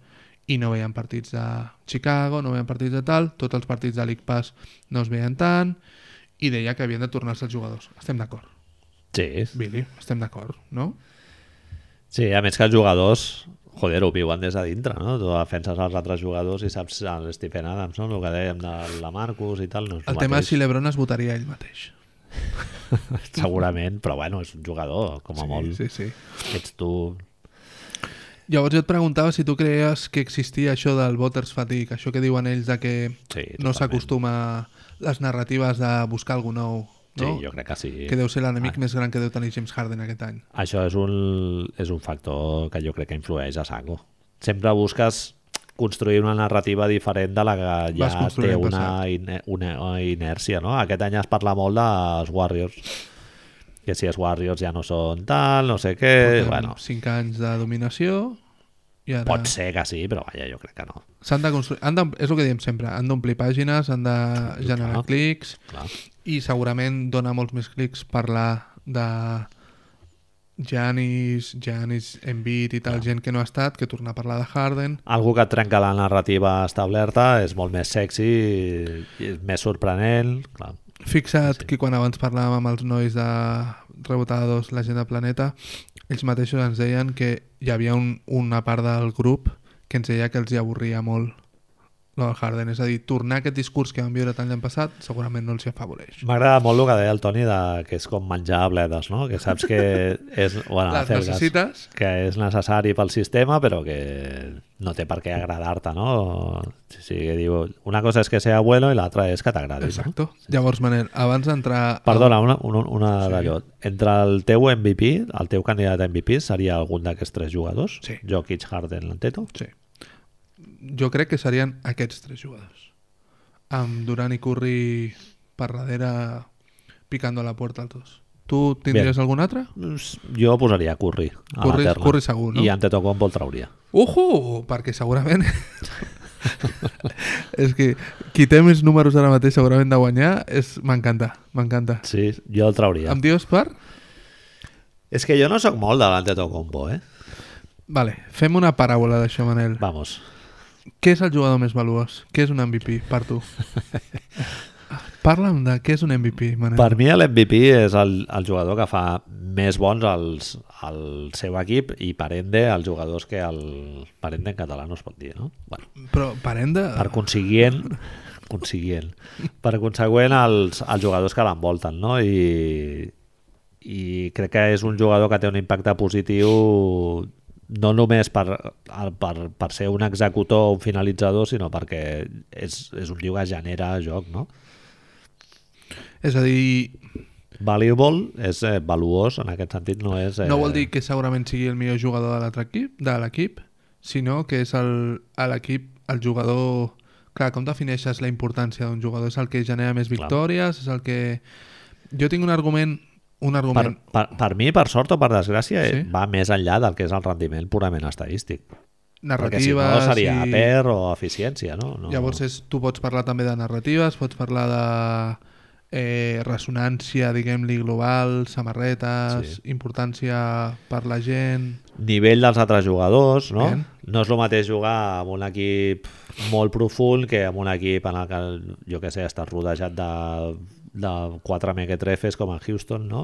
S2: i no veien partits de Chicago, no veien partits de tal, tots els partits de League Pass no es veien tant i deia que havien de tornar-se els jugadors. Estem d'acord,
S1: Sí.
S2: Billy, estem d'acord, no?
S1: Sí, a més que els jugadors, joder, ho viuen des de dintre, no? Tu defenses els altres jugadors i saps el Stephen Adams, no? El que dèiem de la Marcus i tal. No és
S2: El tema és si Lebron es votaria ell mateix.
S1: Segurament, però bueno, és un jugador, com a sí, molt.
S2: Sí, sí.
S1: Ets tu...
S2: Llavors jo et preguntava si tu creies que existia això del voters fatigue, això que diuen ells de que
S1: Sí,
S2: no
S1: totalment.
S2: s'acostuma les narratives de buscar algú nou,
S1: Sí,
S2: no?
S1: jo crec que sí.
S2: que deu ser
S1: Ah.
S2: l'enemic més gran que deu tenir James Harden aquest any.
S1: Això és un, és un factor que jo crec que influeix a saco. Sempre busques construir una narrativa diferent de la que ja
S2: Vas construint,
S1: té
S2: vas
S1: una, ine, una inèrcia, no? Aquest any es parla molt dels Warriors, que si els Warriors ja no són tal, no sé què...
S2: Portem
S1: Eh, bueno,
S2: 5 anys de dominació i ara...
S1: pot ser que sí, però vaja, jo crec que no.
S2: S'han de construir... Han de, és el que diem sempre, han d'omplir pàgines, han de generar
S1: clar.
S2: clics
S1: Clar.
S2: i segurament dona molts més clics parlar de Janis, Janis, Embiid i tal, gent que no ha estat, que tornar a parlar de Harden.
S1: Algú que et trenca la narrativa establerta és molt més sexy, i- i és més sorprenent, clar.
S2: Fixa't que quan abans parlàvem amb els nois de Rebotadors, la gent de Planeta, ells mateixos ens deien que hi havia un, una part del grup que ens deia que els hi avorria molt lo del Harden. És a dir, tornar a aquest discurs que van viure tant l'any passat segurament no els hi afavoreix.
S1: M'agrada molt el que deia el Toni, de, que és com menjar bledes, no? Que saps
S2: *laughs*
S1: que és, bueno,
S2: Les
S1: acelgas,
S2: necessites?
S1: que és necessari pel sistema, però que no té per què agradar-te, no? Sí, sí, que diu, una cosa és que sea bueno i l'altra és que t'agradi. No?
S2: Exacto. Llavors, Manel, abans d'entrar...
S1: Perdona, una, una, una
S2: Sí.
S1: sí. d'allò. Entre el teu MVP, el teu candidat a MVP, seria algun d'aquests tres jugadors?
S2: Sí.
S1: Jokic, Harden, Lanteto?
S2: Sí. Jo crec que serien aquests tres jugadors. Amb Durant i Curry per darrere picando a la puerta els dos. Tu tindries algun altre?
S1: Us- Jo posaria Curry. a la
S2: Curry-
S1: terna.
S2: Curry segur, no?
S1: I Antetokounmpo el trauria.
S2: Uhu! Perquè segurament... *laughs* és que qui té més números ara mateix segurament de guanyar és... M'encanta, m'encanta.
S1: Sí, jo el trauria.
S2: Em dius per?
S1: És que jo no sóc molt de l'Antetokounmpo, eh?
S2: Vale, fem una paràbola d'això, Manel.
S1: Vamos.
S2: Què és el jugador més valuós? Què és un MVP per
S1: *laughs*
S2: tu? Parla'm de què és un MVP, Manel.
S1: Per mi l'MVP és el, el jugador que fa més bons els, el seu equip i per ende els jugadors que el per ende en català no es pot dir, no? Bueno,
S2: Però parem de...
S1: per consiguient consiguient. Per consegüent els, els jugadors que l'envolten, no? I, i crec que és un jugador que té un impacte positiu no només per, el- per, per ser un executor o un finalitzador, sinó perquè és, és un tio que genera joc, no?
S2: És a dir,
S1: Valuable és eh, valuós, en aquest sentit no és... Eh,
S2: no vol dir que segurament sigui el millor jugador de l'altre equip, de l'equip, sinó que és el- a l'equip, el jugador... Clar, com defineixes la importància d'un jugador? És el que genera més victòries? És el que... Jo tinc un argument... Un
S1: Per,
S2: argument...
S1: per, per mi, per sort o per desgràcia, sí?
S2: Sí.
S1: va més enllà del que és el rendiment purament estadístic. Perquè si
S2: narrativa...
S1: no seria i... per o eficiència, no? no
S2: Llavors és, tu pots parlar també de narratives, pots parlar de eh, ressonància, diguem-li, global, samarretes,
S1: Sí.
S2: sí. importància per la gent...
S1: nivell dels altres jugadors, no?
S2: Bien.
S1: No és el mateix jugar amb un equip molt profund que amb un equip en el que, jo que sé, estàs rodejat de, de quatre mequetrefes com a Houston, no?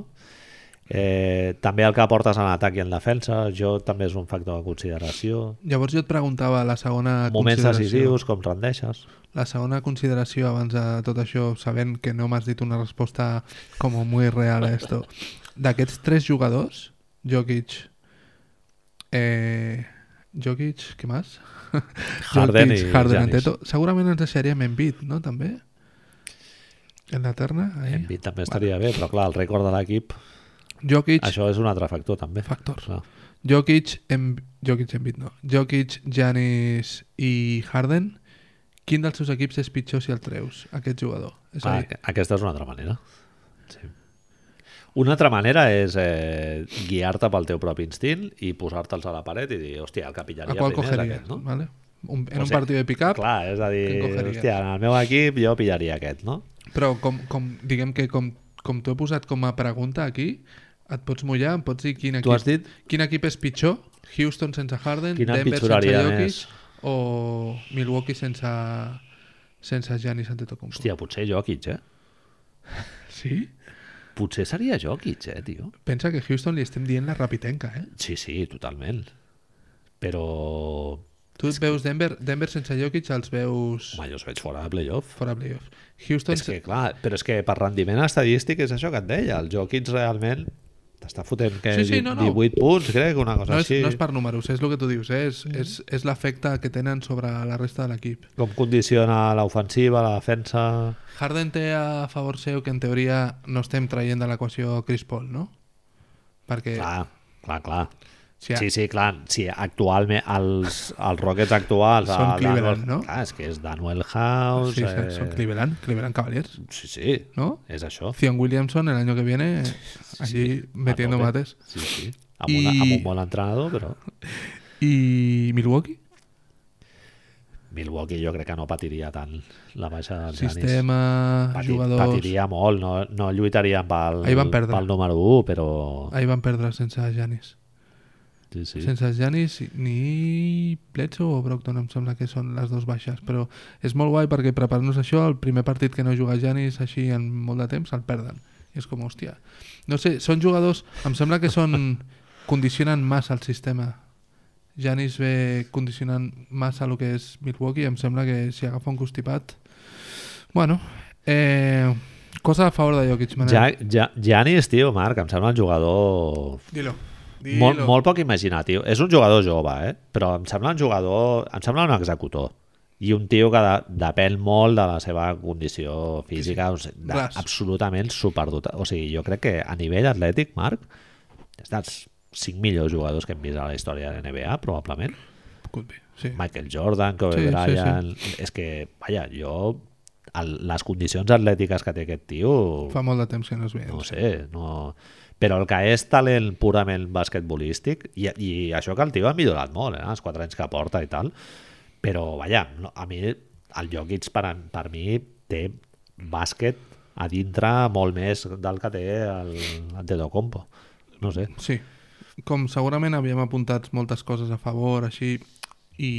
S1: Eh, també el que aportes en atac i en defensa, jo també és un factor de consideració.
S2: Llavors jo et preguntava la segona
S1: Moments
S2: consideració.
S1: decisius, com rendeixes.
S2: La segona consideració abans de tot això, sabent que no m'has dit una resposta com muy real a esto. D'aquests tres jugadors, Jokic, eh, Jokic, què més?
S1: *laughs* Harden i
S2: Harden,
S1: Giannis.
S2: Anteto. Segurament ens deixaríem Embiid, no? També? En la terna? Ahí.
S1: Embiid també estaria bé, però clar, el rècord de l'equip,
S2: Jokic,
S1: això Ah. és un altre factor també.
S2: factor.
S1: Clar.
S2: Jokic, em... Jokic, Embiid, no. Jokic, Giannis i Harden. Quin dels seus equips és pitjor si el treus, aquest jugador? És a
S1: Ah,
S2: dir,
S1: aqu- aquesta és una altra manera. Sí. Una altra manera és eh, guiar-te pel teu propi instint i posar-te'ls a la paret i dir, hòstia, el que
S2: ¿A
S1: pillaria primer
S2: cuál
S1: és
S2: cogerías?
S1: aquest, eh, no?
S2: ¿Vale? Un- en
S1: O
S2: un
S1: sea,
S2: partido de pick-up,
S1: Clar, és a dir,
S2: Quin cogeries?
S1: hòstia, en el meu equip jo pillaria aquest, no?
S2: però com, com, diguem que com, com t'ho he posat com a pregunta aquí, et pots mullar, em pots dir quin
S1: Tu
S2: equip,
S1: has dit
S2: quin equip és pitjor? Houston sense Harden,
S1: Quina
S2: Denver sense
S1: empitjoraria
S2: Jokic
S1: més?
S2: o Milwaukee sense, sense Giannis Antetokounmpo?
S1: Hòstia, potser Jokic, eh?
S2: Sí?
S1: Potser seria Jokic, eh, tio?
S2: Pensa que Houston li estem dient la rapitenca, eh?
S1: Sí, sí, totalment. Però...
S2: Tu et veus Denver, Denver sense Jokic, els veus
S1: Home, jo els veig fora de playoff.
S2: fora playoff. Houston
S1: És que, clar, però és que per rendiment estadístic és això que et deia, el Jokic realment t'està fotent que
S2: Sí, sí, no, no.
S1: 18 punts, crec, una cosa
S2: no, és,
S1: així.
S2: no és per números, és el que tu dius, eh? és, és, és l'efecte que tenen sobre la resta de l'equip.
S1: Com condiciona l'ofensiva, la defensa...
S2: Harden té a favor seu que en teoria no estem traient de l'equació Chris Paul, no? Perquè
S1: Clar, clar, clar.
S2: si,
S1: Sí, sí, clar, sí, actualment els, els Rockets actuals...
S2: Són
S1: a
S2: Cleveland,
S1: Daniel-
S2: no?
S1: Clar, és que és Daniel House...
S2: sí,
S1: eh...
S2: son Cleveland, Cleveland Cavaliers,
S1: Sí, sí,
S2: ¿no?
S1: és això.
S2: Zion Williamson el año que viene allí metiendo
S1: A tope.
S2: mates.
S1: Sí, sí. Amb, una,
S2: I-
S1: amb un bon entrenador, però
S2: ¿Y Milwaukee?
S1: Milwaukee jo crec que no patiria tant la baixa dels Giannis.
S2: Sistema,
S1: Patir,
S2: jugadors...
S1: Patiria molt, no, no lluitaria pel,
S2: Ahir van perdre.
S1: pel número 1, però...
S2: Ahí van perder sense Giannis.
S1: Sí, sí.
S2: Sense Giannis ni Bledsoe o Brockton em sembla que són les dues baixes, però és molt guai perquè preparant-nos això, el primer partit que no juga Giannis així en molt de temps, el perden. I és com, hòstia. No sé, són jugadors, em sembla
S1: *laughs*
S2: que són condicionen massa el sistema. Giannis ve condicionant massa el que és Milwaukee, em sembla que si agafa un constipat... Bueno, eh, cosa a favor de Jokic, Manel.
S1: Ja, ja, Giannis, tio, Marc, em sembla un jugador
S2: Dilo. Dilo.
S1: molt, molt poc imaginatiu. És un jugador jove, eh? però em sembla un jugador... Em sembla un executor. I un tio que de, depèn molt de la seva condició física, o sigui, de,
S2: Ras.
S1: absolutament superdotat. O sigui, jo crec que a nivell atlètic, Marc, és dels 5 millors jugadors que hem vist a la història de NBA, probablement.
S2: Could be, Sí.
S1: Michael Jordan, Kobe
S2: Sí, sí,
S1: Bryant... És que, vaja, jo el, les condicions atlètiques que té aquest tio...
S2: Fa molt de temps que no es veia.
S1: No ho sé, no... Però el que és talent purament basquetbolístic, i, i això que el tio ha millorat molt, eh, els 4 anys que porta i tal, però, vaja, no, a mi el Jokic per, a- per mi té bàsquet a dintre molt més del que té el Antetokounmpo. No ho sé.
S2: Sí. Com segurament havíem apuntat moltes coses a favor, així, i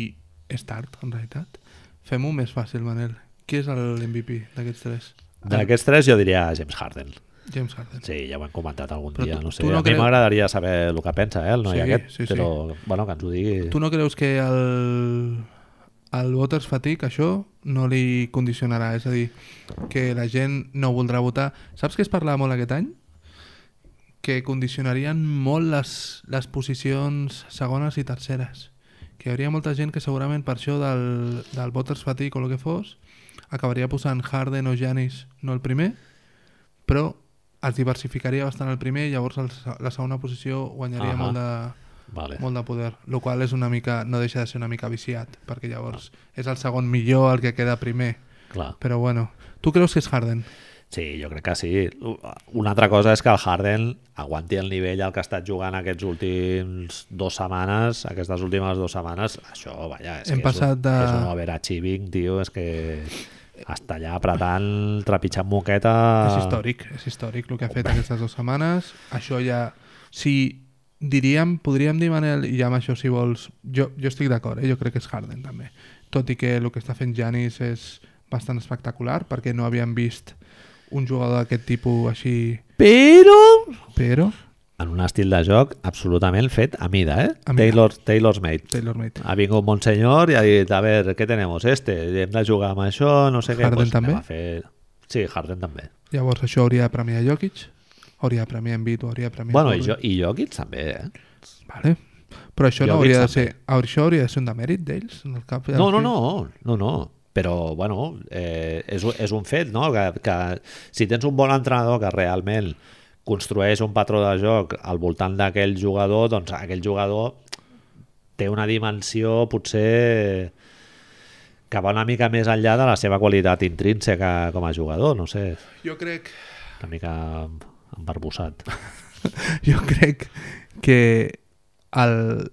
S2: és tard, en realitat. Fem-ho més fàcil, Manel. Qui és el MVP d'aquests tres?
S1: D'aquests tres jo diria James Harden.
S2: James Harden.
S1: Sí, ja ho hem comentat algun
S2: Però
S1: dia,
S2: tu-
S1: no sé.
S2: tu no
S1: a mi
S2: creus-
S1: m'agradaria saber el que pensa eh, el noi
S2: Sí,
S1: aquest,
S2: sí, sí.
S1: però bueno, que ens ho digui.
S2: Tu no creus que el, el Voters Fatigue això no li condicionarà? És a dir, que la gent no voldrà votar... Saps què es parlava molt aquest any? Que condicionarien molt les, les posicions segones i terceres. Que hi hauria molta gent que segurament per això del, del Voters Fatigue o el que fos acabaria posant Harden o Janis no el primer, però es diversificaria bastant el primer i llavors el, se- la segona posició guanyaria
S1: Ahà.
S2: molt de,
S1: Vale.
S2: molt de poder, el qual és una mica, no deixa de ser una mica viciat, perquè llavors és el segon millor el que queda primer.
S1: Clar.
S2: Però bueno, tu creus que és Harden?
S1: Sí, jo crec que sí. Una altra cosa és que el Harden aguanti el nivell al que ha estat jugant aquests últims dues setmanes, aquestes últimes dues setmanes, això, vaja, és
S2: Hem
S1: que
S2: passat
S1: és, un,
S2: de-
S1: és un overachieving, tio, és que està allà apretant, trepitjant moqueta...
S2: És històric, és històric el que ha fet aquestes dues setmanes. Això ja... Si diríem, podríem dir, Manel, i ja amb això si vols... Jo, jo estic d'acord, eh? jo crec que és Harden també. Tot i que el que està fent Janis és bastant espectacular, perquè no havíem vist un jugador d'aquest tipus així...
S1: Però...
S2: Però...
S1: En un estil de joc absolutament fet a mida, eh?
S2: A mida.
S1: Taylor, Taylor's made.
S2: Taylor Mate.
S1: Ha vingut Monsenyor i ha dit, a veure, què tenemos este? Hem de jugar amb això, no sé què.
S2: Harden
S1: pues anem
S2: també?
S1: a Fer... Sí, Harden també.
S2: Llavors això hauria de premiar Jokic, hauria de premiar Embiid, o hauria de premiar...
S1: Bueno, i,
S2: Harden.
S1: jo, i Jokic també, eh?
S2: Vale. Però això no
S1: Jokic
S2: hauria de
S1: també.
S2: ser... Això hauria de ser un demèrit d'ells? en el cap i a la
S1: No, no,
S2: fi?
S1: no, no, no. Però, bueno, eh, és, un- és un fet, no? Que, que si tens un bon entrenador que realment construeix un patró de joc al voltant d'aquell jugador, doncs aquell jugador té una dimensió potser que va una mica més enllà de la seva qualitat intrínseca com a jugador, no sé,
S2: Jo crec...
S1: una mica embarbussat.
S2: *laughs* Jo crec que el,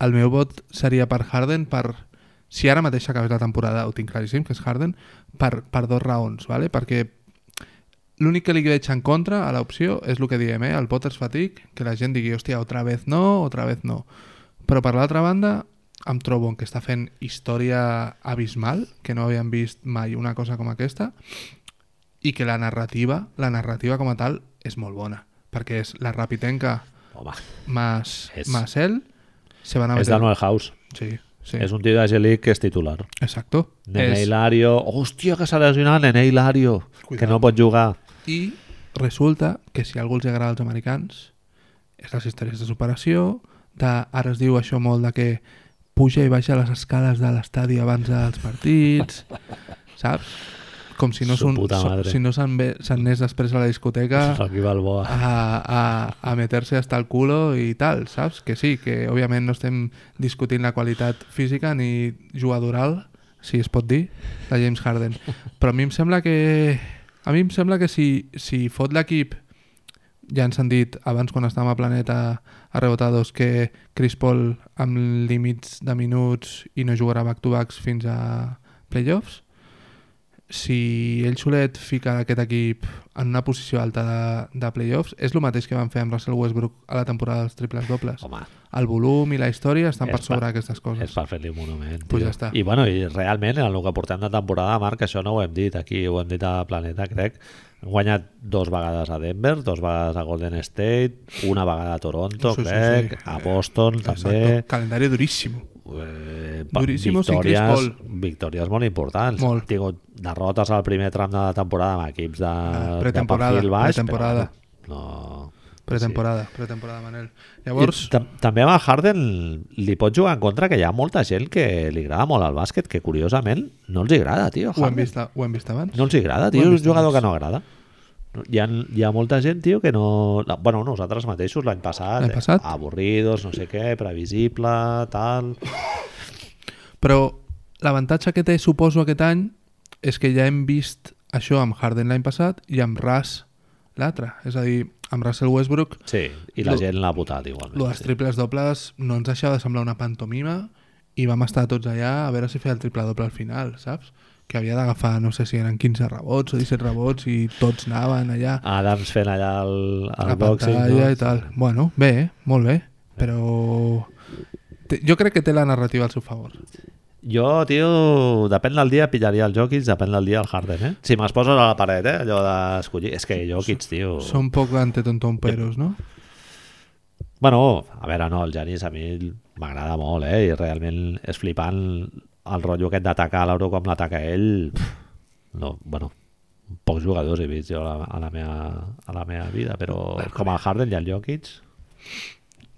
S2: el meu vot seria per Harden per... Si ara mateix acabés la temporada, ho tinc claríssim, que és Harden, per, per dos raons, ¿vale? perquè l'únic que li veig en contra a l'opció és el que diem, eh? el Potters Fatigue, que la gent digui, hòstia, otra vez no, otra vez no. Però per l'altra banda, em trobo en que està fent història abismal, que no havíem vist mai una cosa com aquesta, i que la narrativa, la narrativa com a tal, és molt bona, perquè és la Rapitenca
S1: Home,
S2: más,
S1: Es-
S2: más él se van a
S1: és
S2: meter.
S1: Daniel House.
S2: Sí, sí.
S1: És un tio de G-League que és titular.
S2: Exacto.
S1: Nene
S2: Es-
S1: Hilario. Hòstia, que s'ha lesionat Nene Hilario, que
S2: Cuidado.
S1: no pot jugar.
S2: I resulta que si a algú els agrada als americans és les històries de superació, de, ara es diu això molt de que puja i baixa les escales de l'estadi abans dels
S1: *laughs*
S2: partits, saps? Com si no,
S1: Su
S2: és un,
S1: puta madre.
S2: si no se'n ve- se'n anés després a la discoteca
S1: Rocky Balboa.
S2: Ah. a, a, a meterse hasta el culo i tal, saps? Que sí, que òbviament no estem discutint la qualitat física ni jugadoral, si es pot dir, de James Harden. Però a mi em sembla que... A mi em sembla que si, si fot l'equip ja ens han dit abans quan estàvem a Planeta a Rebotados que Chris Paul amb límits de minuts i no jugarà back-to-backs fins a playoffs si ell solet fica aquest equip en una posició alta de, de playoffs, és el mateix que van fer amb Russell Westbrook a la temporada dels triples dobles.
S1: Home,
S2: El volum i la història estan
S1: És
S2: per sobre
S1: pa-
S2: d'aquestes
S1: és
S2: coses.
S1: per fer-li un monument.
S2: Pues
S1: tio.
S2: ja està.
S1: I, bueno, I realment, en el que portem de temporada, Marc, això no ho hem dit aquí, ho hem dit a Planeta, crec. Han guanyat dos vegades a Denver, dos vegades a Golden State, una vegada a Toronto,
S2: Sí, sí,
S1: crec,
S2: sí.
S1: a Boston, també.
S2: Exacto. Calendari duríssim.
S1: Eh,
S2: Duríssimos i Chris
S1: victòries,
S2: Paul.
S1: victòries molt importants.
S2: Molt.
S1: Han tingut derrotes al primer tram de la temporada amb equips de,
S2: Ah, pretemporada,
S1: de perfil baix.
S2: pretemporada.
S1: Però, bueno, no,
S2: Pretemporada, pretemporada, Manel. Llavors,
S1: I tam- també amb el Harden li pot jugar en contra que hi ha molta gent que li agrada molt el bàsquet, que curiosament no els hi agrada, tio.
S2: ho hem,
S1: Harden.
S2: vist, ho hem vist abans.
S1: No els hi agrada,
S2: Ho
S1: tio.
S2: hem
S1: És
S2: vist
S1: un jugador
S2: abans.
S1: que no agrada. No, Hi ha, hi ha molta gent, tio, que no... la- Bueno, nosaltres mateixos l'any passat,
S2: L'any passat.
S1: eh, avorridos, no sé què, previsible, tal...
S2: Però l'avantatge que té, suposo, aquest any és que ja hem vist això amb Harden l'any passat i amb Ras l'altre. És a dir, amb Russell Westbrook,
S1: Sí, i la
S2: Lo-
S1: gent l'ha votat igualment.
S2: les
S1: Sí.
S2: triples dobles no ens deixava de semblar una pantomima i vam estar tots allà a veure si feia el triple doble al final, saps? Que havia d'agafar, no sé si eren 15 rebots o 17 rebots i tots anaven allà
S1: Adams fent allà el,
S2: a
S1: el
S2: la
S1: boxing.
S2: pantalla
S1: No?
S2: i tal. Bueno, bé, eh? molt bé, però... Té, jo crec que té la narrativa al seu favor.
S1: Jo, tio, depèn del dia pillaria el Jokic, depèn del dia el Harden, eh? Si me'ls poses a la paret, eh? Allò d'escollir... És que Jokic, tio...
S2: Són poc antetontomperos, no?
S1: Bueno, a veure, no, el Janis a mi m'agrada molt, eh? I realment és flipant el rotllo aquest d'atacar l'Euro com l'ataca ell. Pff, No, bueno, pocs jugadors he vist jo a la, a la, meva, a la meva vida, però com el Harden i el Jokic...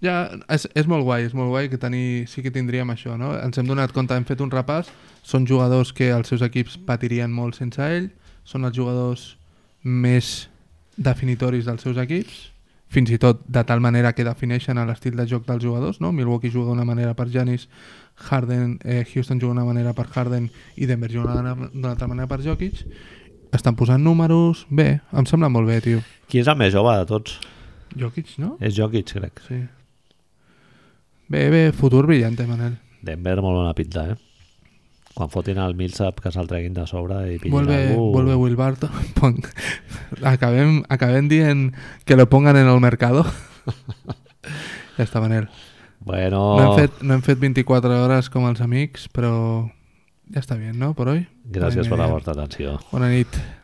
S2: Ja, és, és molt guai, és molt guai que tenir, sí que tindríem això, no? Ens hem donat compte, hem fet un repàs, són jugadors que els seus equips patirien molt sense ell, són els jugadors més definitoris dels seus equips, fins i tot de tal manera que defineixen l'estil de joc dels jugadors, no? Milwaukee juga d'una manera per Giannis, Harden, eh, Houston juga d'una manera per Harden i Denver juga d'una d'una altra manera per Jokic. Estan posant números, bé, em sembla molt bé, tio.
S1: Qui és el més jove de tots?
S2: Jokic, no?
S1: És Jokic, crec.
S2: Sí. Bé, bé, futur brillante, Manel.
S1: Denver, molt bona pinta, eh? Quan fotin el Millsap que se'l treguin de sobre i pillin
S2: Vuelve,
S1: algú...
S2: vuelve Will Barton. *laughs* Pon- Acabem, acabem dient que lo pongan en el mercado. *laughs* ja està, Manel.
S1: Bueno,
S2: No, hem fet, no hem fet 24 hores com els amics, però ja està bé, no?, per hoy.
S1: gràcies per
S2: Bona
S1: la
S2: nit.
S1: vostra atenció.
S2: Bona nit.